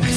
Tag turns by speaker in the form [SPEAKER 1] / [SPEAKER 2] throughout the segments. [SPEAKER 1] Ik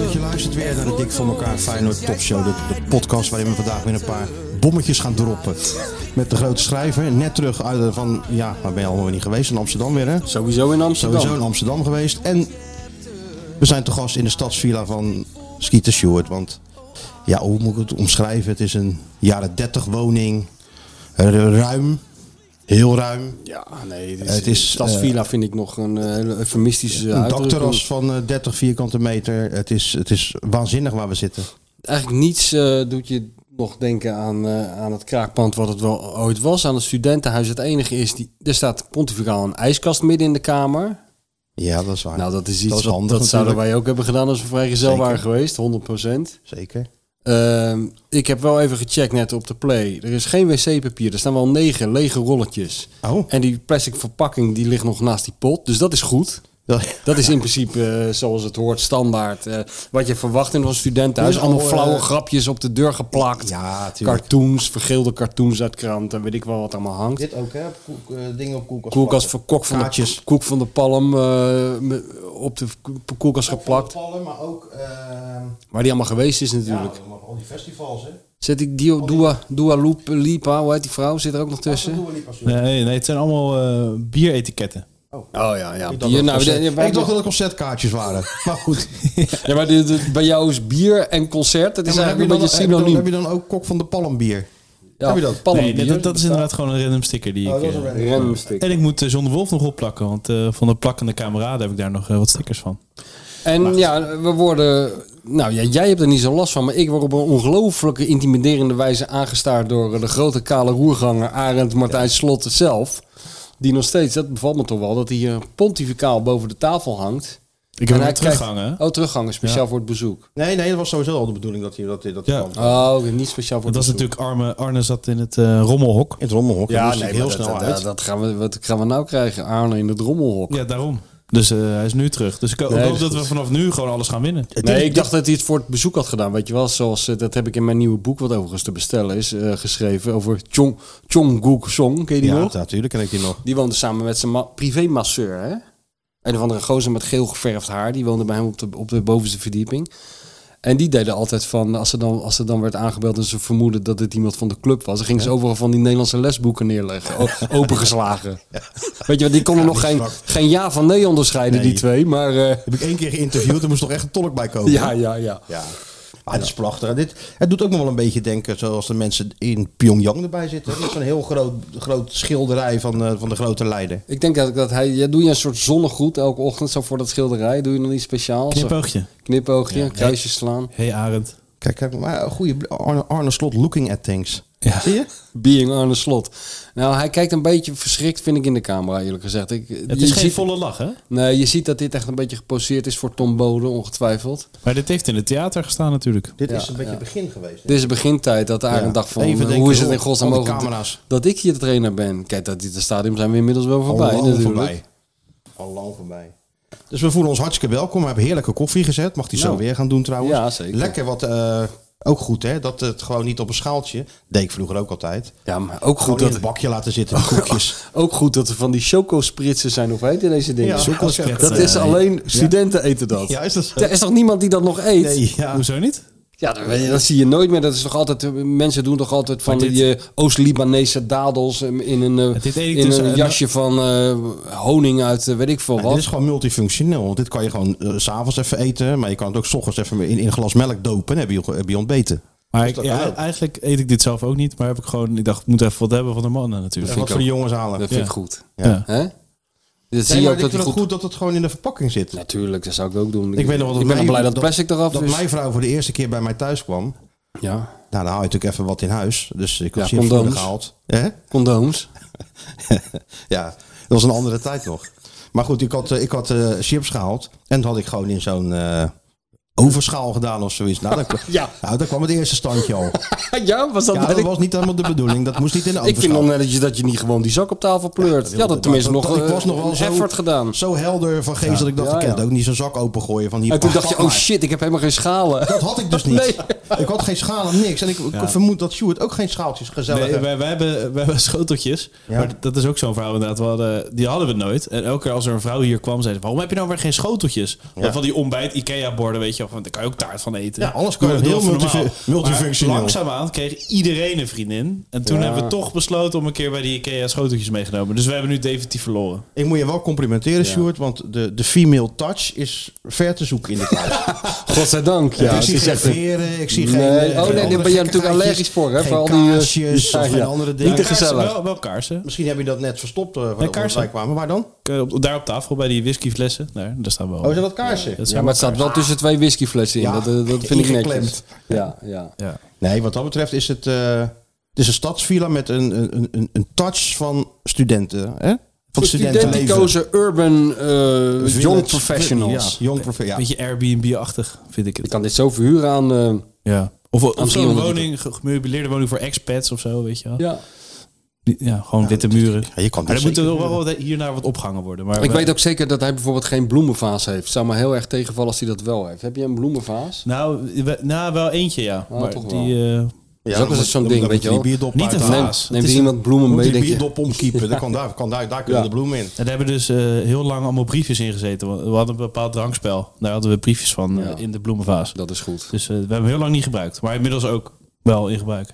[SPEAKER 2] dat je luistert weer naar de Dik voor elkaar Feyenoord Topshow. De, de podcast waarin we vandaag weer een paar bommetjes gaan droppen. Met de grote schrijver, net terug uit de- van, ja, waar ben je allemaal weer niet geweest? In Amsterdam weer hè?
[SPEAKER 3] Sowieso in Amsterdam.
[SPEAKER 2] Sowieso in Amsterdam geweest. En we zijn te gast in de stadsvilla van Skeeter Stewart. Want ja, hoe moet ik het omschrijven? Het is een jaren 30 woning. R- Ruim. Heel ruim.
[SPEAKER 3] Ja, nee.
[SPEAKER 2] Het
[SPEAKER 3] het
[SPEAKER 2] is, eh,
[SPEAKER 3] is, Stadsvilla vind ik nog een eh, hele eufemistische
[SPEAKER 2] Een
[SPEAKER 3] uitdrukking.
[SPEAKER 2] dakterras van eh, 30 vierkante meter. Het is, het is waanzinnig waar we zitten.
[SPEAKER 3] Eigenlijk niets eh, doet je nog denken aan, eh, aan het kraakpand wat het wel ooit was. Aan het studentenhuis. Het enige is, die, er staat pontificaal een ijskast midden in de kamer.
[SPEAKER 2] Ja, dat is waar.
[SPEAKER 3] Nou, dat is iets
[SPEAKER 2] Dat
[SPEAKER 3] dat
[SPEAKER 2] is handig
[SPEAKER 3] dat zouden
[SPEAKER 2] natuurlijk.
[SPEAKER 3] wij ook hebben gedaan als we vrijgezel
[SPEAKER 2] Zeker.
[SPEAKER 3] waren geweest. 100
[SPEAKER 2] Zeker.
[SPEAKER 3] Ehm, ik heb wel even gecheckt net op de play. Er is geen wc-papier. Er staan wel negen lege rolletjes.
[SPEAKER 2] Oh.
[SPEAKER 3] En die plastic verpakking die ligt nog naast die pot. Dus dat is goed.
[SPEAKER 2] Dat-
[SPEAKER 3] Dat is in principe eh, zoals het hoort, standaard. eh, wat je verwacht in een studentenhuis.
[SPEAKER 2] Dus
[SPEAKER 3] Allemaal
[SPEAKER 2] al,
[SPEAKER 3] flauwe
[SPEAKER 2] eh,
[SPEAKER 3] grapjes op de deur geplakt.
[SPEAKER 2] Ja, tuurlijk.
[SPEAKER 3] cartoons, vergeelde cartoons uit kranten. Weet ik wel wat allemaal hangt.
[SPEAKER 2] Dit ook, hè? Koek, eh, dingen op koelkast.
[SPEAKER 3] Koelkast voor kok van
[SPEAKER 2] Kaartjes.
[SPEAKER 3] de, koek van de palm eh, me- op de k- koelkast geplakt.
[SPEAKER 2] Vallen, maar ook... ehm
[SPEAKER 3] Waar die allemaal geweest is
[SPEAKER 2] ja,
[SPEAKER 3] natuurlijk.
[SPEAKER 2] al die festivals, hè?
[SPEAKER 3] Zet ik Dio, Dua, Dua Loop- Lipa, hoe heet die vrouw? Zit er ook nog tussen?
[SPEAKER 4] Nee, nee het zijn allemaal eh, bieretiketten.
[SPEAKER 3] Oh ja, ja.
[SPEAKER 2] Ik dacht,
[SPEAKER 3] Bier,
[SPEAKER 2] dat,
[SPEAKER 3] nou,
[SPEAKER 2] het concert-
[SPEAKER 3] de- wij-
[SPEAKER 2] ik dacht dat het concertkaartjes waren. Maar goed.
[SPEAKER 3] ja, maar dit- dit- bij jou is bier en concert, dat is
[SPEAKER 2] Maar heb, je
[SPEAKER 3] eigenlijk
[SPEAKER 2] dan,
[SPEAKER 3] een beetje
[SPEAKER 2] heb, je dan, heb
[SPEAKER 3] synoniem.
[SPEAKER 2] je dan ook kok van de palmbier?
[SPEAKER 3] Ja,
[SPEAKER 2] heb je dat?
[SPEAKER 4] Nee,
[SPEAKER 3] palmbier.
[SPEAKER 4] dat, dat is inderdaad gewoon een random sticker die ik... eh,
[SPEAKER 3] Remstick.
[SPEAKER 4] En ik moet eh, John de Wolf nog opplakken, want eh, van de plakkende kameraden heb ik daar nog eh, wat stickers van.
[SPEAKER 3] En ja, we worden... Nou ja, jij hebt er niet zo last van, maar ik word op een ongelooflijke intimiderende wijze aangestaard door eh, de grote kale roerganger Arend Martijn Slot zelf. Die nog steeds, dat bevalt me toch wel, dat hij hier pontificaal boven de tafel hangt.
[SPEAKER 4] Ik heb
[SPEAKER 3] En
[SPEAKER 4] hem
[SPEAKER 3] hij krijgt-
[SPEAKER 4] teruggehangen. hè?
[SPEAKER 3] Oh, teruggangen, speciaal voor het bezoek.
[SPEAKER 2] Nee, nee, dat was sowieso al de bedoeling dat hij dat, hij- dat hij
[SPEAKER 4] Ja.
[SPEAKER 2] kwam.
[SPEAKER 3] Oh, oké, niet speciaal voor
[SPEAKER 4] Dat
[SPEAKER 3] het
[SPEAKER 4] was
[SPEAKER 3] bezoek.
[SPEAKER 4] natuurlijk arme Arne zat in het eh, rommelhok.
[SPEAKER 2] In het rommelhok. Ja,
[SPEAKER 3] Ja,
[SPEAKER 2] moest
[SPEAKER 3] nee,
[SPEAKER 2] hij heel
[SPEAKER 3] maar
[SPEAKER 2] snel
[SPEAKER 3] dat,
[SPEAKER 2] uit.
[SPEAKER 3] Dat, dat gaan we, wat gaan we nou krijgen? Arne in het rommelhok.
[SPEAKER 4] Ja, daarom. Dus eh, hij is nu terug. Dus ik ho-
[SPEAKER 3] Nee,
[SPEAKER 4] hoop
[SPEAKER 3] dat is
[SPEAKER 4] dat we
[SPEAKER 3] goed.
[SPEAKER 4] vanaf nu gewoon alles gaan winnen.
[SPEAKER 3] Nee, ik dacht dat hij het voor het bezoek had gedaan. Weet je wel, zoals eh, dat heb ik in mijn nieuwe boek, wat overigens te bestellen is, eh, geschreven over Chong, Chong Gook Song. Ken je die
[SPEAKER 2] ja,
[SPEAKER 3] nog?
[SPEAKER 2] natuurlijk ken ik die nog.
[SPEAKER 3] Die woonde samen met zijn ma- privémasseur, hè? Een of andere gozer met geel geverfd haar. Die woonde bij hem op de, op de bovenste verdieping. En die deden altijd van, als ze, dan, als ze dan werd aangebeld en ze vermoeden dat het iemand van de club was, dan gingen ze overal van die Nederlandse lesboeken neerleggen. o- opengeslagen. Weet je, want die konden nog
[SPEAKER 2] die
[SPEAKER 3] geen,
[SPEAKER 2] zwak.
[SPEAKER 3] geen ja van nee onderscheiden,
[SPEAKER 2] Nee.
[SPEAKER 3] die twee. Maar eh,
[SPEAKER 2] Heb ik één keer geïnterviewd, er moest toch echt een tolk bij komen.
[SPEAKER 3] ja, ja, ja.
[SPEAKER 2] Ja. Maar dat is prachtig. En Ah, dit, het doet ook nog wel een beetje denken zoals de mensen in Pyongyang erbij zitten. Dat is zo'n heel groot, groot schilderij van, eh, van de grote leider.
[SPEAKER 3] Ik denk dat, ik dat hij, ja, doe je een soort zonnegroet elke ochtend zo voor dat schilderij. Doe je nog iets speciaals?
[SPEAKER 4] Knipoogje.
[SPEAKER 3] Zo Knipoogje, een kruisje slaan.
[SPEAKER 4] hey, Arend.
[SPEAKER 2] Kijk, kijk maar een goede bl- Arne, Arne Slot looking at things.
[SPEAKER 4] Ja.
[SPEAKER 2] Zie je?
[SPEAKER 3] Being Arne Slot. Nou, hij kijkt een beetje verschrikt, vind ik, in de camera, eerlijk gezegd. Ik,
[SPEAKER 4] Het
[SPEAKER 3] je
[SPEAKER 4] is geen
[SPEAKER 3] ziet-
[SPEAKER 4] volle lach, hè?
[SPEAKER 3] Nee, je ziet dat dit echt een beetje geposeerd is voor Tom Bode, ongetwijfeld.
[SPEAKER 4] Maar dit heeft in het theater gestaan natuurlijk.
[SPEAKER 2] Dit
[SPEAKER 3] Ja,
[SPEAKER 2] is een beetje
[SPEAKER 3] ja.
[SPEAKER 2] het begin geweest.
[SPEAKER 3] Dit is de begintijd dat de Arend
[SPEAKER 2] Ja,
[SPEAKER 3] dacht van,
[SPEAKER 2] even
[SPEAKER 3] eh,
[SPEAKER 2] denken,
[SPEAKER 3] hoe is het
[SPEAKER 2] joh,
[SPEAKER 3] in godsnaam
[SPEAKER 2] al die
[SPEAKER 3] mogelijk
[SPEAKER 2] camera's.
[SPEAKER 3] dat ik hier de trainer ben? Kijk, dat dit de stadium zijn we inmiddels wel voorbij
[SPEAKER 2] Al lang
[SPEAKER 3] natuurlijk.
[SPEAKER 2] voorbij. Al lang voorbij. Dus we voelen ons hartstikke welkom. We hebben heerlijke koffie gezet. Mag die zo
[SPEAKER 3] Nou,
[SPEAKER 2] weer gaan doen trouwens.
[SPEAKER 3] ja, zeker.
[SPEAKER 2] Lekker wat eh, Ook goed, hè? Dat het gewoon niet op een schaaltje. Deed ik vroeger ook altijd.
[SPEAKER 3] Ja, maar ook
[SPEAKER 2] Gewoon
[SPEAKER 3] goed,
[SPEAKER 2] in het
[SPEAKER 3] dat,
[SPEAKER 2] bakje laten zitten, de koekjes.
[SPEAKER 3] ook goed dat er van die chocospritzen zijn, of heet je deze dingen?
[SPEAKER 2] Ja,
[SPEAKER 3] Chocospritzen. dat is alleen, studenten eten dat.
[SPEAKER 2] Ja, is dat zo?
[SPEAKER 3] Er is toch niemand die dat nog eet?
[SPEAKER 2] Nee, ja.
[SPEAKER 4] Hoezo niet?
[SPEAKER 3] Ja, dat, weet je, dat zie je nooit meer. Dat is toch altijd, eh, mensen doen toch altijd van
[SPEAKER 4] Maar dit-
[SPEAKER 3] die eh, Oost-Libanese dadels eh, in een,
[SPEAKER 4] Dit
[SPEAKER 3] eh,
[SPEAKER 4] eet ik
[SPEAKER 3] in
[SPEAKER 4] dus,
[SPEAKER 3] een
[SPEAKER 4] eh,
[SPEAKER 3] jasje van eh, honing uit eh, weet ik veel
[SPEAKER 2] Ja, dit
[SPEAKER 3] wat.
[SPEAKER 2] is gewoon multifunctioneel. Want dit kan je gewoon eh, s s'avonds even eten. Maar je kan het ook s ochtends even in, in een glas melk dopen. En heb je, heb je ontbeten.
[SPEAKER 4] Maar
[SPEAKER 2] Dus
[SPEAKER 4] ik,
[SPEAKER 2] dat
[SPEAKER 4] ja,
[SPEAKER 2] kan ook.
[SPEAKER 4] eigenlijk eet ik dit zelf ook niet. Maar heb ik gewoon, ik dacht, ik moet even wat hebben van de mannen natuurlijk.
[SPEAKER 2] En wat
[SPEAKER 3] ik
[SPEAKER 2] voor de
[SPEAKER 3] ook.
[SPEAKER 2] jongens halen.
[SPEAKER 3] Dat
[SPEAKER 2] Nee,
[SPEAKER 3] vind
[SPEAKER 4] Ja.
[SPEAKER 3] ik goed.
[SPEAKER 4] Ja.
[SPEAKER 3] Hè? Dat
[SPEAKER 2] maar
[SPEAKER 3] zie je ook
[SPEAKER 2] ik
[SPEAKER 3] dat
[SPEAKER 2] vind
[SPEAKER 3] die
[SPEAKER 2] het
[SPEAKER 3] goed...
[SPEAKER 2] goed dat het gewoon in de verpakking zit.
[SPEAKER 3] Natuurlijk, dat zou ik ook doen.
[SPEAKER 2] Ik weet nog wel dat
[SPEAKER 3] ik ben
[SPEAKER 2] mijn-
[SPEAKER 3] al blij dat
[SPEAKER 2] dat-
[SPEAKER 3] het plastic eraf
[SPEAKER 2] Dat
[SPEAKER 3] is.
[SPEAKER 2] mijn vrouw voor de eerste keer bij mij thuis kwam.
[SPEAKER 3] Ja,
[SPEAKER 2] Nou, dan haal je natuurlijk even wat in huis. Dus ik
[SPEAKER 3] Ja,
[SPEAKER 2] had hier voor
[SPEAKER 3] condooms.
[SPEAKER 2] gehaald. Hè?
[SPEAKER 3] condooms.
[SPEAKER 2] Ja, dat was een andere tijd nog. Maar goed, ik had, eh, ik had eh, chips gehaald. En dat had ik gewoon in zo'n eh, overschaal gedaan of zoiets. Nou, dan,
[SPEAKER 3] Ja.
[SPEAKER 2] nou, daar kwam het eerste standje al.
[SPEAKER 3] ja, was dat
[SPEAKER 2] Ja,
[SPEAKER 3] bij
[SPEAKER 2] dat
[SPEAKER 3] de-
[SPEAKER 2] was niet helemaal de bedoeling. Dat moest niet in de
[SPEAKER 3] Ik vind
[SPEAKER 2] overschaal.
[SPEAKER 3] nog net dat je, dat je niet gewoon die zak op tafel pleurt. Ja, dat, tenminste nog,
[SPEAKER 2] ik was
[SPEAKER 3] eh,
[SPEAKER 2] nog wel
[SPEAKER 3] een
[SPEAKER 2] zo,
[SPEAKER 3] effort gedaan.
[SPEAKER 2] zo helder van geest dat ik dacht,
[SPEAKER 3] Ja,
[SPEAKER 2] ik kan
[SPEAKER 3] ja.
[SPEAKER 2] het ook niet zo'n zak opengooien. Van hier,
[SPEAKER 3] En toen
[SPEAKER 2] pak-
[SPEAKER 3] dacht je,
[SPEAKER 2] pak
[SPEAKER 3] oh
[SPEAKER 2] maar.
[SPEAKER 3] shit, ik heb helemaal geen schalen.
[SPEAKER 2] Dat had ik dus niet.
[SPEAKER 3] Nee.
[SPEAKER 2] Ik had geen schalen, niks. En ik ik vermoed dat Stuart ook geen schaaltjes gezellig
[SPEAKER 4] Nee,
[SPEAKER 2] heeft.
[SPEAKER 4] wij, wij, hebben, wij hebben schoteltjes.
[SPEAKER 2] Ja.
[SPEAKER 4] Maar dat is ook zo'n verhaal inderdaad. We hadden, die hadden we nooit. En elke keer als er een vrouw hier kwam, zei ze... waarom heb je nou weer geen schoteltjes? Want Van die ontbijt Ikea-borden, weet je wel. van, Daar kan je ook taart van eten.
[SPEAKER 2] Ja, alles kan je
[SPEAKER 4] Doe
[SPEAKER 2] heel
[SPEAKER 4] even normaal.
[SPEAKER 2] multifu- multifunctioneel.
[SPEAKER 4] Maar Langzaamaan kreeg iedereen een vriendin. En toen hebben we toch besloten om een keer bij die Ikea schoteltjes meegenomen. Dus we hebben nu definitief verloren.
[SPEAKER 2] Ik moet je wel complimenteren, Stuart, want de, de female touch is ver te zoeken in dit huis.
[SPEAKER 3] Godzijdank. Ja,
[SPEAKER 2] ik
[SPEAKER 3] het
[SPEAKER 2] zie
[SPEAKER 3] is
[SPEAKER 2] geen
[SPEAKER 3] echt een-
[SPEAKER 2] veren, ik zie
[SPEAKER 3] Nee.
[SPEAKER 2] geen... eh,
[SPEAKER 3] Oh,
[SPEAKER 2] geen
[SPEAKER 3] nee, daar
[SPEAKER 2] andere
[SPEAKER 3] ben je natuurlijk
[SPEAKER 2] gekkigheidjes,
[SPEAKER 3] allergisch voor, hè,
[SPEAKER 2] Geen
[SPEAKER 3] voor al die, eh,
[SPEAKER 2] kaarsjes
[SPEAKER 3] ja,
[SPEAKER 2] of geen
[SPEAKER 3] ja.
[SPEAKER 2] andere
[SPEAKER 3] Niet
[SPEAKER 2] dingen.
[SPEAKER 3] te gezellig.
[SPEAKER 4] Wel, wel kaarsen.
[SPEAKER 2] Misschien heb je dat net verstopt eh
[SPEAKER 4] Nee,
[SPEAKER 2] voordat we
[SPEAKER 4] kaarsen.
[SPEAKER 2] erbij kwamen. Waar dan?
[SPEAKER 3] Oh.
[SPEAKER 4] Ik, eh, op- Daar op tafel, bij die whiskyflessen. Daar, daar staan we al.
[SPEAKER 2] Oh, zijn dat kaarsen?
[SPEAKER 4] Dat
[SPEAKER 3] Ja, maar het staat wel tussen twee whiskyflessen in.
[SPEAKER 2] Ja,
[SPEAKER 3] Dat, eh, dat vind ik netjes.
[SPEAKER 2] ingeklemd.
[SPEAKER 3] Ja, ja.
[SPEAKER 4] Ja.
[SPEAKER 2] Nee, wat dat betreft is het... eh, het is een stadsvilla met een, een, een, een touch van studenten. Hè? Van studentenleven.
[SPEAKER 3] Studenticoze urban eh, young
[SPEAKER 2] Village-
[SPEAKER 3] professionals.
[SPEAKER 2] Ja, young professionals.
[SPEAKER 4] Beetje Airbnb-achtig, vind ik
[SPEAKER 3] Ik
[SPEAKER 4] het.
[SPEAKER 3] kan dit zo verhuren aan... eh,
[SPEAKER 4] Ja. Of, of zo'n
[SPEAKER 3] driehonderd
[SPEAKER 4] woning, ge- gemeubileerde woning voor expats of zo, weet je wel.
[SPEAKER 3] ja.
[SPEAKER 4] Die- Ja, gewoon witte muren.
[SPEAKER 2] Ja, je kan
[SPEAKER 4] Maar
[SPEAKER 2] dit
[SPEAKER 4] er moeten
[SPEAKER 2] zeker
[SPEAKER 4] nog wel wat hiernaar wat opgehangen worden. Maar
[SPEAKER 3] Ik
[SPEAKER 4] we-
[SPEAKER 3] weet ook zeker dat hij bijvoorbeeld geen bloemenvaas heeft. Het zou me heel erg tegenvallen als hij dat wel heeft. Heb je een bloemenvaas?
[SPEAKER 4] Nou, we- nou, wel eentje, ja.
[SPEAKER 3] Nou,
[SPEAKER 4] maar
[SPEAKER 3] toch
[SPEAKER 4] die, eh,
[SPEAKER 2] Ja,
[SPEAKER 3] is ook
[SPEAKER 2] dan
[SPEAKER 3] eens zo'n
[SPEAKER 2] moet-
[SPEAKER 3] ding,
[SPEAKER 2] dan
[SPEAKER 3] weet
[SPEAKER 2] moet
[SPEAKER 3] je wel.
[SPEAKER 2] die bierdop
[SPEAKER 4] Niet een
[SPEAKER 2] uithalen.
[SPEAKER 3] Neem,
[SPEAKER 4] vaas. Het
[SPEAKER 3] neemt
[SPEAKER 4] is
[SPEAKER 3] iemand bloemen
[SPEAKER 2] Moet
[SPEAKER 3] mee,
[SPEAKER 2] die
[SPEAKER 3] denk je?
[SPEAKER 2] bierdop omkiepen. Daar, kan, daar, kan, daar, daar kunnen
[SPEAKER 3] Ja.
[SPEAKER 2] de bloemen in.
[SPEAKER 4] en daar hebben dus eh, heel lang allemaal briefjes in gezeten. want We hadden een bepaald drankspel. Daar hadden we briefjes van eh,
[SPEAKER 3] Ja.
[SPEAKER 4] in de bloemenvaas.
[SPEAKER 3] Dat is goed.
[SPEAKER 4] Dus eh, we hebben hem heel lang niet gebruikt. Maar inmiddels ook wel in gebruik.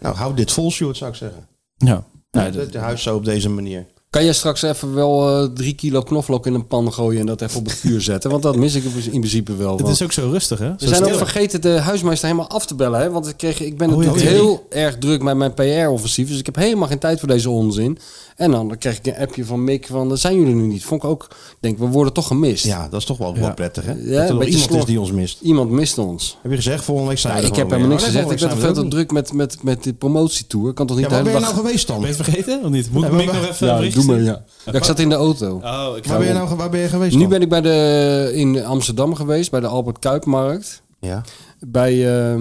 [SPEAKER 2] Nou, hou dit vol, Sjoerd, zou ik zeggen.
[SPEAKER 4] Ja. Nou,
[SPEAKER 2] het,
[SPEAKER 4] dat-
[SPEAKER 2] het huis zo op deze manier.
[SPEAKER 3] Kan jij straks even wel eh, drie kilo knoflook in een pan gooien en dat even op het vuur zetten? Want dat mis ik in principe wel.
[SPEAKER 4] het
[SPEAKER 3] want-
[SPEAKER 4] is ook zo rustig, hè?
[SPEAKER 3] We zijn ook vergeten de huismeester helemaal af te bellen. Hè? Want ik, kreeg, ik ben
[SPEAKER 4] ja,
[SPEAKER 3] natuurlijk
[SPEAKER 4] Thierry.
[SPEAKER 3] heel erg druk met mijn PR-offensief. Dus ik heb helemaal geen tijd voor deze onzin. En dan kreeg ik een appje van Mick van... Zijn jullie nu niet? Vond ik ook... ik denk, we worden toch gemist.
[SPEAKER 2] Ja, dat is toch wel, wel prettig, hè?
[SPEAKER 3] Ja,
[SPEAKER 2] dat
[SPEAKER 3] een
[SPEAKER 2] er nog
[SPEAKER 3] beetje
[SPEAKER 2] iemand
[SPEAKER 3] slordig.
[SPEAKER 2] is die ons mist.
[SPEAKER 3] Iemand mist ons.
[SPEAKER 2] Heb je gezegd, volgende week zijn
[SPEAKER 3] Ja,
[SPEAKER 2] we er
[SPEAKER 3] ik heb
[SPEAKER 2] gewoon
[SPEAKER 3] helemaal niks
[SPEAKER 2] weer.
[SPEAKER 3] gezegd. Ik ben
[SPEAKER 2] Ja, Oh,
[SPEAKER 3] er veel
[SPEAKER 2] volgende
[SPEAKER 3] te
[SPEAKER 2] week zijn we er ook
[SPEAKER 3] druk met, met, met de promotietour. Ik kan toch niet
[SPEAKER 2] niet. Ja,
[SPEAKER 3] de
[SPEAKER 2] waar
[SPEAKER 3] hele
[SPEAKER 2] ben je
[SPEAKER 3] dag...
[SPEAKER 2] nou geweest dan?
[SPEAKER 4] Ben je het vergeten of niet? Moet
[SPEAKER 2] Ja,
[SPEAKER 4] ik
[SPEAKER 2] maar
[SPEAKER 4] Mick
[SPEAKER 2] we-
[SPEAKER 4] nog even een
[SPEAKER 3] ja,
[SPEAKER 4] berichtje
[SPEAKER 3] doe maar,
[SPEAKER 4] sturen?
[SPEAKER 3] ja. Ja, ik zat in de auto.
[SPEAKER 4] Oh, ik
[SPEAKER 2] Waar ben je nou waar ben je geweest
[SPEAKER 3] Nu
[SPEAKER 2] dan?
[SPEAKER 3] ben ik bij de, in Amsterdam geweest, bij de Albert Kuipmarkt.
[SPEAKER 2] Ja.
[SPEAKER 3] bij, eh,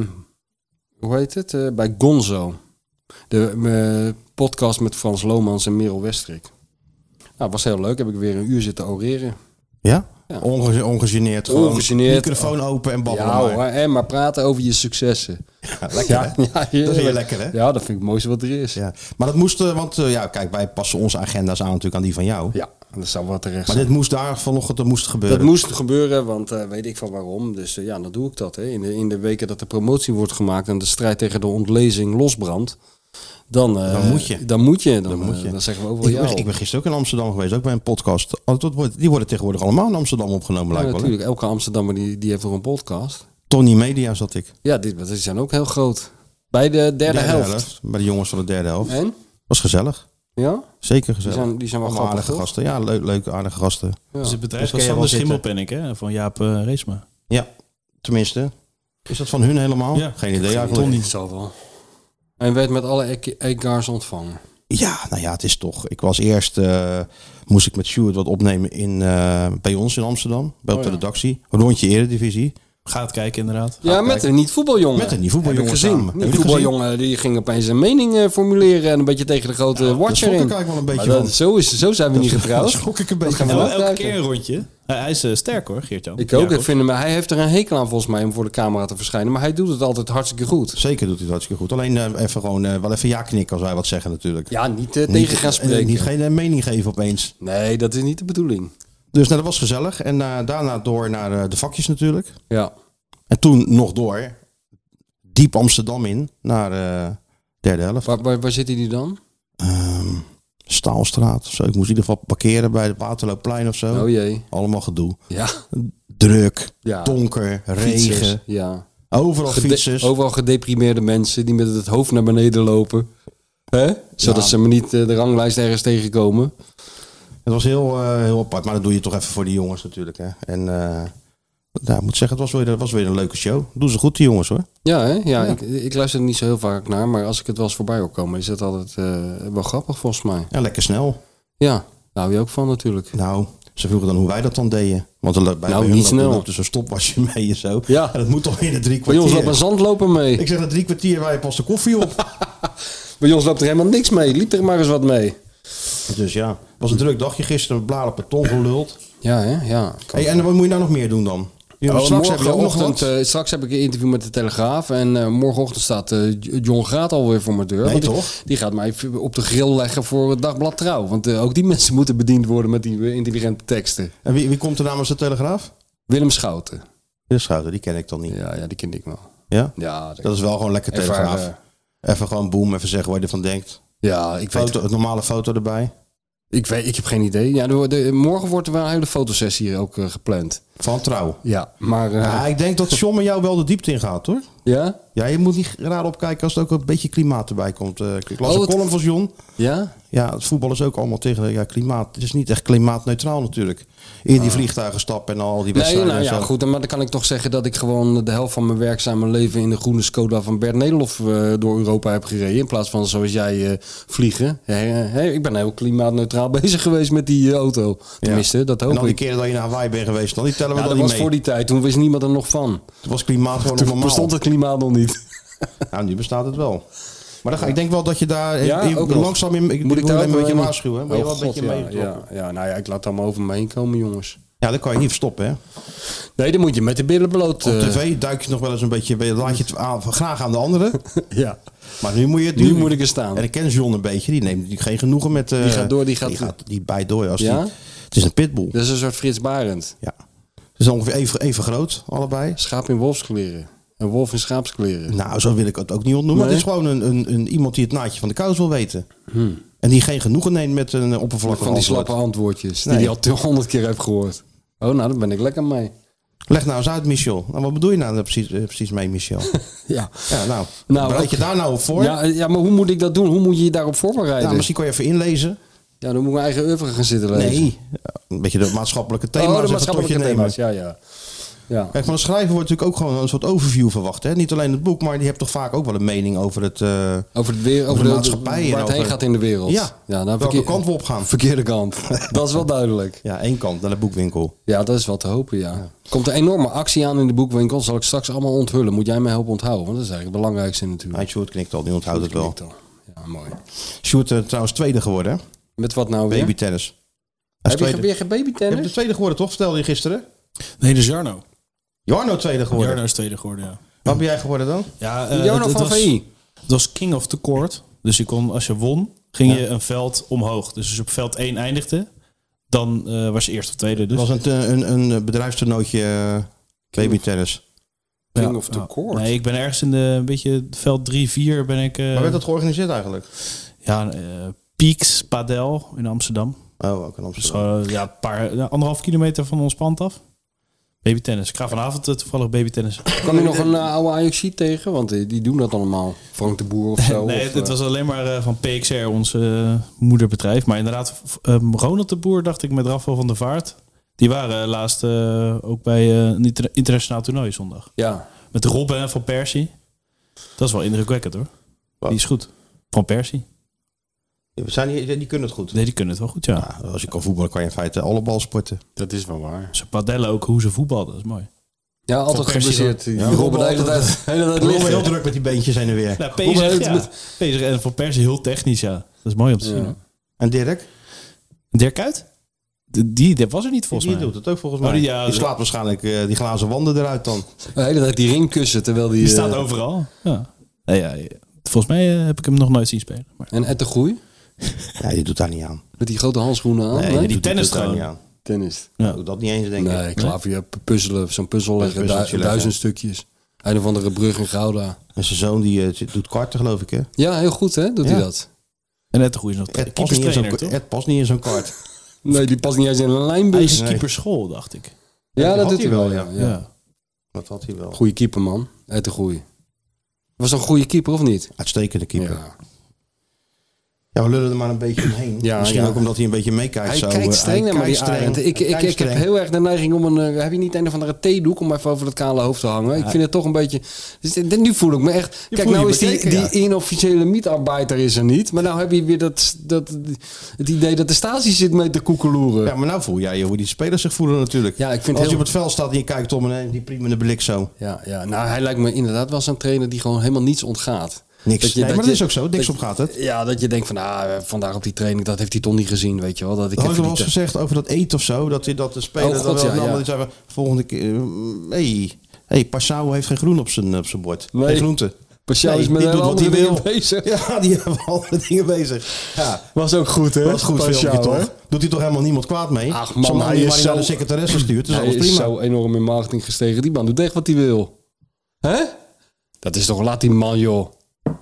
[SPEAKER 3] hoe heet het? Eh, bij Gonzo. De eh, podcast met Frans Lomans en Merel Westrik. Nou, was heel leuk. Heb ik weer een uur zitten oreren.
[SPEAKER 2] Ja?
[SPEAKER 3] Ja.
[SPEAKER 2] Onge ongegeneerd. gewoon
[SPEAKER 3] Ongegeneerd.
[SPEAKER 2] Microfoon open en babbelen
[SPEAKER 3] ja,
[SPEAKER 2] maar.
[SPEAKER 3] hoor, en maar praten over je successen.
[SPEAKER 2] Ja, lekker, hè?
[SPEAKER 3] ja,
[SPEAKER 2] Dat vind je
[SPEAKER 3] heerlijk.
[SPEAKER 2] lekker, hè?
[SPEAKER 3] Ja, dat vind ik het mooiste wat er is. Ja,
[SPEAKER 2] Ja. Maar dat moest, eh, want eh, ja, kijk, wij passen onze agenda's aan natuurlijk aan die van jou.
[SPEAKER 3] dat zou wel terecht
[SPEAKER 2] Maar eh,
[SPEAKER 3] zijn.
[SPEAKER 2] dit moest daar vanochtend, dat moest gebeuren.
[SPEAKER 3] Dat moest gebeuren, want eh, weet ik van waarom. Dus eh, ja, dan doe ik dat. Hè. In, de, in de weken dat de promotie wordt gemaakt en de strijd tegen de ontlezing losbrandt, dan, eh,
[SPEAKER 2] Dan moet je.
[SPEAKER 3] Dan moet je. Dan,
[SPEAKER 2] Dan moet je.
[SPEAKER 3] eh, dan zeggen we ook wel
[SPEAKER 2] ik,
[SPEAKER 3] ja.
[SPEAKER 2] ben, ik ben gisteren ook in Amsterdam geweest, ook bij een podcast. Oh, dat wordt- Die worden tegenwoordig allemaal in Amsterdam opgenomen,
[SPEAKER 3] Ja,
[SPEAKER 2] lijkt wel. hè?
[SPEAKER 3] natuurlijk. Elke Amsterdammer die, die heeft voor een podcast.
[SPEAKER 2] Tony Media zat ik.
[SPEAKER 3] Ja, die, die zijn ook heel groot. Bij de derde, helft.
[SPEAKER 2] Bij de jongens van de derde helft.
[SPEAKER 3] En?
[SPEAKER 2] Was gezellig.
[SPEAKER 3] Ja?
[SPEAKER 2] Zeker
[SPEAKER 3] Die
[SPEAKER 2] gezellig.
[SPEAKER 3] zijn, die zijn wel
[SPEAKER 2] Allemaal
[SPEAKER 3] grappig,
[SPEAKER 2] aardige
[SPEAKER 3] toch?
[SPEAKER 2] gasten. Ja, leuk, leuk aardige gasten.
[SPEAKER 4] Dus het bedrijf
[SPEAKER 2] Dat
[SPEAKER 4] van
[SPEAKER 2] ken je
[SPEAKER 4] Sander
[SPEAKER 2] wel zitten.
[SPEAKER 4] Schimmelpennik, hè? Van Jaap eh, Reesma.
[SPEAKER 2] Ja, tenminste. Is dat van hun helemaal?
[SPEAKER 4] Ja.
[SPEAKER 2] Geen idee eigenlijk.
[SPEAKER 3] Ton niet. Zal wel. En werd met alle ek- Ekgars ontvangen.
[SPEAKER 2] Ja, nou ja, het is toch. Ik was eerst, eh, moest
[SPEAKER 3] Oh
[SPEAKER 2] ik met Stuart wat opnemen in, eh, bij ons in Amsterdam, bij op de redactie. Een rondje eredivisie.
[SPEAKER 4] Gaat kijken inderdaad.
[SPEAKER 3] Ja, met een niet-voetbaljongen.
[SPEAKER 2] Met een niet-voetbaljongen
[SPEAKER 3] Heb ik gezien.
[SPEAKER 2] samen. Heb je
[SPEAKER 3] Een
[SPEAKER 2] het
[SPEAKER 3] voetbaljongen die ging opeens een mening eh, formuleren en een beetje tegen de grote watcher
[SPEAKER 2] schrok
[SPEAKER 3] in.
[SPEAKER 2] ik eigenlijk wel een beetje
[SPEAKER 3] Maar dat-
[SPEAKER 2] van.
[SPEAKER 3] zo, is, zo zijn we niet
[SPEAKER 2] Daar
[SPEAKER 3] getrouwd.
[SPEAKER 2] schrok ik een beetje
[SPEAKER 3] gaan we
[SPEAKER 2] van.
[SPEAKER 4] En wel
[SPEAKER 3] Ja,
[SPEAKER 4] elke
[SPEAKER 3] duiken.
[SPEAKER 4] keer een rondje. Hij, hij is eh, sterk hoor, Geert-Jan.
[SPEAKER 3] Ik ook.
[SPEAKER 4] Ja,
[SPEAKER 3] ik vind hem, hij heeft er een hekel aan volgens mij om voor de camera te verschijnen. Maar hij doet het altijd hartstikke goed.
[SPEAKER 2] Zeker doet hij het hartstikke goed. Alleen eh, even gewoon eh, wel even ja knikken als wij wat zeggen natuurlijk.
[SPEAKER 3] Ja, niet eh,
[SPEAKER 2] Niet-
[SPEAKER 3] tegen gaan
[SPEAKER 2] eh,
[SPEAKER 3] spreken.
[SPEAKER 2] Niet geen eh, mening geven opeens.
[SPEAKER 3] nee, dat is niet de bedoeling.
[SPEAKER 2] Dus nou, dat was gezellig. En eh, daarna door naar eh, de vakjes natuurlijk.
[SPEAKER 3] Ja.
[SPEAKER 2] En toen nog door, diep Amsterdam in, naar eh derde helft.
[SPEAKER 3] Waar, waar, waar zit hij nu dan?
[SPEAKER 2] Ehm, Staalstraat of zo. Ik moest in ieder geval parkeren bij het Waterloopplein of zo.
[SPEAKER 3] Oh jee.
[SPEAKER 2] Allemaal gedoe.
[SPEAKER 3] Ja.
[SPEAKER 2] Druk,
[SPEAKER 3] Ja.
[SPEAKER 2] donker, regen.
[SPEAKER 3] Fietsers. Ja.
[SPEAKER 2] Overal
[SPEAKER 3] Gede-
[SPEAKER 2] fietsers.
[SPEAKER 3] Overal gedeprimeerde mensen die met het hoofd naar beneden lopen. Hè? Zodat
[SPEAKER 2] Ja.
[SPEAKER 3] ze maar niet eh, de ranglijst ergens tegenkomen.
[SPEAKER 2] Het was heel, eh, heel apart, maar dat doe je toch even voor die jongens natuurlijk. Hè. En eh nou, ik moet zeggen, het was weer, het was weer een leuke show. Doen ze goed, die jongens hoor.
[SPEAKER 3] Ja, hè? ja, Ik, ik luister er niet zo heel vaak naar. Maar als ik het wel eens voorbij hoor komen, is dat altijd eh, wel grappig volgens mij.
[SPEAKER 2] Ja, lekker snel.
[SPEAKER 3] Ja, daar hou je ook van natuurlijk.
[SPEAKER 2] Nou, ze vroegen dan hoe wij dat dan deden. Want er loopt bij,
[SPEAKER 3] Nou,
[SPEAKER 2] bij
[SPEAKER 3] niet
[SPEAKER 2] hun loopt-
[SPEAKER 3] snel.
[SPEAKER 2] loopt er zo'n stopwasje mee en zo.
[SPEAKER 3] Ja.
[SPEAKER 2] En dat moet toch in de drie
[SPEAKER 3] Bij
[SPEAKER 2] kwartier.
[SPEAKER 3] ons loopt een zandloper mee.
[SPEAKER 2] Ik zeg, na drie kwartier wij pas de koffie op.
[SPEAKER 3] Bij ons loopt er helemaal niks mee. Liep er maar eens wat mee.
[SPEAKER 2] dus ja, was een druk dagje gisteren. Bladen beton geluld.
[SPEAKER 3] Ja, hè? ja.
[SPEAKER 2] Hey, en wat moet je nou nog meer doen dan? Jongens,
[SPEAKER 3] Oh,
[SPEAKER 2] straks heb je ook nog
[SPEAKER 3] morgenochtend,
[SPEAKER 2] wat.
[SPEAKER 3] eh, straks heb ik een interview met de Telegraaf. En eh, morgenochtend staat eh, John Graat alweer voor mijn deur.
[SPEAKER 2] Nee,
[SPEAKER 3] Want die-
[SPEAKER 2] toch?
[SPEAKER 3] Die, gaat mij even op de grill leggen voor het dagblad Trouw. Want eh, ook die mensen moeten bediend worden met die eh, intelligente teksten.
[SPEAKER 2] En wie, wie komt er namens de Telegraaf?
[SPEAKER 3] Willem Schouten.
[SPEAKER 2] De Schouten, die ken ik dan niet.
[SPEAKER 3] Ja, ja die ken ik wel.
[SPEAKER 2] Ja?
[SPEAKER 3] Ja, dat-
[SPEAKER 2] Dat is wel gewoon lekker
[SPEAKER 3] Ervaren.
[SPEAKER 2] Telegraaf. Even gewoon boem, even zeggen wat je ervan denkt.
[SPEAKER 3] ja ik, eh, weet,
[SPEAKER 2] Foto, het normale foto erbij.
[SPEAKER 3] ik, weet, ik heb geen idee. Ja, de, de- morgen wordt er wel een hele fotosessie hier ook eh, gepland.
[SPEAKER 2] Van trouw.
[SPEAKER 3] Ja, maar... eh,
[SPEAKER 2] Ja, ik denk dat John met jou wel de diepte in gaat hoor.
[SPEAKER 3] ja?
[SPEAKER 2] Ja, je moet niet raar opkijken als er ook een beetje klimaat erbij komt. Eh, Ik las
[SPEAKER 3] Oh,
[SPEAKER 2] een
[SPEAKER 3] het-
[SPEAKER 2] column van John.
[SPEAKER 3] Ja?
[SPEAKER 2] Ja, het voetbal is ook allemaal tegen ja, klimaat. Het is niet echt klimaatneutraal natuurlijk. In die vliegtuigen stappen en al die
[SPEAKER 3] Ah. Nee,
[SPEAKER 2] wedstrijden
[SPEAKER 3] nou ja,
[SPEAKER 2] en Dus zo.
[SPEAKER 3] goed. Maar dan kan ik toch zeggen dat ik gewoon de helft van mijn werkzame leven in de groene Skoda van Bert Nederlof eh, door Europa heb gereden. In plaats van zoals jij eh, vliegen. Hè, hè, ik ben heel klimaatneutraal bezig geweest met die eh, auto. Tenminste, dat
[SPEAKER 2] En
[SPEAKER 3] hoop
[SPEAKER 2] al die
[SPEAKER 3] ik.
[SPEAKER 2] keren dat je naar Hawaii bent geweest, dan die tellen we
[SPEAKER 3] Ja, dat
[SPEAKER 2] dan niet
[SPEAKER 3] was
[SPEAKER 2] mee.
[SPEAKER 3] voor die tijd. Toen wist niemand er nog van.
[SPEAKER 2] Toen was klimaat gewoon nog
[SPEAKER 3] Toen
[SPEAKER 2] normaal.
[SPEAKER 3] bestond het klimaat nog niet.
[SPEAKER 2] Nou, nu bestaat het wel. Maar dan ga, ik denk wel dat je daar
[SPEAKER 3] Ja,
[SPEAKER 2] eh,
[SPEAKER 3] ook nog.
[SPEAKER 2] langzaam in... Ik,
[SPEAKER 3] Moet ik daar ook
[SPEAKER 2] alleen een beetje
[SPEAKER 3] mee-
[SPEAKER 2] waarschuwen. hè? Moet je
[SPEAKER 3] Oh,
[SPEAKER 2] wel een
[SPEAKER 3] God,
[SPEAKER 2] beetje mee.
[SPEAKER 3] ja, ja, ja, nou ja, ik laat het allemaal over me heen komen, jongens.
[SPEAKER 2] Ja, dat kan je niet verstoppen, hè?
[SPEAKER 3] Nee, dan moet je met de billen bloot.
[SPEAKER 2] Op
[SPEAKER 3] eh,
[SPEAKER 2] tv duik je nog wel eens een beetje, laat je het aan- graag aan de anderen.
[SPEAKER 3] ja.
[SPEAKER 2] Maar nu moet je het
[SPEAKER 3] Nu
[SPEAKER 2] doen.
[SPEAKER 3] moet ik er staan.
[SPEAKER 2] En ik ken John een beetje, die neemt natuurlijk geen genoegen met... eh,
[SPEAKER 3] Die gaat door, die gaat-
[SPEAKER 2] Die, die bijt door. Als
[SPEAKER 3] Ja? Dus-
[SPEAKER 2] die, het is een pitbull.
[SPEAKER 3] Dat is een soort Frits Barend.
[SPEAKER 2] Ja. Ze zijn ongeveer even, even groot, allebei.
[SPEAKER 3] Schaap in wolfskleren. Een wolf in schaapskleren.
[SPEAKER 2] Nou, zo wil ik het ook niet ontnoemen. Maar
[SPEAKER 3] Nee. Hm.
[SPEAKER 2] het is gewoon een, een, een, iemand die het naadje van de kous wil weten. En die geen genoegen neemt met een eh, oppervlakkig
[SPEAKER 3] Van die
[SPEAKER 2] antwoord.
[SPEAKER 3] slappe antwoordjes.
[SPEAKER 2] Nee.
[SPEAKER 3] Die je al honderd keer hebt gehoord. Oh, nou, daar ben ik lekker mee.
[SPEAKER 2] Leg nou eens uit, Michel. Nou, wat bedoel je nou precies, eh, precies mee, Michel?
[SPEAKER 3] Ja.
[SPEAKER 2] ja, nou,
[SPEAKER 3] Nou,
[SPEAKER 2] bereid je
[SPEAKER 3] ook-
[SPEAKER 2] daar nou op voor? Ja,
[SPEAKER 3] Ja, dus- ja, maar hoe moet ik dat doen? Hoe moet je je daarop voorbereiden? Ja,
[SPEAKER 2] Nou, misschien kan je even inlezen.
[SPEAKER 3] dan moet ik mijn eigen oeuvre gaan zitten lezen.
[SPEAKER 2] Nee, ja, een beetje de maatschappelijke thema's
[SPEAKER 3] oh,
[SPEAKER 2] even
[SPEAKER 3] de
[SPEAKER 2] tot
[SPEAKER 3] maatschappelijke
[SPEAKER 2] je nemen.
[SPEAKER 3] thema's. Ja, ja. ja.
[SPEAKER 2] Kijk, van een schrijver wordt natuurlijk ook gewoon een soort overview verwacht. Hè? Niet alleen het boek, maar die hebt toch vaak ook wel een mening over het... eh,
[SPEAKER 3] Over, het weer, over
[SPEAKER 2] de
[SPEAKER 3] de,
[SPEAKER 2] maatschappij en
[SPEAKER 3] Waar het heen
[SPEAKER 2] over-
[SPEAKER 3] gaat in de wereld.
[SPEAKER 2] Ja,
[SPEAKER 3] nou,
[SPEAKER 2] welke
[SPEAKER 3] verkeer-
[SPEAKER 2] kant we op gaan.
[SPEAKER 3] Verkeerde kant. dat is wel duidelijk.
[SPEAKER 2] Ja, één kant, naar de boekwinkel.
[SPEAKER 3] Ja, dat is wel te hopen, ja. Komt een enorme actie aan in de boekwinkel. Zal ik straks allemaal onthullen. Moet jij mij helpen onthouden? Want dat is eigenlijk het belangrijkste natuurlijk.
[SPEAKER 2] Hij Nou, Sjoerd knikt al, die onthoudt het wel.
[SPEAKER 3] Ja, mooi.
[SPEAKER 2] Sjoerd eh, trouwens tweede geworden, hè?
[SPEAKER 3] Met wat nou weer?
[SPEAKER 2] Babytennis. Hij is
[SPEAKER 3] Heb je
[SPEAKER 2] tweede.
[SPEAKER 3] ge- weer geen
[SPEAKER 2] Je
[SPEAKER 3] babytennis?
[SPEAKER 2] hebt de tweede geworden, toch? Vertelde je gisteren.
[SPEAKER 4] Nee, de Jarno.
[SPEAKER 2] Jarno tweede geworden.
[SPEAKER 4] Jarno is tweede geworden, ja.
[SPEAKER 2] Wat ben jij geworden dan?
[SPEAKER 4] ja eh,
[SPEAKER 3] Jarno
[SPEAKER 4] het- het
[SPEAKER 3] van
[SPEAKER 4] was-
[SPEAKER 3] VI.
[SPEAKER 4] Het was King of the Court. Dus je kon, als je won, ging je een veld omhoog. Dus als je op veld 1 eindigde, dan eh, was je eerst of tweede. Dus.
[SPEAKER 2] Dat was een, te- een, een bedrijfstoernootje eh,
[SPEAKER 4] Eh.
[SPEAKER 2] babytennis.
[SPEAKER 3] King
[SPEAKER 4] Ja,
[SPEAKER 3] of the
[SPEAKER 4] ja.
[SPEAKER 3] Court.
[SPEAKER 4] Nee, ik ben ergens in de een beetje veld 3, 4 ben ik... eh,
[SPEAKER 2] Maar werd dat georganiseerd eigenlijk?
[SPEAKER 4] Ja, eh Peaks Padel in Amsterdam.
[SPEAKER 2] Oh, ook in
[SPEAKER 4] Dus
[SPEAKER 2] Amsterdam.
[SPEAKER 4] eh, ja, een paar, ja, anderhalf kilometer van ons pand af. Babytennis. Ik ga vanavond eh, toevallig babytennis.
[SPEAKER 3] Kan je nog een eh, oude Ajaxie tegen? Want eh, die doen dat allemaal. Frank de Boer of zo.
[SPEAKER 4] nee,
[SPEAKER 3] of,
[SPEAKER 4] het
[SPEAKER 3] eh,
[SPEAKER 4] was alleen maar eh, van PXR, ons eh, moederbedrijf. Maar inderdaad, v- ehm, Ronald de Boer, dacht ik, met Rafael van der Vaart. Die waren laatst eh, ook bij eh, een inter- internationaal toernooi zondag.
[SPEAKER 3] Ja.
[SPEAKER 4] Met Robben en Van Persie. Dat is wel indrukwekkend hoor. Die is goed. Van Persie.
[SPEAKER 2] Zijn die, die kunnen het goed.
[SPEAKER 4] Nee, die kunnen het wel goed, ja.
[SPEAKER 2] Ja, als je kan voetballen, kan je in feite alle bal sporten.
[SPEAKER 3] Dat is wel waar.
[SPEAKER 4] Ze padellen ook hoe ze voetballen, dat is mooi.
[SPEAKER 3] Ja, altijd
[SPEAKER 4] Persie
[SPEAKER 3] geblesseerd. Die
[SPEAKER 2] Ja.
[SPEAKER 3] Robben de hele tijd- de hele tijd
[SPEAKER 2] Robben heel
[SPEAKER 3] liggen.
[SPEAKER 2] druk met die beentjes heen en weer.
[SPEAKER 4] Nou,
[SPEAKER 3] Hoe
[SPEAKER 4] Pezer,
[SPEAKER 3] heet
[SPEAKER 4] ja.
[SPEAKER 3] het?
[SPEAKER 4] Pezer en Van Persie heel technisch, ja. Dat is mooi om te zien.
[SPEAKER 3] Ja.
[SPEAKER 2] En Dirk?
[SPEAKER 4] Dirk Kuyt? Die, die, dat was er niet volgens
[SPEAKER 2] die
[SPEAKER 4] mij.
[SPEAKER 2] doet het ook volgens
[SPEAKER 4] Oh,
[SPEAKER 2] mij.
[SPEAKER 4] die- ja,
[SPEAKER 2] die
[SPEAKER 4] dat-
[SPEAKER 2] slaat waarschijnlijk eh, die glazen wanden eruit dan.
[SPEAKER 3] De hele tijd die ring kussen, terwijl die...
[SPEAKER 4] Die
[SPEAKER 3] eh,
[SPEAKER 4] staat overal. Ja. Nou ja, ja. volgens mij eh, heb ik hem nog nooit zien spelen. Maar...
[SPEAKER 3] En Ed de Groei,
[SPEAKER 2] Ja, die doet daar niet aan.
[SPEAKER 3] met die grote handschoenen aan.
[SPEAKER 4] Nee,
[SPEAKER 3] hè?
[SPEAKER 4] die-
[SPEAKER 2] Doet-
[SPEAKER 4] tennis
[SPEAKER 2] doet daar
[SPEAKER 4] gewoon.
[SPEAKER 2] niet aan.
[SPEAKER 3] Tennis.
[SPEAKER 4] Ja.
[SPEAKER 2] Doet dat niet eens, denk ik.
[SPEAKER 3] Nee, klavier, p- puzzelen, zo'n puzzel leggen, du-
[SPEAKER 2] puzzeltje
[SPEAKER 3] duizend
[SPEAKER 2] leggen.
[SPEAKER 3] stukjes. Een of andere brug in Gouda.
[SPEAKER 2] En zijn zoon die eh, zit- doet karten, geloof ik, hè?
[SPEAKER 3] Ja, heel goed hè, doet
[SPEAKER 2] Ja.
[SPEAKER 3] hij dat.
[SPEAKER 4] En net de goede is nog
[SPEAKER 2] Ed past, niet in zo'n-
[SPEAKER 4] keeperstrainer, toch?
[SPEAKER 2] Ed past niet in zo'n kart.
[SPEAKER 3] Nee, die past niet eens in een
[SPEAKER 4] Hij
[SPEAKER 3] lijnbus.
[SPEAKER 4] is
[SPEAKER 2] Nee.
[SPEAKER 4] keeperschool, dacht ik.
[SPEAKER 3] Ja,
[SPEAKER 2] dat
[SPEAKER 3] dat
[SPEAKER 2] had
[SPEAKER 3] doet
[SPEAKER 2] hij
[SPEAKER 3] hij wel,
[SPEAKER 2] wel,
[SPEAKER 3] ja.
[SPEAKER 4] Ja.
[SPEAKER 3] ja.
[SPEAKER 2] Dat had hij wel.
[SPEAKER 3] Goeie keeper, man. Ed de Groei. Was een goede keeper, of niet?
[SPEAKER 2] Uitstekende keeper. Ja.
[SPEAKER 3] Ja.
[SPEAKER 2] we lullen er maar een beetje omheen.
[SPEAKER 3] Ja,
[SPEAKER 2] Misschien
[SPEAKER 3] ja.
[SPEAKER 2] ook omdat hij een beetje meekijkt.
[SPEAKER 3] Hij
[SPEAKER 2] zo.
[SPEAKER 3] kijkt
[SPEAKER 2] eh,
[SPEAKER 3] streng naar maar die
[SPEAKER 2] kijkt streng.
[SPEAKER 3] Arend. Ik,
[SPEAKER 2] Hij
[SPEAKER 3] ik,
[SPEAKER 2] kijkt
[SPEAKER 3] ik heb
[SPEAKER 2] streng.
[SPEAKER 3] heel erg de neiging om een... eh, heb je niet een of andere theedoek om even over dat kale hoofd te hangen? Ik vind het toch een beetje... Dus, dit- nu voel ik me echt... Kijk,
[SPEAKER 2] voelt
[SPEAKER 3] nou
[SPEAKER 2] je
[SPEAKER 3] is die,
[SPEAKER 2] bekeken,
[SPEAKER 3] die inofficiële mietarbeiter is er niet. Maar nou heb je weer dat, dat, het idee dat de statie zit mee te koekeloeren.
[SPEAKER 2] Ja, maar nou voel jij je hoe die spelers zich voelen natuurlijk.
[SPEAKER 3] Ja, ik vind
[SPEAKER 2] Als je
[SPEAKER 3] heel-
[SPEAKER 2] op het veld staat en je kijkt om en eh, die priemende blik zo.
[SPEAKER 3] Ja, ja, nou hij lijkt me inderdaad wel zo'n trainer die gewoon helemaal niets ontgaat.
[SPEAKER 2] Niks.
[SPEAKER 3] Dat je-
[SPEAKER 2] nee,
[SPEAKER 3] dat
[SPEAKER 2] maar
[SPEAKER 3] je-
[SPEAKER 2] dat is ook zo. Niks
[SPEAKER 3] dat-
[SPEAKER 2] op gaat het.
[SPEAKER 3] Ja, dat je denkt van, ah, eh, vandaag op die training, dat heeft hij toch niet gezien, weet je wel. Dat ik
[SPEAKER 2] Dat had ik
[SPEAKER 3] even
[SPEAKER 2] wel
[SPEAKER 3] die
[SPEAKER 2] eens gezegd over dat eten of zo. Dat, hij- dat de speler
[SPEAKER 3] eh. Oh,
[SPEAKER 2] dan
[SPEAKER 3] God,
[SPEAKER 2] wel
[SPEAKER 3] ja,
[SPEAKER 2] een ander
[SPEAKER 3] ja.
[SPEAKER 2] die zei van, volgende keer... eh, hey, hey, Passau heeft geen groen op zijn, eh, op zijn bord.
[SPEAKER 3] Nee.
[SPEAKER 2] Geen groente.
[SPEAKER 3] eh, Pascal is
[SPEAKER 2] Nee,
[SPEAKER 3] met
[SPEAKER 2] die
[SPEAKER 3] een
[SPEAKER 2] doet wat
[SPEAKER 3] andere
[SPEAKER 2] hij
[SPEAKER 3] dingen
[SPEAKER 2] wil.
[SPEAKER 3] bezig.
[SPEAKER 2] Ja, die hebben alle dingen bezig. Ja,
[SPEAKER 3] Was ook goed, hè?
[SPEAKER 2] dat is goed filmpje
[SPEAKER 3] Pascal, hè?
[SPEAKER 2] toch? Doet hij toch helemaal niemand kwaad mee?
[SPEAKER 3] Ach, man,
[SPEAKER 2] Zolang
[SPEAKER 3] hij
[SPEAKER 2] hij
[SPEAKER 3] is
[SPEAKER 2] maar niet
[SPEAKER 3] zo-
[SPEAKER 2] naar de secretaresse stuurt, is
[SPEAKER 3] Hij
[SPEAKER 2] alles
[SPEAKER 3] is
[SPEAKER 2] prima.
[SPEAKER 3] zo enorm in marketing gestegen. Die man doet echt wat hij wil. Hè? Dat is toch, laat die man, joh.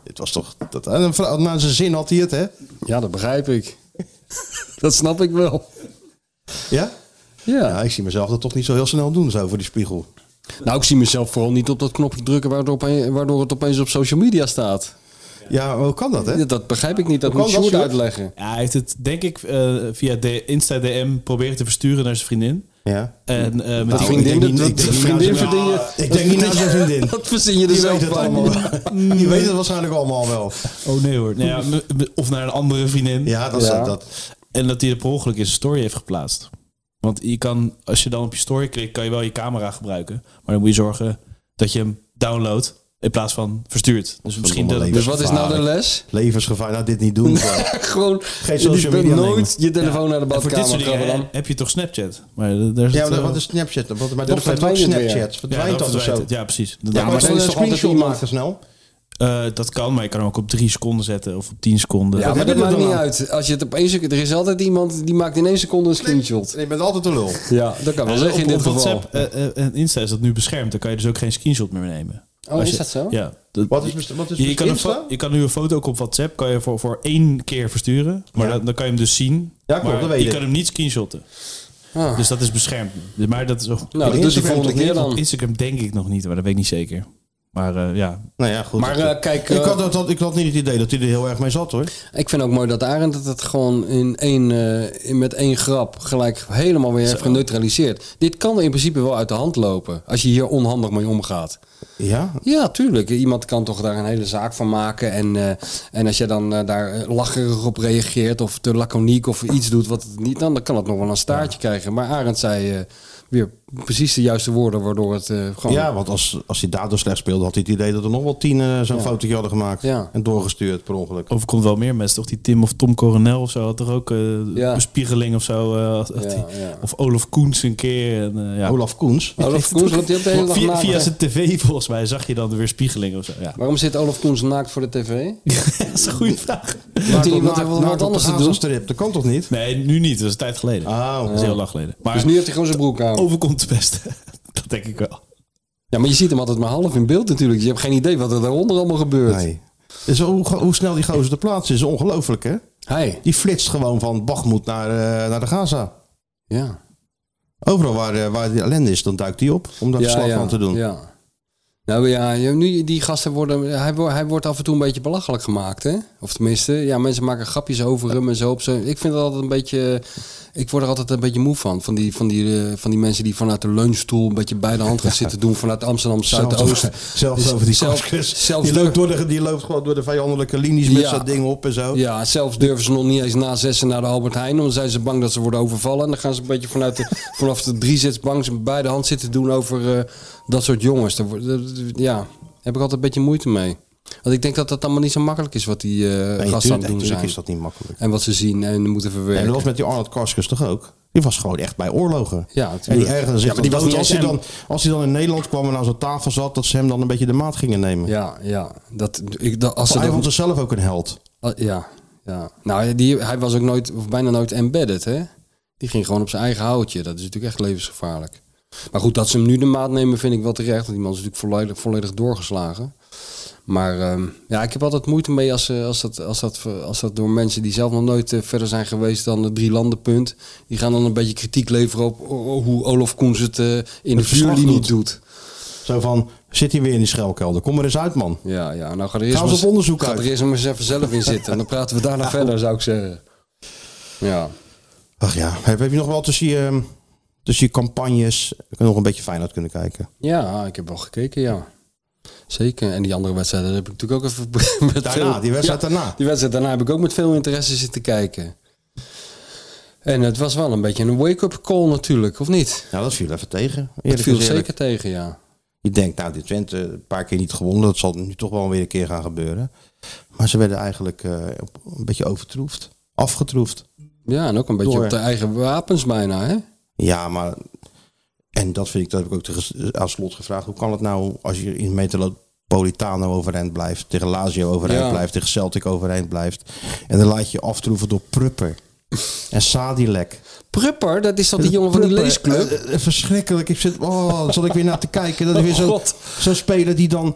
[SPEAKER 2] Het was toch... Dat, en een vrouw- naar zijn zin had hij het, hè?
[SPEAKER 3] Ja, dat begrijp ik. dat snap ik wel.
[SPEAKER 2] Ja?
[SPEAKER 3] Ja.
[SPEAKER 2] Ja, ik zie mezelf dat toch niet zo heel snel doen, zo voor die spiegel.
[SPEAKER 3] Nou, ik zie mezelf vooral niet op dat knopje drukken waardoor, opeen- waardoor het opeens op social media staat.
[SPEAKER 2] Ja, maar hoe kan dat, hè?
[SPEAKER 3] Ja, Dat begrijp ik niet. Dat
[SPEAKER 2] Hoe
[SPEAKER 3] moet
[SPEAKER 2] kan dat,
[SPEAKER 3] Sjoerd
[SPEAKER 2] Sjoerd?
[SPEAKER 3] uitleggen.
[SPEAKER 4] Ja, hij heeft het, denk ik, eh, via de Insta DM proberen te versturen naar zijn vriendin.
[SPEAKER 2] Ja.
[SPEAKER 4] En eh, met
[SPEAKER 2] Nou,
[SPEAKER 4] die
[SPEAKER 2] ik
[SPEAKER 3] vriendin,
[SPEAKER 2] denk niet-
[SPEAKER 3] dat-
[SPEAKER 2] ik denk
[SPEAKER 3] dat
[SPEAKER 2] niet
[SPEAKER 3] vriendin
[SPEAKER 2] aan zijn-
[SPEAKER 3] verdien je-
[SPEAKER 2] Ah, Ik denk niet aan zijn vriendin.
[SPEAKER 3] Dat verzin je er
[SPEAKER 2] Die
[SPEAKER 3] zelf
[SPEAKER 2] weet het
[SPEAKER 3] bij.
[SPEAKER 2] allemaal wel. Die weet het waarschijnlijk allemaal wel.
[SPEAKER 4] Oh nee hoor. Nou ja, m- m- of naar een andere vriendin.
[SPEAKER 2] Ja, dat is
[SPEAKER 3] Ja.
[SPEAKER 2] dat.
[SPEAKER 4] En dat hij er per ongeluk in zijn story heeft geplaatst. Want je kan, als je dan op je story klikt, kan je wel je camera gebruiken. Maar dan moet je zorgen dat je hem downloadt in plaats van verstuurt. Dus misschien dat
[SPEAKER 2] leven.
[SPEAKER 3] Dus wat is nou de les?
[SPEAKER 2] Levensgevaar, nou dit niet doen.
[SPEAKER 3] Gewoon, dus
[SPEAKER 2] social
[SPEAKER 3] je bent
[SPEAKER 2] media
[SPEAKER 3] nooit je telefoon naar de
[SPEAKER 4] En voor dit
[SPEAKER 3] badkamer
[SPEAKER 4] soort
[SPEAKER 3] gaan
[SPEAKER 4] dingen
[SPEAKER 3] dan.
[SPEAKER 4] heb je toch Snapchat? Maar daar is
[SPEAKER 2] Ja,
[SPEAKER 4] het,
[SPEAKER 2] maar
[SPEAKER 4] eh,
[SPEAKER 2] wat is Snapchat? Want mijn dochter heeft ook
[SPEAKER 3] verdwijnt het weer.
[SPEAKER 2] Snapchat.
[SPEAKER 4] ja, dan
[SPEAKER 2] Verdwijnt dat of
[SPEAKER 4] verdwijnt
[SPEAKER 2] zo?
[SPEAKER 4] het. Ja, precies.
[SPEAKER 2] Ja, maar
[SPEAKER 3] maar
[SPEAKER 2] dan
[SPEAKER 3] dan is
[SPEAKER 2] een
[SPEAKER 3] toch altijd
[SPEAKER 2] screenshot
[SPEAKER 3] iemand-
[SPEAKER 2] maken snel.
[SPEAKER 4] Eh, dat kan, maar je kan hem ook op drie seconden zetten of op tien seconden.
[SPEAKER 3] Ja, maar
[SPEAKER 2] hebben
[SPEAKER 3] dat
[SPEAKER 2] we
[SPEAKER 3] maakt
[SPEAKER 2] dan
[SPEAKER 3] niet
[SPEAKER 2] aan?
[SPEAKER 3] uit. Als je het opeens, er is altijd iemand die maakt in één seconde een screenshot.
[SPEAKER 2] Je bent altijd een lul.
[SPEAKER 3] Ja, dat kan wel
[SPEAKER 4] Eh,
[SPEAKER 3] zeggen
[SPEAKER 4] op,
[SPEAKER 3] in dit
[SPEAKER 4] op
[SPEAKER 3] geval.
[SPEAKER 4] WhatsApp eh, eh, en Insta is dat nu beschermd. Dan kan je dus ook geen screenshot meer nemen.
[SPEAKER 3] Oh,
[SPEAKER 4] Als
[SPEAKER 3] is
[SPEAKER 4] je-
[SPEAKER 3] dat zo?
[SPEAKER 4] Ja. dat-
[SPEAKER 2] Wat is, best- wat is
[SPEAKER 4] je, je kan een
[SPEAKER 2] Insta?
[SPEAKER 4] fo- je kan nu een foto ook op WhatsApp kan je voor, voor één keer versturen. Maar
[SPEAKER 2] Ja.
[SPEAKER 4] dan, dan kan je hem dus zien.
[SPEAKER 2] Ja, klopt,
[SPEAKER 4] maar
[SPEAKER 2] dat weet
[SPEAKER 4] je
[SPEAKER 2] ik.
[SPEAKER 4] kan hem niet screenshotten.
[SPEAKER 3] Ah.
[SPEAKER 4] Dus dat is beschermd. nu. Maar dat is ook,
[SPEAKER 3] Nou, dat doet hij
[SPEAKER 2] Instagram
[SPEAKER 3] volgende
[SPEAKER 2] toch
[SPEAKER 3] keer
[SPEAKER 2] niet?
[SPEAKER 4] op
[SPEAKER 3] dan.
[SPEAKER 4] Instagram denk ik nog niet, maar dat weet ik niet zeker. Maar eh, ja,
[SPEAKER 2] Nou ja, goed.
[SPEAKER 3] Maar
[SPEAKER 2] Dat-
[SPEAKER 3] eh, kijk,
[SPEAKER 2] ik,
[SPEAKER 3] eh,
[SPEAKER 2] had, dat- dat- ik had niet het idee dat hij er heel erg mee zat hoor.
[SPEAKER 3] ik vind ook mooi dat Arend dat het gewoon in één, eh, in- met één grap gelijk helemaal weer heeft geneutraliseerd. Dit kan in principe wel uit de hand lopen als je hier onhandig mee omgaat.
[SPEAKER 2] Ja,
[SPEAKER 3] Ja, tuurlijk. Iemand kan toch daar een hele zaak van maken. En, eh, en als je dan eh, daar eh, lacherig op reageert of te laconiek of iets doet wat het niet dan, dan kan het nog wel een staartje krijgen. Maar Arend zei eh, weer precies de juiste woorden, waardoor het eh, gewoon...
[SPEAKER 2] ja want als, als hij daardoor slecht speelde, had hij het idee dat er nog wel tien eh, zo'n
[SPEAKER 3] Ja.
[SPEAKER 2] fotootje hadden gemaakt.
[SPEAKER 3] Ja. Oh,
[SPEAKER 2] En doorgestuurd per ongeluk.
[SPEAKER 4] overkomt wel meer mensen. Toch die Tim of Tom Coronel of zo had toch ook eh
[SPEAKER 3] Ja.
[SPEAKER 4] bespiegeling of zo. eh, had- had
[SPEAKER 3] Ja,
[SPEAKER 4] die-
[SPEAKER 3] ja.
[SPEAKER 4] Of Olaf Koens een keer. En, eh, ja.
[SPEAKER 2] Olaf Koens.
[SPEAKER 3] Olaf Koens, want die had de hele dag
[SPEAKER 4] Via,
[SPEAKER 3] naakt,
[SPEAKER 4] via
[SPEAKER 3] hè?
[SPEAKER 4] zijn tv volgens mij zag je dan weer spiegeling of zo. Ja.
[SPEAKER 3] Waarom zit Olaf Koens naakt voor de tv?
[SPEAKER 4] Dat is een goede vraag.
[SPEAKER 3] Moet hij
[SPEAKER 2] Naakt-
[SPEAKER 3] iemand hebben wat,
[SPEAKER 2] naakt op de
[SPEAKER 3] anders te doen?
[SPEAKER 2] Gaza-strip. Dat kan toch niet?
[SPEAKER 4] Nee, nu niet. Dat is een tijd geleden.
[SPEAKER 2] Oh.
[SPEAKER 4] Dat is heel lang geleden. Maar
[SPEAKER 3] Ah, Dus nu heeft hij gewoon zijn broek aan.
[SPEAKER 4] overkomt het beste. dat denk ik wel.
[SPEAKER 3] Ja, maar je ziet hem altijd maar half in beeld natuurlijk. Je hebt geen idee wat er daaronder allemaal gebeurt.
[SPEAKER 2] Nee. Dus hoe, go- hoe snel die gozer te plaatsen is, ongelooflijk hè?
[SPEAKER 3] Hij.
[SPEAKER 2] Die flitst gewoon van Bagmoed naar, eh, naar de Gaza.
[SPEAKER 3] Ja.
[SPEAKER 2] Overal waar, eh, waar die ellende is, dan duikt hij op om daar
[SPEAKER 3] ja,
[SPEAKER 2] verslag
[SPEAKER 3] ja,
[SPEAKER 2] van te doen.
[SPEAKER 3] Ja. Nou ja, je- nu die gasten worden, hij, wo- hij wordt af en toe een beetje belachelijk gemaakt, hè? Of tenminste, ja, mensen maken grapjes over hem en zo. Op zo. Ik vind dat altijd een beetje... Ik word er altijd een beetje moe van. Van die, van die, eh, van die mensen die vanuit de leunstoel een beetje bij de hand gaan zitten doen. Vanuit Amsterdam Zuidoost.
[SPEAKER 2] Zelfs
[SPEAKER 3] Dus
[SPEAKER 2] over die
[SPEAKER 3] zelf-
[SPEAKER 2] kostkust.
[SPEAKER 3] zelfs
[SPEAKER 2] Die
[SPEAKER 3] durf-
[SPEAKER 2] loopt, door de, die loopt gewoon door de vijandelijke linies met
[SPEAKER 3] Ja.
[SPEAKER 2] zijn ding op en zo.
[SPEAKER 3] Ja, zelfs durven ze nog niet eens na zessen naar de Albert Heijn. Want dan zijn ze bang dat ze worden overvallen. En dan gaan ze een beetje vanuit de, vanaf de driezetsbank ze bij de hand zitten doen over eh, dat soort jongens. Daar, word- daar- ja, daar heb ik altijd een beetje moeite mee. Want ik denk dat dat allemaal niet zo makkelijk is wat die eh
[SPEAKER 2] Nee,
[SPEAKER 3] gasten aan
[SPEAKER 2] natuurlijk
[SPEAKER 3] het doen zijn.
[SPEAKER 2] is dat niet makkelijk.
[SPEAKER 3] En wat ze zien en moeten
[SPEAKER 2] En
[SPEAKER 3] verwerken.
[SPEAKER 2] dat was met die Arnold Karskens toch ook? Die was gewoon echt bij oorlogen.
[SPEAKER 3] Ja,
[SPEAKER 2] En
[SPEAKER 3] natuurlijk.
[SPEAKER 2] die ergerde zich
[SPEAKER 3] Ja, maar die
[SPEAKER 2] dan
[SPEAKER 3] was
[SPEAKER 2] dood
[SPEAKER 3] niet
[SPEAKER 2] als hij,
[SPEAKER 3] eens-
[SPEAKER 2] dan, als hij dan in Nederland kwam en aan zo'n tafel zat, dat ze hem dan een beetje de maat gingen nemen.
[SPEAKER 3] Ja, ja. Dat, ik, dat, als ze
[SPEAKER 2] hij
[SPEAKER 3] dat-
[SPEAKER 2] vond zichzelf ook een held.
[SPEAKER 3] Ah, ja, ja. Nou, die, hij was ook nooit, of bijna nooit embedded, hè? Die ging gewoon op zijn eigen houtje. Dat is natuurlijk echt levensgevaarlijk. Maar goed, dat ze hem nu de maat nemen vind ik wel terecht. Want die man is natuurlijk volledig, volledig doorgeslagen. Maar ehm, ja, ik heb altijd moeite mee als, eh, als, dat, als, dat, als dat door mensen die zelf nog nooit eh, verder zijn geweest dan het drie landenpunt. Die gaan dan een beetje kritiek leveren op oh, hoe Olaf Koens het eh, in de
[SPEAKER 2] verslag
[SPEAKER 3] vuurlinie
[SPEAKER 2] doet.
[SPEAKER 3] doet.
[SPEAKER 2] Zo van, zit hij weer in die schelkelder? Kom er eens uit, man.
[SPEAKER 3] Ja, ja. Nou, ga er eerst,
[SPEAKER 2] Gaan ze
[SPEAKER 3] maar-
[SPEAKER 2] op onderzoek
[SPEAKER 3] ga
[SPEAKER 2] uit. Nou.
[SPEAKER 3] er eerst maar eens even zelf in zitten. En dan praten we daarna verder, zou ik zeggen. Ja.
[SPEAKER 2] Ach ja, heb, heb je nog wel tussen je, ehm, tussen je campagnes nog een beetje fijn uit kunnen kijken?
[SPEAKER 3] ja, ik heb wel gekeken, ja. Zeker. En die andere wedstrijden heb ik natuurlijk ook even... Met
[SPEAKER 2] Daarna, die wedstrijd
[SPEAKER 3] Ja,
[SPEAKER 2] daarna.
[SPEAKER 3] die wedstrijd daarna heb ik ook met veel interesse zitten kijken. En het was wel een beetje een wake-up call natuurlijk, of niet?
[SPEAKER 2] Ja, Nou, dat viel even tegen.
[SPEAKER 3] Het
[SPEAKER 2] Eerlijk
[SPEAKER 3] viel
[SPEAKER 2] is eerlijk.
[SPEAKER 3] zeker tegen, ja.
[SPEAKER 2] Je denkt, nou, dit Twente een paar keer niet gewonnen. Dat zal nu toch wel weer een keer gaan gebeuren. Maar ze werden eigenlijk eh, op- een beetje overtroefd. Afgetroefd.
[SPEAKER 3] Ja, en ook een beetje
[SPEAKER 2] Door.
[SPEAKER 3] op de eigen wapens bijna, hè?
[SPEAKER 2] Ja, maar... En dat vind ik, dat heb ik ook tegen, aan slot gevraagd. Hoe kan het nou als je in Metropolitano overeind blijft... tegen Lazio overeind
[SPEAKER 3] Ja.
[SPEAKER 2] blijft, tegen Celtic overeind blijft... en dan laat je je aftroeven door Prupper en Sadilek.
[SPEAKER 3] Prupper, dat is dat die jongen van die
[SPEAKER 2] Prupper,
[SPEAKER 3] leesclub?
[SPEAKER 2] eh, eh, verschrikkelijk. Ik zit, oh, dan zat ik weer naar te kijken. Dat is weer
[SPEAKER 3] Oh,
[SPEAKER 2] zo-
[SPEAKER 3] God.
[SPEAKER 2] zo'n speler die dan...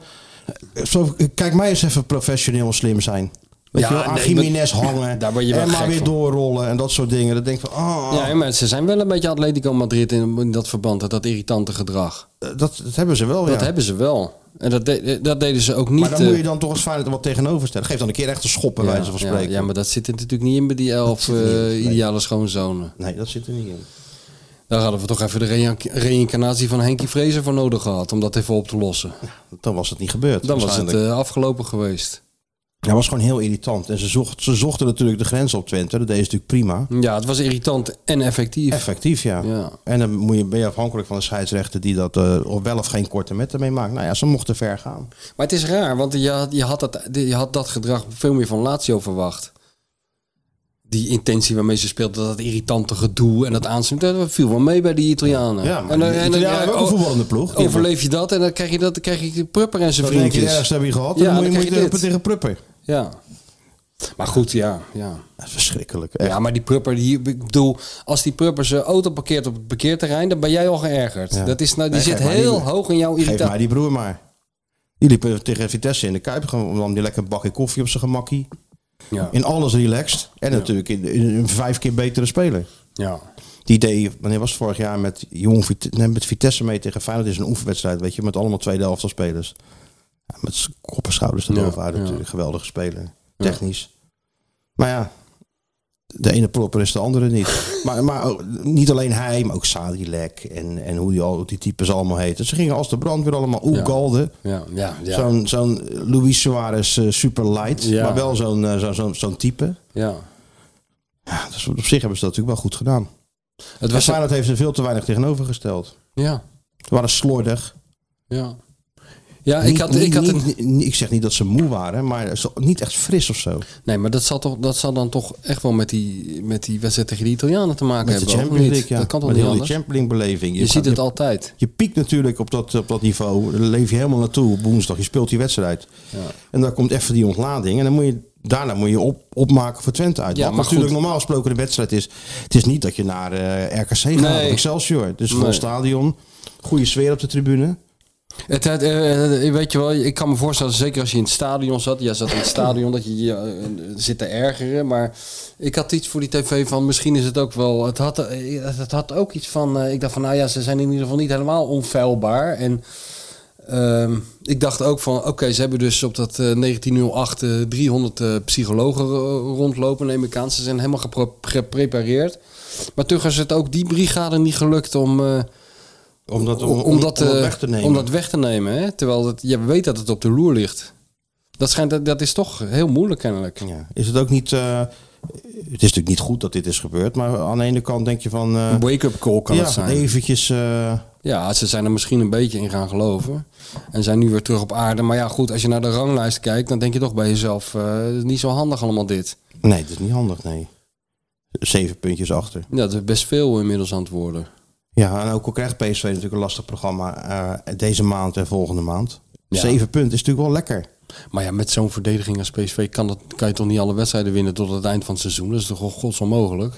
[SPEAKER 2] eh, Zo, kijk mij eens even professioneel slim zijn. Weet
[SPEAKER 3] Ja,
[SPEAKER 2] je wel, aan
[SPEAKER 3] nee,
[SPEAKER 2] Jiménez
[SPEAKER 3] maar-
[SPEAKER 2] hangen.
[SPEAKER 3] daar word je wel
[SPEAKER 2] en maar
[SPEAKER 3] gek
[SPEAKER 2] weer
[SPEAKER 3] van.
[SPEAKER 2] doorrollen en dat soort dingen. Dat denk ik van, oh,
[SPEAKER 3] Ja, maar ze zijn wel een beetje Atletico Madrid in, in dat verband, dat, dat irritante gedrag.
[SPEAKER 2] dat, dat hebben ze wel,
[SPEAKER 3] Dat
[SPEAKER 2] ja.
[SPEAKER 3] hebben ze wel. En dat, de- dat deden ze ook niet.
[SPEAKER 2] Maar dan
[SPEAKER 3] eh,
[SPEAKER 2] moet je dan toch als Feyenoord er wat tegenover stellen. Geef dan een keer echt een schop, bij wijze van
[SPEAKER 3] ja,
[SPEAKER 2] spreken.
[SPEAKER 3] Ja, maar dat zit er natuurlijk niet in bij die elf
[SPEAKER 2] zit er niet in,
[SPEAKER 3] eh,
[SPEAKER 2] nee.
[SPEAKER 3] ideale schoonzonen.
[SPEAKER 2] Nee, dat zit er niet in.
[SPEAKER 3] Daar hadden we toch even de reïn- reïncarnatie van Henkie Vrezer voor nodig gehad. Om dat even op te lossen.
[SPEAKER 2] Dan was het niet gebeurd.
[SPEAKER 3] Dan was het
[SPEAKER 2] waarschijnlijk.
[SPEAKER 3] eh, afgelopen geweest.
[SPEAKER 2] Ja, was gewoon heel irritant. En ze, zocht, ze zochten natuurlijk de grens op Twente. Dat deed ze natuurlijk prima.
[SPEAKER 3] Ja, het was irritant en effectief.
[SPEAKER 2] Effectief, ja.
[SPEAKER 3] Ja.
[SPEAKER 2] En dan moet je, ben je afhankelijk van de scheidsrechter die dat eh, of wel of geen korte metten mee maakt. Nou ja, ze mochten ver gaan.
[SPEAKER 3] Maar het is raar, want je had, je had, dat, je had dat gedrag veel meer van Lazio verwacht. Die intentie waarmee ze speelden, dat irritante gedoe en dat aanzien, dat viel wel mee bij die Italianen.
[SPEAKER 2] Ja, maar
[SPEAKER 3] en dan,
[SPEAKER 2] de
[SPEAKER 3] en dan-
[SPEAKER 2] Italianen hebben ook een
[SPEAKER 3] oh,
[SPEAKER 2] voetballende ploeg. Die
[SPEAKER 3] Overleef je dat en dan krijg je, dat, dan krijg je Prupper en zijn
[SPEAKER 2] Dan denk je, ja,
[SPEAKER 3] vriendjes.
[SPEAKER 2] dat heb je gehad.
[SPEAKER 3] Ja,
[SPEAKER 2] en dan moet
[SPEAKER 3] dan
[SPEAKER 2] je,
[SPEAKER 3] krijg
[SPEAKER 2] moet
[SPEAKER 3] je
[SPEAKER 2] je
[SPEAKER 3] dit.
[SPEAKER 2] tegen Prupper.
[SPEAKER 3] Ja. Maar goed, ja. ja.
[SPEAKER 2] Dat is verschrikkelijk. echt.
[SPEAKER 3] Ja, maar die prupper, die, ik bedoel, als die prupper zijn auto parkeert op het parkeerterrein, dan ben jij al geërgerd.
[SPEAKER 2] Ja.
[SPEAKER 3] Dat is nou, die
[SPEAKER 2] Nee,
[SPEAKER 3] zit
[SPEAKER 2] geef maar
[SPEAKER 3] heel
[SPEAKER 2] die-
[SPEAKER 3] hoog in jouw
[SPEAKER 2] Geef mij
[SPEAKER 3] irritatie.
[SPEAKER 2] die broer maar. Die liep tegen Vitesse in de Kuip. Gewoon nam die lekker een bakje koffie op zijn gemakkie.
[SPEAKER 3] Ja.
[SPEAKER 2] In alles relaxed. En natuurlijk in, in een vijf keer betere speler.
[SPEAKER 3] ja.
[SPEAKER 2] Die deed, wanneer was het vorig jaar, met, Jong, Vite- nee, met Vitesse mee tegen Feyenoord. is een oefenwedstrijd, weet je. Met allemaal tweede helft spelers. Ja, met z'n kop en schouders erover uit
[SPEAKER 3] ja.
[SPEAKER 2] natuurlijk. Geweldige speler. Technisch. Maar ja, de ene propper is de andere niet. maar maar ook- niet alleen hij, maar ook Sadilek en, en hoe die, al, die types allemaal heten. Ze gingen als de brandweer allemaal Oegalde.
[SPEAKER 3] Ja, ja, ja.
[SPEAKER 2] Zo'n zo'n Luis Suarez eh, super light.
[SPEAKER 3] Ja.
[SPEAKER 2] Maar wel zo'n eh, zo'n zo'n zo'n type.
[SPEAKER 3] ja.
[SPEAKER 2] Ja, dus op zich hebben ze dat natuurlijk wel goed gedaan.
[SPEAKER 3] Het
[SPEAKER 2] En
[SPEAKER 3] was,
[SPEAKER 2] Feyenoord heeft er veel te weinig tegenovergesteld.
[SPEAKER 3] ja,
[SPEAKER 2] Ze waren slordig.
[SPEAKER 3] ja. Ja, Eh, ik
[SPEAKER 2] Niet-
[SPEAKER 3] had, ik
[SPEAKER 2] niet-
[SPEAKER 3] had een,
[SPEAKER 2] niet- niet- ik zeg niet dat ze moe waren, maar ze- niet echt fris of zo.
[SPEAKER 3] Nee, maar dat zal, toch, dat zal dan toch echt wel met die, met die wedstrijd tegen de Italianen te maken
[SPEAKER 2] Met de
[SPEAKER 3] hebben. of
[SPEAKER 2] Champions
[SPEAKER 3] niet?
[SPEAKER 2] League, ja.
[SPEAKER 3] Dat kan toch
[SPEAKER 2] Met
[SPEAKER 3] niet
[SPEAKER 2] heel die
[SPEAKER 3] anders?
[SPEAKER 2] Champions League beleving.
[SPEAKER 3] Je ziet het
[SPEAKER 2] je,
[SPEAKER 3] altijd.
[SPEAKER 2] je piekt natuurlijk op dat, op dat niveau. Daar leef je helemaal naartoe op woensdag. Je speelt die wedstrijd. En dan komt even die ontlading. En dan moet je, daarna moet je op, opmaken voor Twente uit.
[SPEAKER 3] Ja,
[SPEAKER 2] Wat
[SPEAKER 3] maar
[SPEAKER 2] natuurlijk
[SPEAKER 3] goed.
[SPEAKER 2] normaal gesproken de wedstrijd is. Het is niet dat je naar eh, RKC gaat
[SPEAKER 3] Nee.
[SPEAKER 2] of Excelsior. Dus vol
[SPEAKER 3] Nee.
[SPEAKER 2] stadion. Goede sfeer op de tribune.
[SPEAKER 3] Het, het, eh, eh, weet je wel, ik kan me voorstellen, zeker als je in het stadion zat. Jij zat in het stadion, dat je je eh, zit te ergeren. Maar ik had iets voor die tv van, misschien is het ook wel... Het had, eh, het, het had ook iets van, eh, ik dacht van, nou ja, ze zijn in ieder geval niet helemaal onfeilbaar. En Ehm, ik dacht ook van, oké, ze hebben dus op dat eh, 1908 eh, 300 eh, psychologen eh, rondlopen, neem ik aan. Ze zijn helemaal gepro- geprepareerd. Maar toch is het ook die brigade niet gelukt om, eh,
[SPEAKER 2] Om dat,
[SPEAKER 3] om, om, dat, eh,
[SPEAKER 2] weg te nemen.
[SPEAKER 3] Om dat weg te nemen hè? Terwijl het, je weet dat het op de loer ligt. Dat, schijnt, dat, dat is toch heel moeilijk kennelijk.
[SPEAKER 2] Ja. Is het ook niet... eh, het is natuurlijk niet goed dat dit is gebeurd. Maar aan de ene kant denk je van... eh,
[SPEAKER 3] Een wake-up call kan
[SPEAKER 2] ja,
[SPEAKER 3] het zijn.
[SPEAKER 2] eventjes... eh,
[SPEAKER 3] Ja, ze zijn er misschien een beetje in gaan geloven. En zijn nu weer terug op aarde. Maar ja, goed, als je naar de ranglijst kijkt, dan denk je toch bij jezelf, eh, het is niet zo handig allemaal dit.
[SPEAKER 2] nee, dat is niet handig, nee. Zeven puntjes achter.
[SPEAKER 3] Ja, dat is best veel inmiddels aan het worden.
[SPEAKER 2] Ja, en ook al krijgt PSV natuurlijk een lastig programma eh, deze maand en volgende maand.
[SPEAKER 3] Ja.
[SPEAKER 2] Zeven punten is natuurlijk wel lekker.
[SPEAKER 3] Maar ja, met zo'n verdediging als PSV kan, dat, kan je toch niet alle wedstrijden winnen tot het eind van het seizoen? Dat is toch wel gods onmogelijk?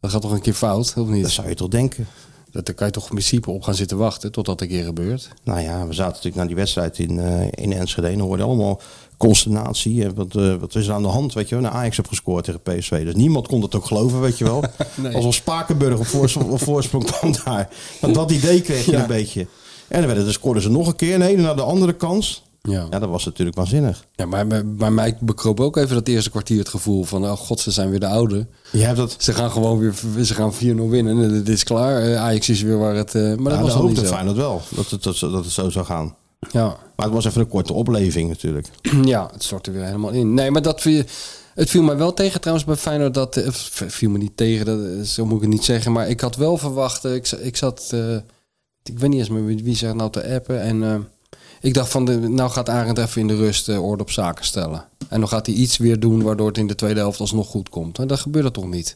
[SPEAKER 3] Dat gaat toch een keer fout, of
[SPEAKER 2] Dat
[SPEAKER 3] niet?
[SPEAKER 2] zou je toch denken.
[SPEAKER 3] Dat, daar kan je toch in principe op gaan zitten wachten totdat een keer gebeurt.
[SPEAKER 2] Nou ja, we zaten natuurlijk naar die wedstrijd in, eh, in Enschede. En dan hoorde allemaal consternatie. En wat, eh, wat is er aan de hand, weet je wel? Nou, Ajax heeft gescoord tegen PSV. Dus niemand kon dat ook geloven, weet je wel.
[SPEAKER 3] Nee.
[SPEAKER 2] Alsof Spakenburg op voorsprong, op voorsprong kwam daar. Want dat idee kreeg je
[SPEAKER 3] Ja.
[SPEAKER 2] een beetje. En dan werden, dan scoorden ze nog een keer. Nee, naar de andere kans.
[SPEAKER 3] Ja,
[SPEAKER 2] Ja, dat was natuurlijk waanzinnig.
[SPEAKER 3] ja maar bij- bij mij bekroop ook even dat eerste kwartier het gevoel van, oh god, ze zijn weer de oude.
[SPEAKER 2] Je hebt dat...
[SPEAKER 3] Ze gaan gewoon weer ze gaan 4-0 winnen. en Het is klaar. Eh, Ajax is weer waar het... eh, maar dat
[SPEAKER 2] Ja,
[SPEAKER 3] was
[SPEAKER 2] dat
[SPEAKER 3] al niet
[SPEAKER 2] hoopte
[SPEAKER 3] zo.
[SPEAKER 2] Feyenoord wel, dat het, dat, dat het zo zou gaan.
[SPEAKER 3] Ja.
[SPEAKER 2] Maar het was even een korte opleving natuurlijk.
[SPEAKER 3] ja, het stort er weer helemaal in. Nee, maar dat viel, het viel mij wel tegen trouwens bij Feyenoord. Dat eh, v- viel me niet tegen, dat, eh, zo moet ik het niet zeggen. Maar ik had wel verwacht... eh, Ik, za- ik zat... eh, ik weet niet eens meer wie wie zegt nou te appen. En eh, ik dacht van, de, nou gaat Arend even in de rust eh, orde op zaken stellen. En dan gaat hij iets weer doen waardoor het in de tweede helft alsnog goed komt. En dat gebeurde toch niet.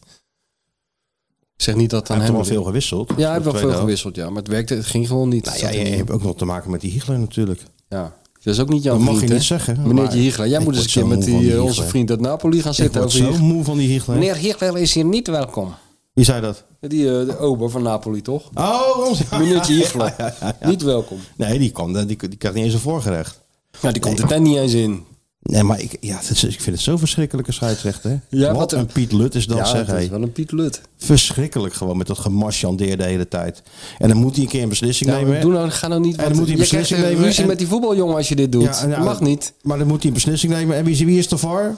[SPEAKER 3] Ik zeg niet dat
[SPEAKER 2] Hij
[SPEAKER 3] aan
[SPEAKER 2] heeft
[SPEAKER 3] hem...
[SPEAKER 2] wel veel gewisseld.
[SPEAKER 3] Ja, hij heeft wel
[SPEAKER 2] Tweede
[SPEAKER 3] veel
[SPEAKER 2] helft.
[SPEAKER 3] gewisseld, ja. Maar het werkte, het ging gewoon niet.
[SPEAKER 2] Nou
[SPEAKER 3] Het
[SPEAKER 2] ja,
[SPEAKER 3] zat er
[SPEAKER 2] je
[SPEAKER 3] niet
[SPEAKER 2] hebt ook nog te maken met die Hiegler natuurlijk.
[SPEAKER 3] Ja, dat is ook niet jouw
[SPEAKER 2] Dat mag
[SPEAKER 3] vriend,
[SPEAKER 2] je niet
[SPEAKER 3] hè?
[SPEAKER 2] zeggen, maar
[SPEAKER 3] Meneertje Hiegler, jij
[SPEAKER 2] ik
[SPEAKER 3] moet eens een
[SPEAKER 2] word
[SPEAKER 3] keer
[SPEAKER 2] zo
[SPEAKER 3] met
[SPEAKER 2] moe
[SPEAKER 3] die,
[SPEAKER 2] van die
[SPEAKER 3] eh, onze
[SPEAKER 2] Hiegler.
[SPEAKER 3] vriend uit Napoli gaan
[SPEAKER 2] Ik
[SPEAKER 3] zitten.
[SPEAKER 2] word
[SPEAKER 3] over
[SPEAKER 2] zo
[SPEAKER 3] Hieg-
[SPEAKER 2] moe van die Hiegler.
[SPEAKER 3] Meneer Hiegler is hier niet welkom.
[SPEAKER 2] Wie zei dat?
[SPEAKER 3] Die eh, de ober van Napoli, toch?
[SPEAKER 2] Oh, ons-
[SPEAKER 3] Meneertje Hiegler, niet welkom.
[SPEAKER 2] Nee, die, kwam, die, die krijgt niet eens een voorgerecht.
[SPEAKER 3] Ja, die komt er dan niet eens in.
[SPEAKER 2] Nee, maar ik, ja, het is- ik vind het zo verschrikkelijke scheidsrechter.
[SPEAKER 3] Ja,
[SPEAKER 2] wat
[SPEAKER 3] wat een-
[SPEAKER 2] een Piet Lut is dat,
[SPEAKER 3] ja,
[SPEAKER 2] zeg
[SPEAKER 3] dat
[SPEAKER 2] hij.
[SPEAKER 3] is wel een Piet Lut.
[SPEAKER 2] Verschrikkelijk gewoon met dat gemarchandeer de hele tijd. En dan moet hij een keer een beslissing
[SPEAKER 3] Ja,
[SPEAKER 2] nemen.
[SPEAKER 3] doe nou, ga nou
[SPEAKER 2] En
[SPEAKER 3] niet... want
[SPEAKER 2] dan moet hij
[SPEAKER 3] je krijgt
[SPEAKER 2] beslissing
[SPEAKER 3] een
[SPEAKER 2] nemen
[SPEAKER 3] ruzie
[SPEAKER 2] en-
[SPEAKER 3] met die voetbaljongen als je dit doet.
[SPEAKER 2] Ja, nou,
[SPEAKER 3] dat mag niet.
[SPEAKER 2] Maar dan moet hij een beslissing nemen. En wie, is- wie is de VAR?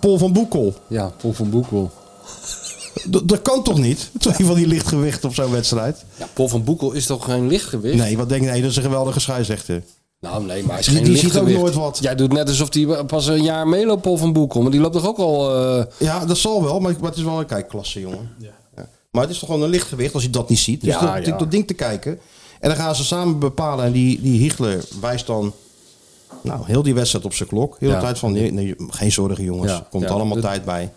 [SPEAKER 2] Paul van Boekel.
[SPEAKER 3] Ja, Paul van Boekel.
[SPEAKER 2] Dat, dat kan toch niet? Twee van die lichtgewichten op zo'n wedstrijd.
[SPEAKER 3] Ja, Paul van Boekel is toch geen lichtgewicht?
[SPEAKER 2] Nee, wat denk je? Nee, dat is een geweldige scheidsrechter.
[SPEAKER 3] Nou, nee, maar hij is
[SPEAKER 2] Die-
[SPEAKER 3] geen
[SPEAKER 2] die ziet ook
[SPEAKER 3] lichtgewicht.
[SPEAKER 2] nooit wat.
[SPEAKER 3] Jij doet net alsof hij pas een jaar meeloopt, Paul van Boekel. Maar die loopt toch ook al... eh,
[SPEAKER 2] Ja, dat zal wel, maar, maar het is wel een kijkklasse, jongen. Ja. Maar het is toch gewoon een lichtgewicht als je dat niet ziet. Dus
[SPEAKER 3] Ja,
[SPEAKER 2] dat,
[SPEAKER 3] ja.
[SPEAKER 2] dat ding te kijken. En dan gaan ze samen bepalen. En die, die Hiegler wijst dan nou, heel die wedstrijd op zijn klok. Heel
[SPEAKER 3] Ja.
[SPEAKER 2] de tijd van, nee, nee, geen zorgen jongens.
[SPEAKER 3] Ja,
[SPEAKER 2] Komt
[SPEAKER 3] ja.
[SPEAKER 2] allemaal
[SPEAKER 3] Dat-
[SPEAKER 2] tijd bij.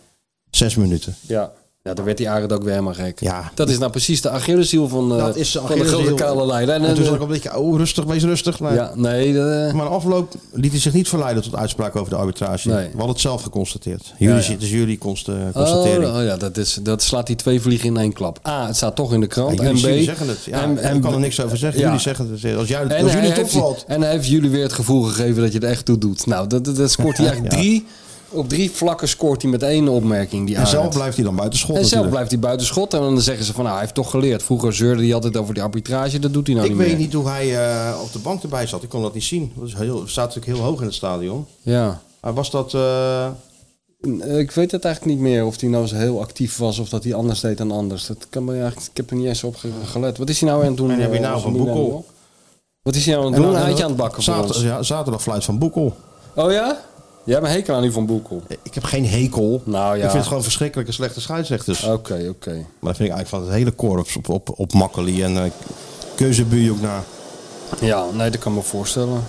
[SPEAKER 2] Zes minuten.
[SPEAKER 3] Ja. Ja, daar werd die Arend ook weer helemaal gek.
[SPEAKER 2] Ja.
[SPEAKER 3] Dat is nou precies de Achilleshiel van, eh
[SPEAKER 2] Dat is de
[SPEAKER 3] van de grote
[SPEAKER 2] Achilleshiel.
[SPEAKER 3] kale leider. En,
[SPEAKER 2] En toen
[SPEAKER 3] eh,
[SPEAKER 2] zat ik al een beetje, oh rustig, wees rustig. Maar,
[SPEAKER 3] ja, nee, de- eh,
[SPEAKER 2] maar na afloop liet hij zich niet verleiden tot uitspraak over de arbitrage.
[SPEAKER 3] Nee.
[SPEAKER 2] We hadden het zelf geconstateerd. Jullie,
[SPEAKER 3] ja.
[SPEAKER 2] Het is jullie const, eh, constatering.
[SPEAKER 3] oh, oh ja, dat, is, dat slaat die twee vliegen in één klap. A, het staat toch in de krant.
[SPEAKER 2] Ja,
[SPEAKER 3] en B,
[SPEAKER 2] jullie zien- zeggen het. Ja,
[SPEAKER 3] en- en
[SPEAKER 2] ik kan er
[SPEAKER 3] B-
[SPEAKER 2] niks over zeggen.
[SPEAKER 3] Ja.
[SPEAKER 2] Jullie zeggen het. Als, jij,
[SPEAKER 3] En
[SPEAKER 2] als
[SPEAKER 3] hij
[SPEAKER 2] jullie het
[SPEAKER 3] heeft-
[SPEAKER 2] opvalt.
[SPEAKER 3] En hij heeft jullie weer het gevoel gegeven dat je er echt toe doet. Nou, dat, dat, dat scoort hij eigenlijk
[SPEAKER 2] Ja.
[SPEAKER 3] drie... Op drie vlakken scoort hij met één opmerking. Die
[SPEAKER 2] En zelf
[SPEAKER 3] Arend.
[SPEAKER 2] blijft hij dan buiten schot
[SPEAKER 3] En zelf
[SPEAKER 2] natuurlijk.
[SPEAKER 3] blijft hij buiten schot. En dan zeggen ze van, nou, hij heeft toch geleerd. Vroeger zeurde hij altijd over die arbitrage. Dat doet hij nou
[SPEAKER 2] ik
[SPEAKER 3] niet
[SPEAKER 2] weet
[SPEAKER 3] meer.
[SPEAKER 2] niet hoe hij eh, op de bank erbij zat. Ik kon dat niet zien. Dat is heel, het staat natuurlijk heel hoog in het stadion.
[SPEAKER 3] Ja.
[SPEAKER 2] Maar was dat... eh,
[SPEAKER 3] Eh, Ik weet het eigenlijk niet meer of hij nou zo heel actief was of dat hij anders deed dan anders. Dat kan me eigenlijk, ik heb er niet eens op ge- gelet. Wat is hij nou aan het doen?
[SPEAKER 2] En heb je
[SPEAKER 3] eh,
[SPEAKER 2] nou
[SPEAKER 3] onze
[SPEAKER 2] van
[SPEAKER 3] Milan,
[SPEAKER 2] Boekel?
[SPEAKER 3] joh? Wat is hij nou aan het
[SPEAKER 2] en
[SPEAKER 3] doen?
[SPEAKER 2] dan-
[SPEAKER 3] Een eitje aan het bakken voor
[SPEAKER 2] Zater-
[SPEAKER 3] ons.
[SPEAKER 2] ja, zaterdag fluit van Boekel.
[SPEAKER 3] Oh ja? Jij hebt een hekel aan die van Boekel.
[SPEAKER 2] Ik heb geen hekel.
[SPEAKER 3] Nou ja.
[SPEAKER 2] Ik vind het gewoon verschrikkelijke slechte scheidsrechters.
[SPEAKER 3] Oké, oké.
[SPEAKER 2] Maar dat vind ik eigenlijk van het hele korps op, op, op Makkeli en eh Keuzebuur ook na.
[SPEAKER 3] Ja, nee, dat kan me voorstellen.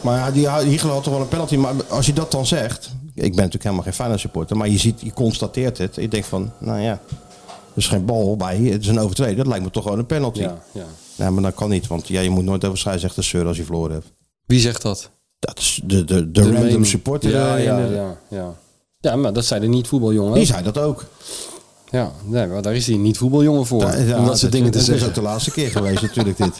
[SPEAKER 2] Maar ja, die die Hiegler had toch wel een penalty. Maar als je dat dan zegt... Ik ben natuurlijk helemaal geen Feyenoord supporter. Maar je ziet, je constateert het. Ik denk van, nou ja... Er is geen bal bij. Het is een overtreding. Dat lijkt me toch gewoon een penalty.
[SPEAKER 3] Ja, ja.
[SPEAKER 2] Nee, maar dat kan niet. Want ja, je moet nooit over scheidsrechter zeuren als je verloren hebt.
[SPEAKER 3] Wie zegt dat?
[SPEAKER 2] Dat is de, de, de, random
[SPEAKER 3] mening.
[SPEAKER 2] supporter.
[SPEAKER 3] Ja,
[SPEAKER 2] eh,
[SPEAKER 3] ja,
[SPEAKER 2] in
[SPEAKER 3] ja,
[SPEAKER 2] de-
[SPEAKER 3] ja, ja. Ja, maar dat zijn de niet-voetbaljongen.
[SPEAKER 2] Die
[SPEAKER 3] ook.
[SPEAKER 2] zei dat ook.
[SPEAKER 3] Ja, nee, maar daar is die niet-voetbaljongen voor.
[SPEAKER 2] Ja, ja,
[SPEAKER 3] om dat soort dingen te
[SPEAKER 2] dat is ook
[SPEAKER 3] zeggen.
[SPEAKER 2] de laatste keer geweest natuurlijk dit.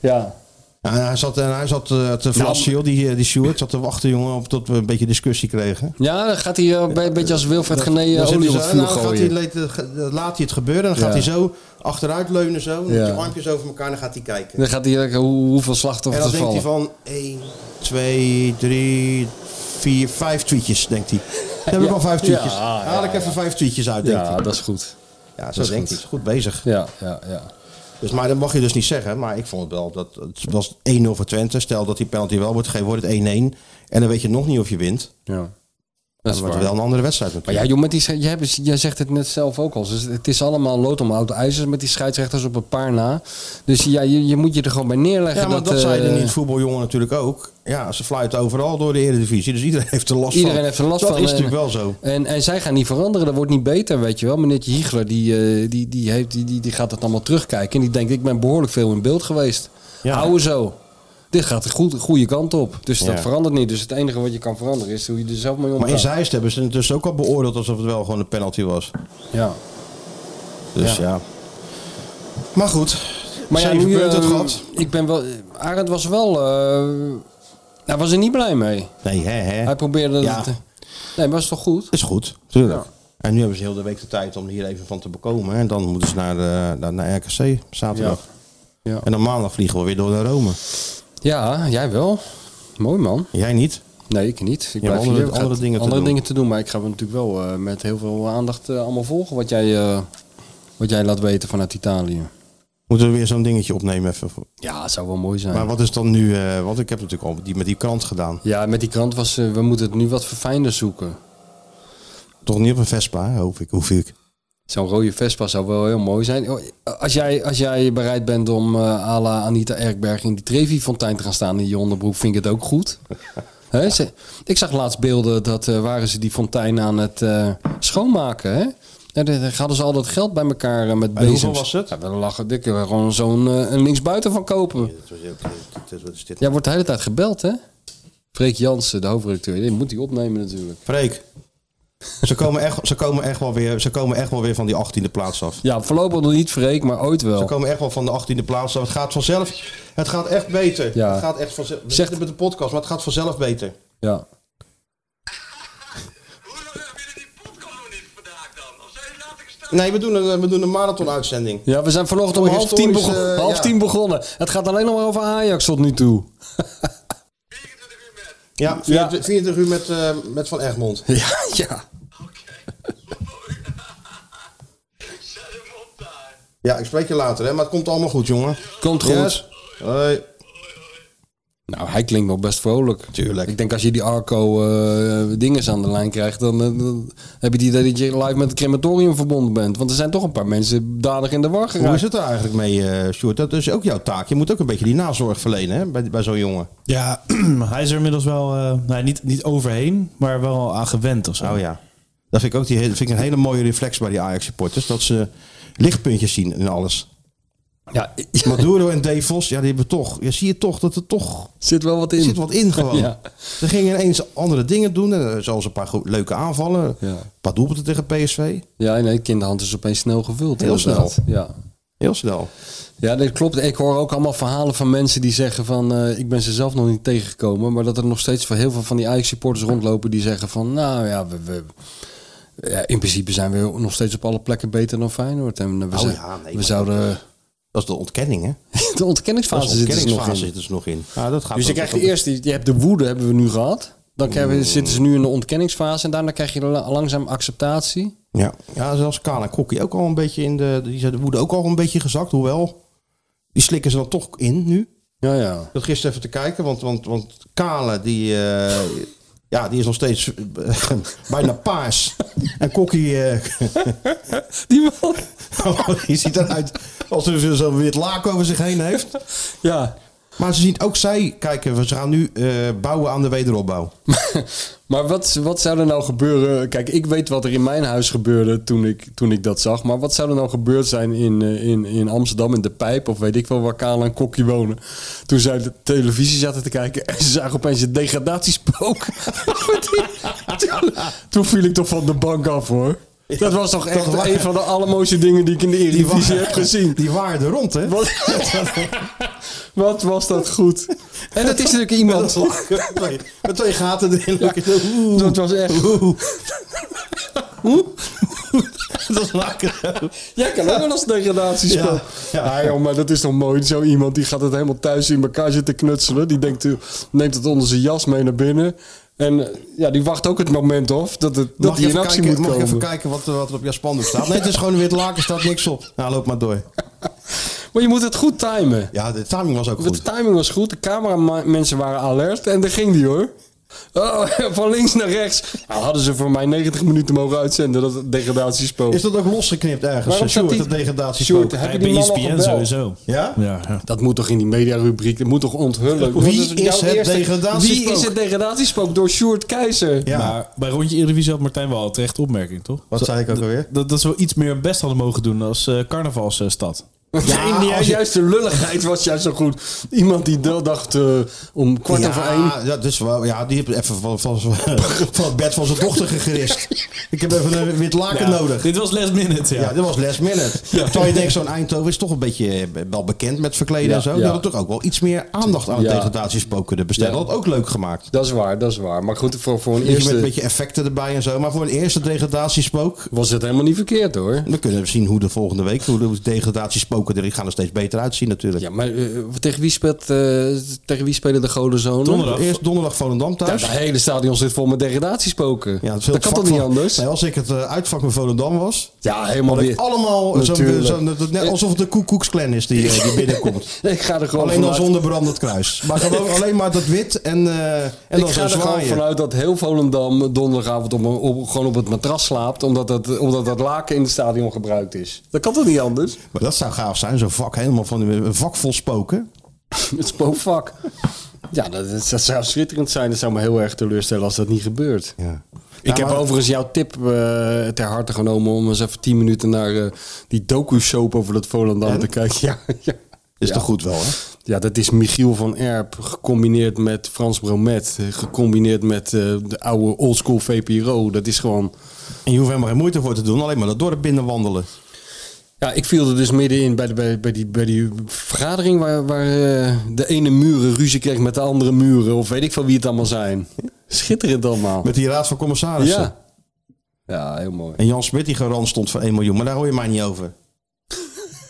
[SPEAKER 3] Ja.
[SPEAKER 2] Ja, En hij zat, en hij zat eh,
[SPEAKER 3] Nou,
[SPEAKER 2] te vlassen, joh, die, eh, die Sjoerd. Zat te wachten, jongen, op, tot we een beetje discussie kregen.
[SPEAKER 3] Ja, dan gaat hij eh, bij- een beetje als Wilfred Gené eh,
[SPEAKER 2] Dan zit
[SPEAKER 3] olie
[SPEAKER 2] hij
[SPEAKER 3] op
[SPEAKER 2] zo,
[SPEAKER 3] het vuur
[SPEAKER 2] nou, gaat hij,
[SPEAKER 3] gooien.
[SPEAKER 2] leed- eh, ge- eh, laat hij het gebeuren. Dan gaat hij
[SPEAKER 3] Ja.
[SPEAKER 2] zo achteruit leunen, zo. Met
[SPEAKER 3] Ja.
[SPEAKER 2] je armpjes over elkaar. En dan gaat hij kijken.
[SPEAKER 3] Dan gaat hij lekker hoe, hoeveel
[SPEAKER 2] En
[SPEAKER 3] slachtoffers
[SPEAKER 2] dan
[SPEAKER 3] er
[SPEAKER 2] denkt hij
[SPEAKER 3] vallen.
[SPEAKER 2] van 1, 2, 3, 4, 5 tweetjes, denkt hij. Dan heb ik al vijf tweetjes.
[SPEAKER 3] Ja,
[SPEAKER 2] Haal
[SPEAKER 3] ja,
[SPEAKER 2] ik even vijf tweetjes uit, denkt
[SPEAKER 3] Ja,
[SPEAKER 2] hij.
[SPEAKER 3] dat is goed.
[SPEAKER 2] Ja, zo
[SPEAKER 3] dat is
[SPEAKER 2] denkt
[SPEAKER 3] goed.
[SPEAKER 2] hij. Goed bezig.
[SPEAKER 3] Ja, ja, ja.
[SPEAKER 2] Dus, maar dat mag je dus niet zeggen. Maar ik vond het wel dat het was 1-0 voor Twente. Stel dat die penalty wel wordt gegeven, wordt het 1-1. En dan weet je nog niet of je wint.
[SPEAKER 3] ja. Dat
[SPEAKER 2] Dat
[SPEAKER 3] is
[SPEAKER 2] wordt
[SPEAKER 3] waar.
[SPEAKER 2] wel een andere wedstrijd
[SPEAKER 3] Maar ja,
[SPEAKER 2] natuurlijk.
[SPEAKER 3] joh, met die, jij, hebt- jij zegt het net zelf ook al. Dus het is allemaal lood om oud ijzer met die scheidsrechters op een paar na. Dus ja, je, je moet je er gewoon bij neerleggen.
[SPEAKER 2] Ja, maar dat,
[SPEAKER 3] eh,
[SPEAKER 2] zeiden in het voetbaljongen natuurlijk ook. Ja, ze fluiten overal door de Eredivisie. Dus iedereen heeft er last van.
[SPEAKER 3] Iedereen heeft er last
[SPEAKER 2] dat
[SPEAKER 3] van. eh,
[SPEAKER 2] is
[SPEAKER 3] en-
[SPEAKER 2] natuurlijk wel zo.
[SPEAKER 3] En, en zij gaan niet veranderen. Dat wordt niet beter, weet je wel. Meneertje Hiegler, die, eh, die, die, heeft, die, die, die gaat dat allemaal terugkijken. En die denkt, ik ben behoorlijk veel in beeld geweest.
[SPEAKER 2] Ja.
[SPEAKER 3] Hou zo. Dit gaat de goede, goede kant op. Dus dat
[SPEAKER 2] Ja.
[SPEAKER 3] verandert niet. Dus het enige wat je kan veranderen is hoe je er zelf mee
[SPEAKER 2] Maar in
[SPEAKER 3] omgaat.
[SPEAKER 2] Zeist hebben ze het dus ook al beoordeeld alsof het wel gewoon een penalty was.
[SPEAKER 3] Ja.
[SPEAKER 2] Dus
[SPEAKER 3] Ja.
[SPEAKER 2] ja. Maar goed,
[SPEAKER 3] Maar ja,
[SPEAKER 2] zeven
[SPEAKER 3] nu,
[SPEAKER 2] punten het
[SPEAKER 3] eh,
[SPEAKER 2] gehad.
[SPEAKER 3] Ik ben wel... Arend was wel... eh, hij was er niet blij mee.
[SPEAKER 2] Nee, hè, hè.
[SPEAKER 3] Hij probeerde...
[SPEAKER 2] Ja.
[SPEAKER 3] het- eh, nee, maar is toch goed?
[SPEAKER 2] Is goed, tuurlijk. En nu hebben ze heel de week de tijd om hier even van te bekomen. hè. En dan moeten ze naar, eh, naar, naar RKC zaterdag.
[SPEAKER 3] Ja.
[SPEAKER 2] En dan maandag vliegen we weer door naar Rome.
[SPEAKER 3] Ja, jij wel. Mooi man.
[SPEAKER 2] Jij niet?
[SPEAKER 3] Nee, ik niet. Ik
[SPEAKER 2] hebt
[SPEAKER 3] blijf
[SPEAKER 2] andere-
[SPEAKER 3] hier. Ik ga
[SPEAKER 2] andere dingen te
[SPEAKER 3] andere
[SPEAKER 2] doen.
[SPEAKER 3] dingen te doen. Maar ik ga natuurlijk wel eh, met heel veel aandacht eh, allemaal volgen wat jij, eh, wat jij laat weten vanuit Italië.
[SPEAKER 2] Moeten we weer zo'n dingetje opnemen even. voor-
[SPEAKER 3] Ja, het zou wel mooi zijn.
[SPEAKER 2] Maar wat is dan nu... eh, want ik heb natuurlijk al die, met die krant gedaan.
[SPEAKER 3] Ja, met die krant was, eh, we moeten het nu wat verfijnder zoeken.
[SPEAKER 2] Toch niet op een Vespa, hè, hoop ik. Hoef ik.
[SPEAKER 3] Zo'n rode Vespa zou wel heel mooi zijn. Oh, Als jij, als jij bereid bent om eh à la Anita Erkberg in die Trevi-fontein te gaan staan in je onderbroek, vind ik het ook goed. Hè, ze- ik zag laatst beelden dat eh, waren ze die fontein aan het eh, schoonmaken. Hè? En dan hadden ze al dat geld bij elkaar eh, met bezems.
[SPEAKER 2] hoeveel was het?
[SPEAKER 3] Ja, dan lachen dikke we gewoon zo'n eh, een linksbuiten van kopen. Jij wordt de hele tijd gebeld, hè? Freek Jansen, de hoofdredacteur, die moet die opnemen natuurlijk.
[SPEAKER 2] Freek. Ze komen, echt, ze, komen echt wel weer, ze komen echt wel weer van die 18e plaats af.
[SPEAKER 3] Ja, voorlopig nog niet Freek, maar ooit wel.
[SPEAKER 2] Ze komen echt wel van de 18e plaats af. Het gaat vanzelf. Het gaat echt beter.
[SPEAKER 3] Ja.
[SPEAKER 2] Het gaat echt vanzelf. We
[SPEAKER 3] Zegt-
[SPEAKER 2] zitten met de podcast, maar het gaat vanzelf beter.
[SPEAKER 3] Ja.
[SPEAKER 2] Nee, we doen een, we doen een marathon-uitzending.
[SPEAKER 3] Ja, we zijn vanochtend om
[SPEAKER 2] Oh,
[SPEAKER 3] half tien,
[SPEAKER 2] historisch,
[SPEAKER 3] begon-
[SPEAKER 2] eh,
[SPEAKER 3] half
[SPEAKER 2] ja.
[SPEAKER 3] tien begonnen. Het gaat alleen nog maar over Ajax tot nu toe.
[SPEAKER 2] Ja, 24, 24 uur met, eh, met Van Egmond.
[SPEAKER 3] Ja, ja.
[SPEAKER 2] Ja, ik spreek je later, hè, maar het komt allemaal goed, jongen.
[SPEAKER 3] Komt goed.
[SPEAKER 2] Yes. Hoi.
[SPEAKER 3] Nou, hij klinkt nog best vrolijk.
[SPEAKER 2] Tuurlijk.
[SPEAKER 3] Ik denk als je die Arco eh dinges aan de lijn krijgt, dan, eh, dan heb je die idee dat je live met het crematorium verbonden bent. Want er zijn toch een paar mensen dadig in de war
[SPEAKER 2] Hoe
[SPEAKER 3] geraakt.
[SPEAKER 2] is het er eigenlijk mee, eh Sjoerd? Dat is ook jouw taak. Je moet ook een beetje die nazorg verlenen hè, bij, bij zo'n jongen.
[SPEAKER 4] Ja, hij is er inmiddels wel, eh, nee, niet, niet overheen, maar wel aan gewend of zo.
[SPEAKER 2] Oh ja. Dat vind ik ook die, hele- vind ik een hele mooie reflex bij die Ajax-supporters. Dat ze lichtpuntjes zien in alles.
[SPEAKER 3] Ja,
[SPEAKER 2] Maduro en Dave Vos, ja, die hebben toch... Je zie je toch dat er toch...
[SPEAKER 3] zit wel wat in.
[SPEAKER 2] Er zit wat in gewoon.
[SPEAKER 3] Ja.
[SPEAKER 2] Ze gingen ineens andere dingen doen. eh, Zoals een paar go- leuke aanvallen.
[SPEAKER 3] Ja.
[SPEAKER 2] Een paar doelpunten tegen PSV.
[SPEAKER 3] Ja, nee, kinderhand is opeens snel gevuld.
[SPEAKER 2] Heel
[SPEAKER 3] inderdaad.
[SPEAKER 2] snel.
[SPEAKER 3] Ja.
[SPEAKER 2] Heel snel.
[SPEAKER 3] Ja, dat klopt. Ik hoor ook allemaal verhalen van mensen die zeggen van... eh, ik ben ze zelf nog niet tegengekomen. Maar dat er nog steeds van heel veel van die Ajax-supporters rondlopen... die zeggen van, nou ja, we, we, ja, in principe zijn we nog steeds op alle plekken beter dan Feyenoord. En eh, we, zijn-
[SPEAKER 2] Oh ja, nee,
[SPEAKER 3] we
[SPEAKER 2] maar-
[SPEAKER 3] zouden... eh,
[SPEAKER 2] Dat is de ontkenning, hè?
[SPEAKER 3] De
[SPEAKER 2] Dat
[SPEAKER 3] ontkenningsfase
[SPEAKER 2] is de
[SPEAKER 3] zit er nog
[SPEAKER 2] ontkenningsfase
[SPEAKER 3] in.
[SPEAKER 2] zit er nog in. Ja, dat gaat
[SPEAKER 3] Dus je
[SPEAKER 2] ook-
[SPEAKER 3] krijgt eerst, die- je hebt de woede hebben we nu gehad. Dan krijgen we, zitten ze nu in de ontkenningsfase. En daarna krijg je la- langzaam acceptatie.
[SPEAKER 2] Ja, ja zelfs Kana Kokkie ook al een beetje in de... Die zijn de woede ook al een beetje gezakt, hoewel... Die slikken ze dan toch in nu.
[SPEAKER 3] Ja, ja.
[SPEAKER 2] Ik zat gisteren even te kijken, want, want, want Kale, die, eh, ja, die is nog steeds eh, bijna paars. En Kokkie, eh,
[SPEAKER 3] Die man.
[SPEAKER 2] die ziet eruit alsof hij zo'n wit laak over zich heen heeft.
[SPEAKER 3] Ja.
[SPEAKER 2] Maar ze zien ook zij, kijken, we gaan nu eh, bouwen aan de wederopbouw.
[SPEAKER 3] Maar wat, wat zou er nou gebeuren? Kijk, ik weet wat er in mijn huis gebeurde toen ik, toen ik dat zag. Maar wat zou er nou gebeurd zijn in, eh, in, in Amsterdam, in De Pijp... of weet ik wel waar Kala en Kokkie wonen... toen zij de televisie zaten te kijken... en ze zagen opeens een degradatiespook. toen, toen viel ik toch van de bank af, hoor. Dat was toch echt
[SPEAKER 2] waren-
[SPEAKER 3] een van de allermooiste dingen die ik in de Eredivisie
[SPEAKER 2] waren-
[SPEAKER 3] heb gezien.
[SPEAKER 2] Die waren er rond, hè?
[SPEAKER 3] Wat, Wat was dat goed. En dat is natuurlijk iemand.
[SPEAKER 2] Met twee gaten erin. Oeh,
[SPEAKER 3] Dat was echt.
[SPEAKER 2] dat is lekker.
[SPEAKER 3] Jij kan ook wel als degradatie spelen. Ja, joh, maar dat is toch mooi. Zo iemand die gaat het helemaal thuis in elkaar zitten knutselen. Die denkt, eh, neemt het onder zijn jas mee naar binnen. En eh, ja, die wacht ook het moment af dat, het, dat
[SPEAKER 2] Mag, je
[SPEAKER 3] die in
[SPEAKER 2] even,
[SPEAKER 3] actie
[SPEAKER 2] kijken, mag
[SPEAKER 3] moet
[SPEAKER 2] je
[SPEAKER 3] komen.
[SPEAKER 2] even kijken wat, er- wat er op jouw spandoek staat? Nee, het is gewoon een wit laken, staat niks op. Nou, loop maar door.
[SPEAKER 3] maar je moet het goed timen.
[SPEAKER 2] Ja, de timing was ook
[SPEAKER 3] De
[SPEAKER 2] goed.
[SPEAKER 3] timing was goed. De cameramensen waren alert. En daar ging die hoor. Oh, van links naar rechts. Nou, hadden ze voor mij 90 minuten mogen uitzenden dat degradatiespook.
[SPEAKER 2] Is dat ook losgeknipt
[SPEAKER 3] Waarom
[SPEAKER 2] ergens?
[SPEAKER 3] staat
[SPEAKER 2] Sjoerd,
[SPEAKER 3] die-
[SPEAKER 2] dat degradatie
[SPEAKER 3] Sjoerd, heb je
[SPEAKER 4] Bij E
[SPEAKER 3] die man al
[SPEAKER 4] ESPN
[SPEAKER 3] gebeld?
[SPEAKER 4] sowieso.
[SPEAKER 2] Ja?
[SPEAKER 5] Ja, ja.
[SPEAKER 3] Dat moet toch in die mediarubriek, dat moet toch onthullen?
[SPEAKER 2] Wie
[SPEAKER 3] Dat jouw
[SPEAKER 2] is het degradatiespook?
[SPEAKER 3] Wie is het degradatiespook door Sjoerd Keizer?
[SPEAKER 2] Ja.
[SPEAKER 4] Maar bij rondje Eredivisie had Martijn wel terecht opmerking, toch?
[SPEAKER 2] Wat zei ik ook alweer?
[SPEAKER 4] Dat, dat ze wel iets meer best hadden mogen doen als eh, carnavalsstad.
[SPEAKER 3] Ja,
[SPEAKER 2] Ja, als je-
[SPEAKER 3] juist de lulligheid was juist zo goed. Iemand die dat dacht eh, om kwart
[SPEAKER 2] ja,
[SPEAKER 3] over één.
[SPEAKER 2] Ja, dus wel, ja, die heeft even van, van, van, van het bed van zijn dochter gerist. Ik heb even een wit laken
[SPEAKER 4] Ja,
[SPEAKER 2] nodig.
[SPEAKER 4] Dit was last minute, ja.
[SPEAKER 2] Ja, dit was last minute. Terwijl je denkt, zo'n Eindhoven is toch een beetje eh, wel bekend met verkleden
[SPEAKER 3] Ja,
[SPEAKER 2] en zo. Die
[SPEAKER 3] ja.
[SPEAKER 2] hadden toch ook wel iets meer aandacht aan het
[SPEAKER 3] Ja.
[SPEAKER 2] degradatiespook kunnen besteden.
[SPEAKER 3] Ja.
[SPEAKER 2] Dat had ook leuk gemaakt.
[SPEAKER 3] Dat is waar, dat is waar. Maar goed, voor, voor een
[SPEAKER 2] Dus met een
[SPEAKER 3] eerste
[SPEAKER 2] beetje effecten erbij en zo. Maar voor een eerste degradatiespook...
[SPEAKER 3] was het helemaal niet verkeerd hoor.
[SPEAKER 2] We kunnen zien hoe de volgende week, hoe de degradatiespoken erin gaan er steeds beter uitzien natuurlijk.
[SPEAKER 3] Ja, maar eh, tegen, wie speelt, eh, tegen wie spelen de Golenzonen?
[SPEAKER 4] Donderdag.
[SPEAKER 2] Eerst donderdag Volendam
[SPEAKER 3] Ja,
[SPEAKER 2] thuis.
[SPEAKER 3] het hele stadion zit vol met degradatiespoken.
[SPEAKER 2] Ja, het is heel
[SPEAKER 3] dat kan
[SPEAKER 2] vak
[SPEAKER 3] toch niet
[SPEAKER 2] van-
[SPEAKER 3] anders?
[SPEAKER 2] Nee, als ik het eh, uitvak van Volendam was,
[SPEAKER 3] Ja, helemaal
[SPEAKER 2] had ik
[SPEAKER 3] weer.
[SPEAKER 2] allemaal zo'n,
[SPEAKER 3] Natuurlijk. Eh,
[SPEAKER 2] zo'n, dat- net alsof het de Ku Klux Klan is die, eh, die binnenkomt.
[SPEAKER 3] Ik ga er gewoon
[SPEAKER 2] Alleen dan
[SPEAKER 3] vanuit-
[SPEAKER 2] zonder brandend kruis. Maar gewoon alleen maar dat wit en, eh, en dan
[SPEAKER 3] ik ga
[SPEAKER 2] zo'n
[SPEAKER 3] er gewoon
[SPEAKER 2] zwaaien.
[SPEAKER 3] vanuit dat heel Volendam donderdagavond op, op- gewoon op het matras slaapt. Omdat dat, omdat dat laken in het stadion gebruikt is. Dat kan toch niet anders?
[SPEAKER 2] Maar dat zou gaaf zijn, zo'n vak helemaal van een vak vol spoken.
[SPEAKER 3] Het spookvak. Ja, dat, dat- dat zou schitterend zijn. Dat zou me heel erg teleurstellen als dat niet gebeurt.
[SPEAKER 2] Ja.
[SPEAKER 3] Ik
[SPEAKER 2] Nou,
[SPEAKER 3] heb
[SPEAKER 2] maar-
[SPEAKER 3] overigens jouw tip eh, ter harte genomen om eens even 10 minuten naar eh, die docu-soap over dat Volendam te kijken. Ja, ja.
[SPEAKER 2] Is
[SPEAKER 3] ja.
[SPEAKER 2] toch goed wel, hè?
[SPEAKER 3] Ja, dat is Michiel van Erp gecombineerd met Frans Bromet. eh, Gecombineerd met eh, de oude oldschool VPRO. Dat is gewoon...
[SPEAKER 2] En je hoeft helemaal geen moeite voor te doen, alleen maar dat dorp binnenwandelen.
[SPEAKER 3] Ja, ik viel er dus middenin bij, de, bij, bij, die, bij die vergadering waar, waar eh, de ene muren ruzie kreeg met de andere muren. Of weet ik van wie het allemaal zijn. Schitterend allemaal.
[SPEAKER 2] Met die raad van commissarissen.
[SPEAKER 3] ja. ja, heel mooi.
[SPEAKER 2] En Jan Smit die garant stond voor 1 miljoen, maar daar hoor je mij niet over.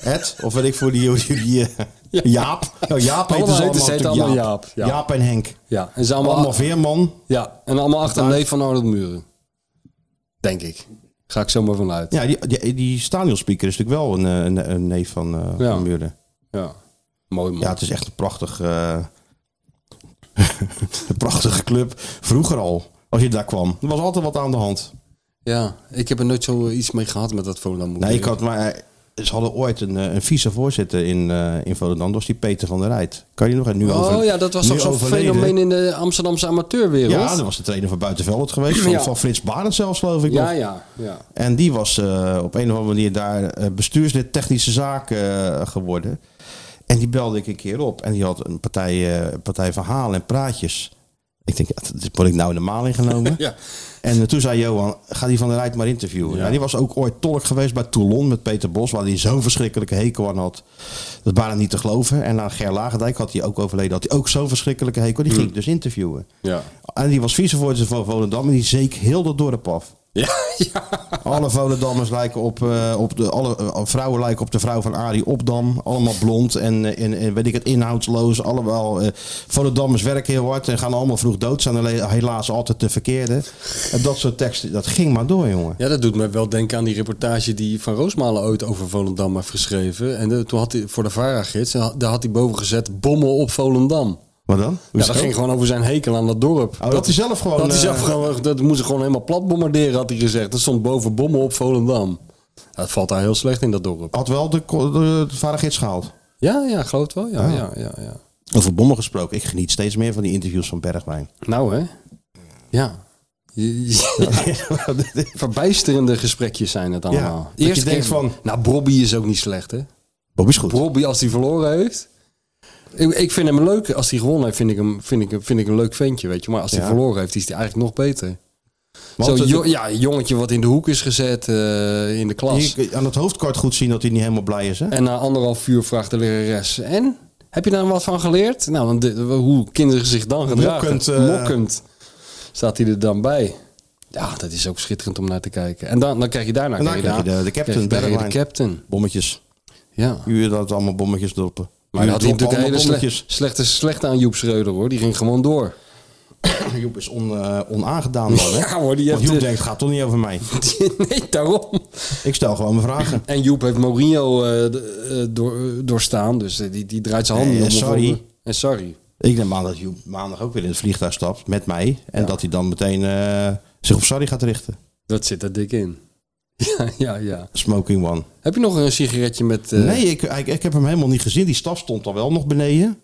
[SPEAKER 2] Ed, of weet ik voor die, die, die, eh, Jaap. Nou, Jaap heet
[SPEAKER 3] Allemaal
[SPEAKER 2] ze
[SPEAKER 3] heten
[SPEAKER 2] allemaal,
[SPEAKER 3] ze
[SPEAKER 2] natuurlijk
[SPEAKER 3] allemaal
[SPEAKER 2] Jaap.
[SPEAKER 3] Jaap, ja.
[SPEAKER 2] Jaap en Henk.
[SPEAKER 3] Ja, en ze allemaal,
[SPEAKER 2] Allemaal Veerman.
[SPEAKER 3] ja, en allemaal achter een neef van Arnold Muren. Denk ik. Ga ik zomaar vanuit.
[SPEAKER 2] Ja, die, die, die stadionspeaker is natuurlijk wel een, eh, een, een neef van, eh
[SPEAKER 3] Ja.
[SPEAKER 2] van Muren.
[SPEAKER 3] Ja. Mooi man.
[SPEAKER 2] Ja, het is echt een prachtig, eh, een prachtige club. Vroeger al, als je daar kwam. Er was altijd wat aan de hand.
[SPEAKER 3] Ja, ik heb er nooit zo eh, iets mee gehad met dat Volendam. moet
[SPEAKER 2] Nee, ik
[SPEAKER 3] zeggen.
[SPEAKER 2] had maar... eh, Ze hadden ooit een, eh, een vicevoorzitter in, eh in Volendam. Dat was die Peter van der Rijt. Kan je nog nu
[SPEAKER 3] Oh
[SPEAKER 2] over,
[SPEAKER 3] ja, dat was
[SPEAKER 2] nu
[SPEAKER 3] toch zo'n
[SPEAKER 2] overleden.
[SPEAKER 3] fenomeen in de Amsterdamse amateurwereld?
[SPEAKER 2] Ja, dat was de trainer van Buitenveld geweest. Van,
[SPEAKER 3] Ja.
[SPEAKER 2] van Frits Barend zelfs, geloof ik.
[SPEAKER 3] ja,
[SPEAKER 2] nog.
[SPEAKER 3] ja, ja.
[SPEAKER 2] En die was eh, op een of andere manier daar eh, bestuurslid technische zaken eh, geworden. En die belde ik een keer op. En die had een partij, eh, een partij verhalen en praatjes. Ik denk, ja, dit word ik nou in de maling genomen.
[SPEAKER 3] Ja.
[SPEAKER 2] En eh, toen zei Johan, ga die van der Rijt maar interviewen. Nou, die was ook ooit tolk geweest bij Toulon met Peter Bos. Waar hij zo'n verschrikkelijke hekel aan had. Dat waren niet te geloven. En aan Ger Lagendijk had hij ook overleden. Had hij ook zo'n verschrikkelijke hekel. Die ging ik dus interviewen.
[SPEAKER 3] Ja.
[SPEAKER 2] En die was vicevoorzitter van Volendam. En die zeek heel dat dorp af.
[SPEAKER 3] Ja, ja.
[SPEAKER 2] Alle Volendammers lijken op, eh, op de, alle eh, vrouwen lijken op de vrouw van Arie Opdam. Allemaal blond en, eh, en, en weet ik het, inhoudsloos. Allemaal, eh, Volendammers werken heel hard en gaan allemaal vroeg dood. Zijn alleen- helaas altijd de verkeerde. En dat soort teksten, dat ging maar door, jongen.
[SPEAKER 3] Ja, dat doet me wel denken aan die reportage die Van Roosmalen ooit over Volendam heeft geschreven. En eh, toen had hij voor de VARA-gids, eh, daar had hij boven gezet bommen op Volendam.
[SPEAKER 2] Wat dan?
[SPEAKER 3] Ja, dat ging gewoon over zijn hekel aan Oh, dat dorp.
[SPEAKER 2] dat hij zelf gewoon,
[SPEAKER 3] Dat, hij
[SPEAKER 2] eh,
[SPEAKER 3] zelf gewoon, dat moest gewoon helemaal plat bombarderen, had hij gezegd. Dat stond boven bommen op Volendam. Ja, Dat valt daar heel slecht in dat dorp.
[SPEAKER 2] Had wel de, ko- de, de varen gids gehaald.
[SPEAKER 3] Ja, ja, geloof het wel. Ja, ja, ja, ja.
[SPEAKER 2] Over bommen gesproken. Ik geniet steeds meer van die interviews van Bergwijn.
[SPEAKER 3] Nou, hè? Ja. Je- je- Verbijsterende gesprekjes zijn het allemaal.
[SPEAKER 2] dat je denkt van-
[SPEAKER 3] Nou, Bobby is ook niet slecht, hè?
[SPEAKER 2] Bob is goed.
[SPEAKER 3] Robbie als hij verloren heeft. Ik, ik vind hem leuk. Als hij gewonnen heeft, vind ik hem, vind ik, hem- vind ik een leuk ventje, weet je. Maar als hij
[SPEAKER 2] Ja.
[SPEAKER 3] verloren heeft, is hij eigenlijk nog beter.
[SPEAKER 2] Want
[SPEAKER 3] Zo'n
[SPEAKER 2] het-
[SPEAKER 3] jo- ja, jongetje wat in de hoek is gezet eh, in de klas.
[SPEAKER 2] Je- aan het hoofdkort goed zien dat hij niet helemaal blij is, hè?
[SPEAKER 3] En na anderhalf uur vraagt de lerares... En? Heb je daar wat van geleerd? Nou, dan de- hoe kinderen zich dan gedragen.
[SPEAKER 2] Mokkend, eh.
[SPEAKER 3] Mokkend staat hij er dan bij. Ja, dat is ook schitterend om naar te kijken. En dan, dan krijg je daarna
[SPEAKER 2] En dan
[SPEAKER 3] krijg je
[SPEAKER 2] krijg je
[SPEAKER 3] daar-
[SPEAKER 2] de- de captain,
[SPEAKER 3] krijg je daar
[SPEAKER 2] Bergwijn.
[SPEAKER 3] de captain.
[SPEAKER 2] Bommetjes.
[SPEAKER 3] Ja.
[SPEAKER 2] U dat allemaal bommetjes droppen.
[SPEAKER 3] Maar
[SPEAKER 2] U
[SPEAKER 3] dat had
[SPEAKER 2] droppen
[SPEAKER 3] natuurlijk hele
[SPEAKER 2] allemaal
[SPEAKER 3] sle
[SPEAKER 2] bommetjes.
[SPEAKER 3] slechte, slechte aan Joep Schreuder hoor. Die ging gewoon door.
[SPEAKER 2] Joep is on, eh, onaangedaan dan, hè?
[SPEAKER 3] Ja, hoor, die
[SPEAKER 2] Want
[SPEAKER 3] heeft,
[SPEAKER 2] Joep
[SPEAKER 3] eh,
[SPEAKER 2] denkt, het gaat toch niet over mij?
[SPEAKER 3] nee, daarom.
[SPEAKER 2] Ik stel gewoon mijn vragen.
[SPEAKER 3] En Joep heeft Mourinho eh, d- eh, door, eh, doorstaan. Dus eh, die, die draait zijn handen
[SPEAKER 2] Nee,
[SPEAKER 3] om.
[SPEAKER 2] en sorry.
[SPEAKER 3] En sorry.
[SPEAKER 2] Ik neem aan dat Joep maandag ook weer in het vliegtuig stapt met mij. En dat hij dan meteen eh, zich op Sarri gaat richten.
[SPEAKER 3] Dat zit er dik in. Ja, ja, ja.
[SPEAKER 2] Smoking one.
[SPEAKER 3] Heb je nog een sigaretje met... eh,
[SPEAKER 2] Nee, ik, ik, ik heb hem helemaal niet gezien. Die staf stond al wel nog beneden.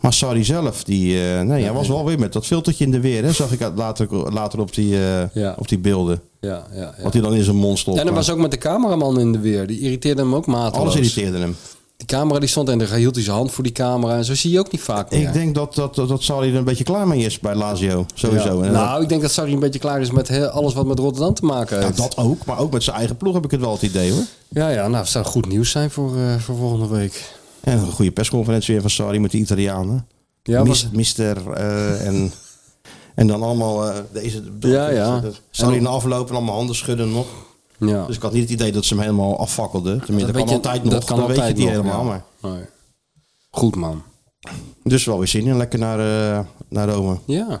[SPEAKER 2] Maar Sarri zelf, die, eh, nee, hij was wel weer met dat filtertje in de weer. Hè, zag ik uit- later, later op, die, eh,
[SPEAKER 3] Ja.
[SPEAKER 2] op die beelden.
[SPEAKER 3] Ja, ja, ja.
[SPEAKER 2] Wat hij dan in zijn mond stond.
[SPEAKER 3] En er was ook met de cameraman in de weer. Die irriteerde hem ook mateloos.
[SPEAKER 2] Alles irriteerde hem.
[SPEAKER 3] Die camera die stond en daar hield hij zijn hand voor die camera. En zo zie je ook niet vaak meer.
[SPEAKER 2] Ik denk dat, dat, dat, dat Sarri er een beetje klaar mee is bij Lazio. Sowieso.
[SPEAKER 3] Ja.
[SPEAKER 2] En
[SPEAKER 3] Nou, ik denk dat Sarri een beetje klaar is met heel- alles wat met Rotterdam te maken
[SPEAKER 2] dat,
[SPEAKER 3] heeft.
[SPEAKER 2] ja, dat ook. Maar ook met zijn eigen ploeg heb ik het wel het idee hoor.
[SPEAKER 3] Ja, ja, nou, het zou goed nieuws zijn voor, eh, voor volgende week.
[SPEAKER 2] En een goede persconferentie weer van Sarri met de Italianen.
[SPEAKER 3] Ja,
[SPEAKER 2] Mis-
[SPEAKER 3] maar-
[SPEAKER 2] Mister eh, en, en dan allemaal eh, deze...
[SPEAKER 3] Ja, ja.
[SPEAKER 2] Sarri na afloop en allemaal handen schudden nog.
[SPEAKER 3] ja.
[SPEAKER 2] Dus ik had niet het idee dat ze hem helemaal afvakkelde. Tenminste, dat,
[SPEAKER 3] weet
[SPEAKER 2] kan
[SPEAKER 3] je-
[SPEAKER 2] altijd nog.
[SPEAKER 3] dat kan
[SPEAKER 2] dan weet je
[SPEAKER 3] altijd
[SPEAKER 2] die
[SPEAKER 3] nog,
[SPEAKER 2] helemaal.
[SPEAKER 3] ja.
[SPEAKER 2] Maar.
[SPEAKER 3] Nee. Goed, man.
[SPEAKER 2] Dus wel weer zin in. Lekker naar, eh, naar Rome.
[SPEAKER 3] Ja.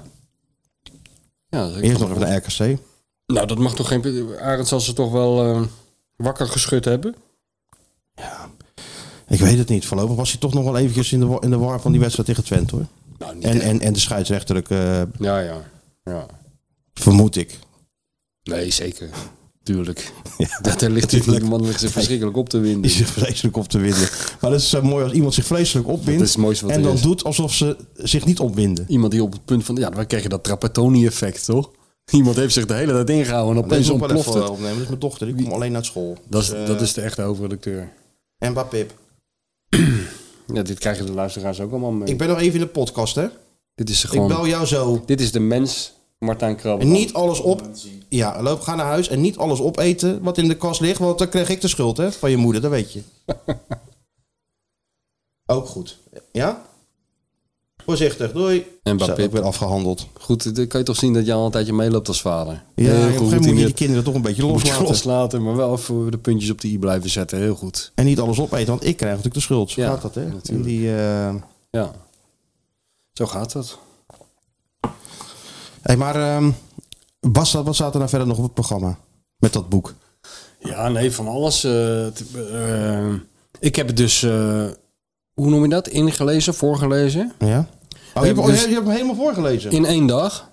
[SPEAKER 3] ja dat-
[SPEAKER 2] Eerst nog even naar RKC.
[SPEAKER 3] Nou, dat mag toch geen... Arend zal ze toch wel eh, wakker geschud hebben?
[SPEAKER 2] Ik weet het niet. Voorlopig was hij toch nog wel eventjes in de, wa- in de war van die wedstrijd tegen Twente hoor.
[SPEAKER 3] Nou, niet
[SPEAKER 2] En,
[SPEAKER 3] echt.
[SPEAKER 2] en, en de scheidsrechterlijk eh,
[SPEAKER 3] Ja, ja. ja.
[SPEAKER 2] vermoed ik.
[SPEAKER 3] Nee, zeker. Tuurlijk. Dat, daar ligt natuurlijk een man met zich verschrikkelijk op te
[SPEAKER 2] Die
[SPEAKER 3] winden.
[SPEAKER 2] zich vreselijk op te winden. Maar dat is zo mooi als iemand zich vreselijk opwindt.
[SPEAKER 3] Dat is het mooiste wat
[SPEAKER 2] en
[SPEAKER 3] er
[SPEAKER 2] dan
[SPEAKER 3] is.
[SPEAKER 2] doet alsof ze zich niet opwinden.
[SPEAKER 3] Iemand die op het punt van... Ja, dan krijg je dat Trapattoni-effect, toch? Iemand heeft zich de hele tijd ingehouden en opeens
[SPEAKER 2] Deze ook wel
[SPEAKER 3] ontploft
[SPEAKER 2] even
[SPEAKER 3] het.
[SPEAKER 2] eh, opnemen. Dat is mijn dochter. Die komt alleen naar school. Dus, eh,
[SPEAKER 3] Dat is, dat is de echte hoofdredacteur.
[SPEAKER 2] En bij Pip.
[SPEAKER 3] Ja, dit krijgen de luisteraars ook allemaal mee.
[SPEAKER 2] Ik ben nog even in de podcast hè.
[SPEAKER 3] dit, is
[SPEAKER 2] Ik
[SPEAKER 3] gewoon,
[SPEAKER 2] bel jou zo.
[SPEAKER 3] dit is de mens Martijn Krabbe.
[SPEAKER 2] En niet alles op. Ja, loop, ga naar huis en niet alles opeten wat in de kast ligt. Want dan krijg ik de schuld hè, van je moeder, dat weet je. Ook goed. Ja? Voorzichtig, doei.
[SPEAKER 3] En
[SPEAKER 2] Zo,
[SPEAKER 3] Mbappé.
[SPEAKER 2] ik ben afgehandeld.
[SPEAKER 3] Goed, dan kan je toch zien dat je al een tijdje meeloopt als vader.
[SPEAKER 2] Ja, op een gegeven moment moet je die
[SPEAKER 3] het
[SPEAKER 2] kinderen toch een beetje
[SPEAKER 3] moet je
[SPEAKER 2] loslaten.
[SPEAKER 3] loslaten, maar wel even de puntjes op de i blijven zetten. Heel goed.
[SPEAKER 2] En niet alles opeten, want ik krijg natuurlijk de schuld. Zo
[SPEAKER 3] Ja,
[SPEAKER 2] gaat dat, hè?
[SPEAKER 3] natuurlijk.
[SPEAKER 2] In die, eh,
[SPEAKER 3] Ja. Zo gaat dat.
[SPEAKER 2] Hey, maar ehm Bas, wat staat er nou verder nog op het programma? Met dat boek.
[SPEAKER 3] Ja, nee, van alles. eh, het, eh, ik heb het dus, eh, hoe noem je dat? Ingelezen, voorgelezen.
[SPEAKER 2] Ja? Oh, je, hebt, oh, je hebt hem helemaal voorgelezen.
[SPEAKER 3] In één dag.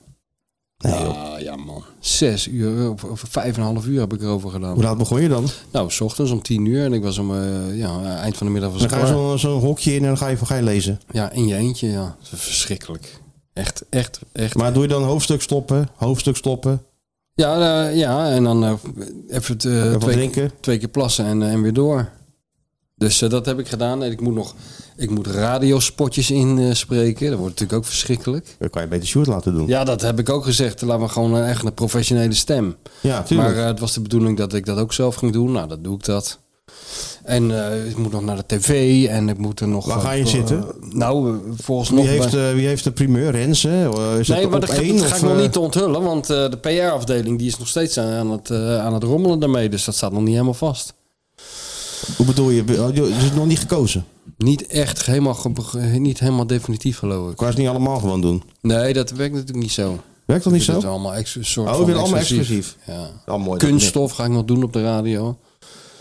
[SPEAKER 2] Nee, joh.
[SPEAKER 3] ja, ja, man. Zes uur, of, of vijf en een half uur heb ik erover gedaan.
[SPEAKER 2] Hoe laat begon je dan?
[SPEAKER 3] Nou, s ochtends om tien uur en ik was om eh, ja, eind van de middag was
[SPEAKER 2] Dan
[SPEAKER 3] ik
[SPEAKER 2] ga je
[SPEAKER 3] klaar.
[SPEAKER 2] zo'n zo'n hokje in en dan ga je, ga je lezen.
[SPEAKER 3] Ja, in je eentje, ja. Dat is verschrikkelijk. Echt, echt, echt.
[SPEAKER 2] Maar doe je dan hoofdstuk stoppen, hoofdstuk stoppen,
[SPEAKER 3] Ja, eh, ja en dan eh, even het, eh,
[SPEAKER 2] wat
[SPEAKER 3] twee,
[SPEAKER 2] drinken?
[SPEAKER 3] twee keer plassen en, eh, en weer door. Dus eh, dat heb ik gedaan. En ik moet nog ik moet radiospotjes inspreken. dat wordt natuurlijk ook verschrikkelijk.
[SPEAKER 2] Dan kan je beter Sjoerd laten doen. Ja,
[SPEAKER 3] Ja, dat heb ik ook gezegd. Laten we gewoon eh, echt een professionele stem.
[SPEAKER 2] tuurlijk.
[SPEAKER 3] Maar eh, het was de bedoeling dat ik dat ook zelf ging doen. Nou, dat doe ik dat. En eh, ik moet nog naar de tv en ik moet er nog...
[SPEAKER 2] Waar
[SPEAKER 3] eh,
[SPEAKER 2] ga je
[SPEAKER 3] eh,
[SPEAKER 2] zitten?
[SPEAKER 3] Nou, eh, volgens
[SPEAKER 2] wie,
[SPEAKER 3] nog... bij-
[SPEAKER 2] heeft, eh, wie heeft de primeur? Rens, hè? Eh, Is
[SPEAKER 3] Nee, maar dat,
[SPEAKER 2] op
[SPEAKER 3] ga-
[SPEAKER 2] één,
[SPEAKER 3] dat ga
[SPEAKER 2] of,
[SPEAKER 3] ik nog
[SPEAKER 2] eh,
[SPEAKER 3] niet onthullen, want eh, de PR-afdeling die is nog steeds aan, aan het, eh, aan het rommelen daarmee. Dus dat staat nog niet helemaal vast.
[SPEAKER 2] Hoe bedoel je? Oh, joh, Het is nog niet gekozen.
[SPEAKER 3] Niet echt helemaal, ge- ge- niet helemaal definitief, geloof ik.
[SPEAKER 2] Kan je het niet allemaal gewoon doen?
[SPEAKER 3] Nee, dat werkt natuurlijk niet zo.
[SPEAKER 2] Werkt dat niet zo?
[SPEAKER 3] Dat is allemaal ex- een soort
[SPEAKER 2] Oh,
[SPEAKER 3] van
[SPEAKER 2] weer allemaal
[SPEAKER 3] Ja.
[SPEAKER 2] Oh, mooi, dat-
[SPEAKER 3] Kunststof ga ik nog doen op de radio.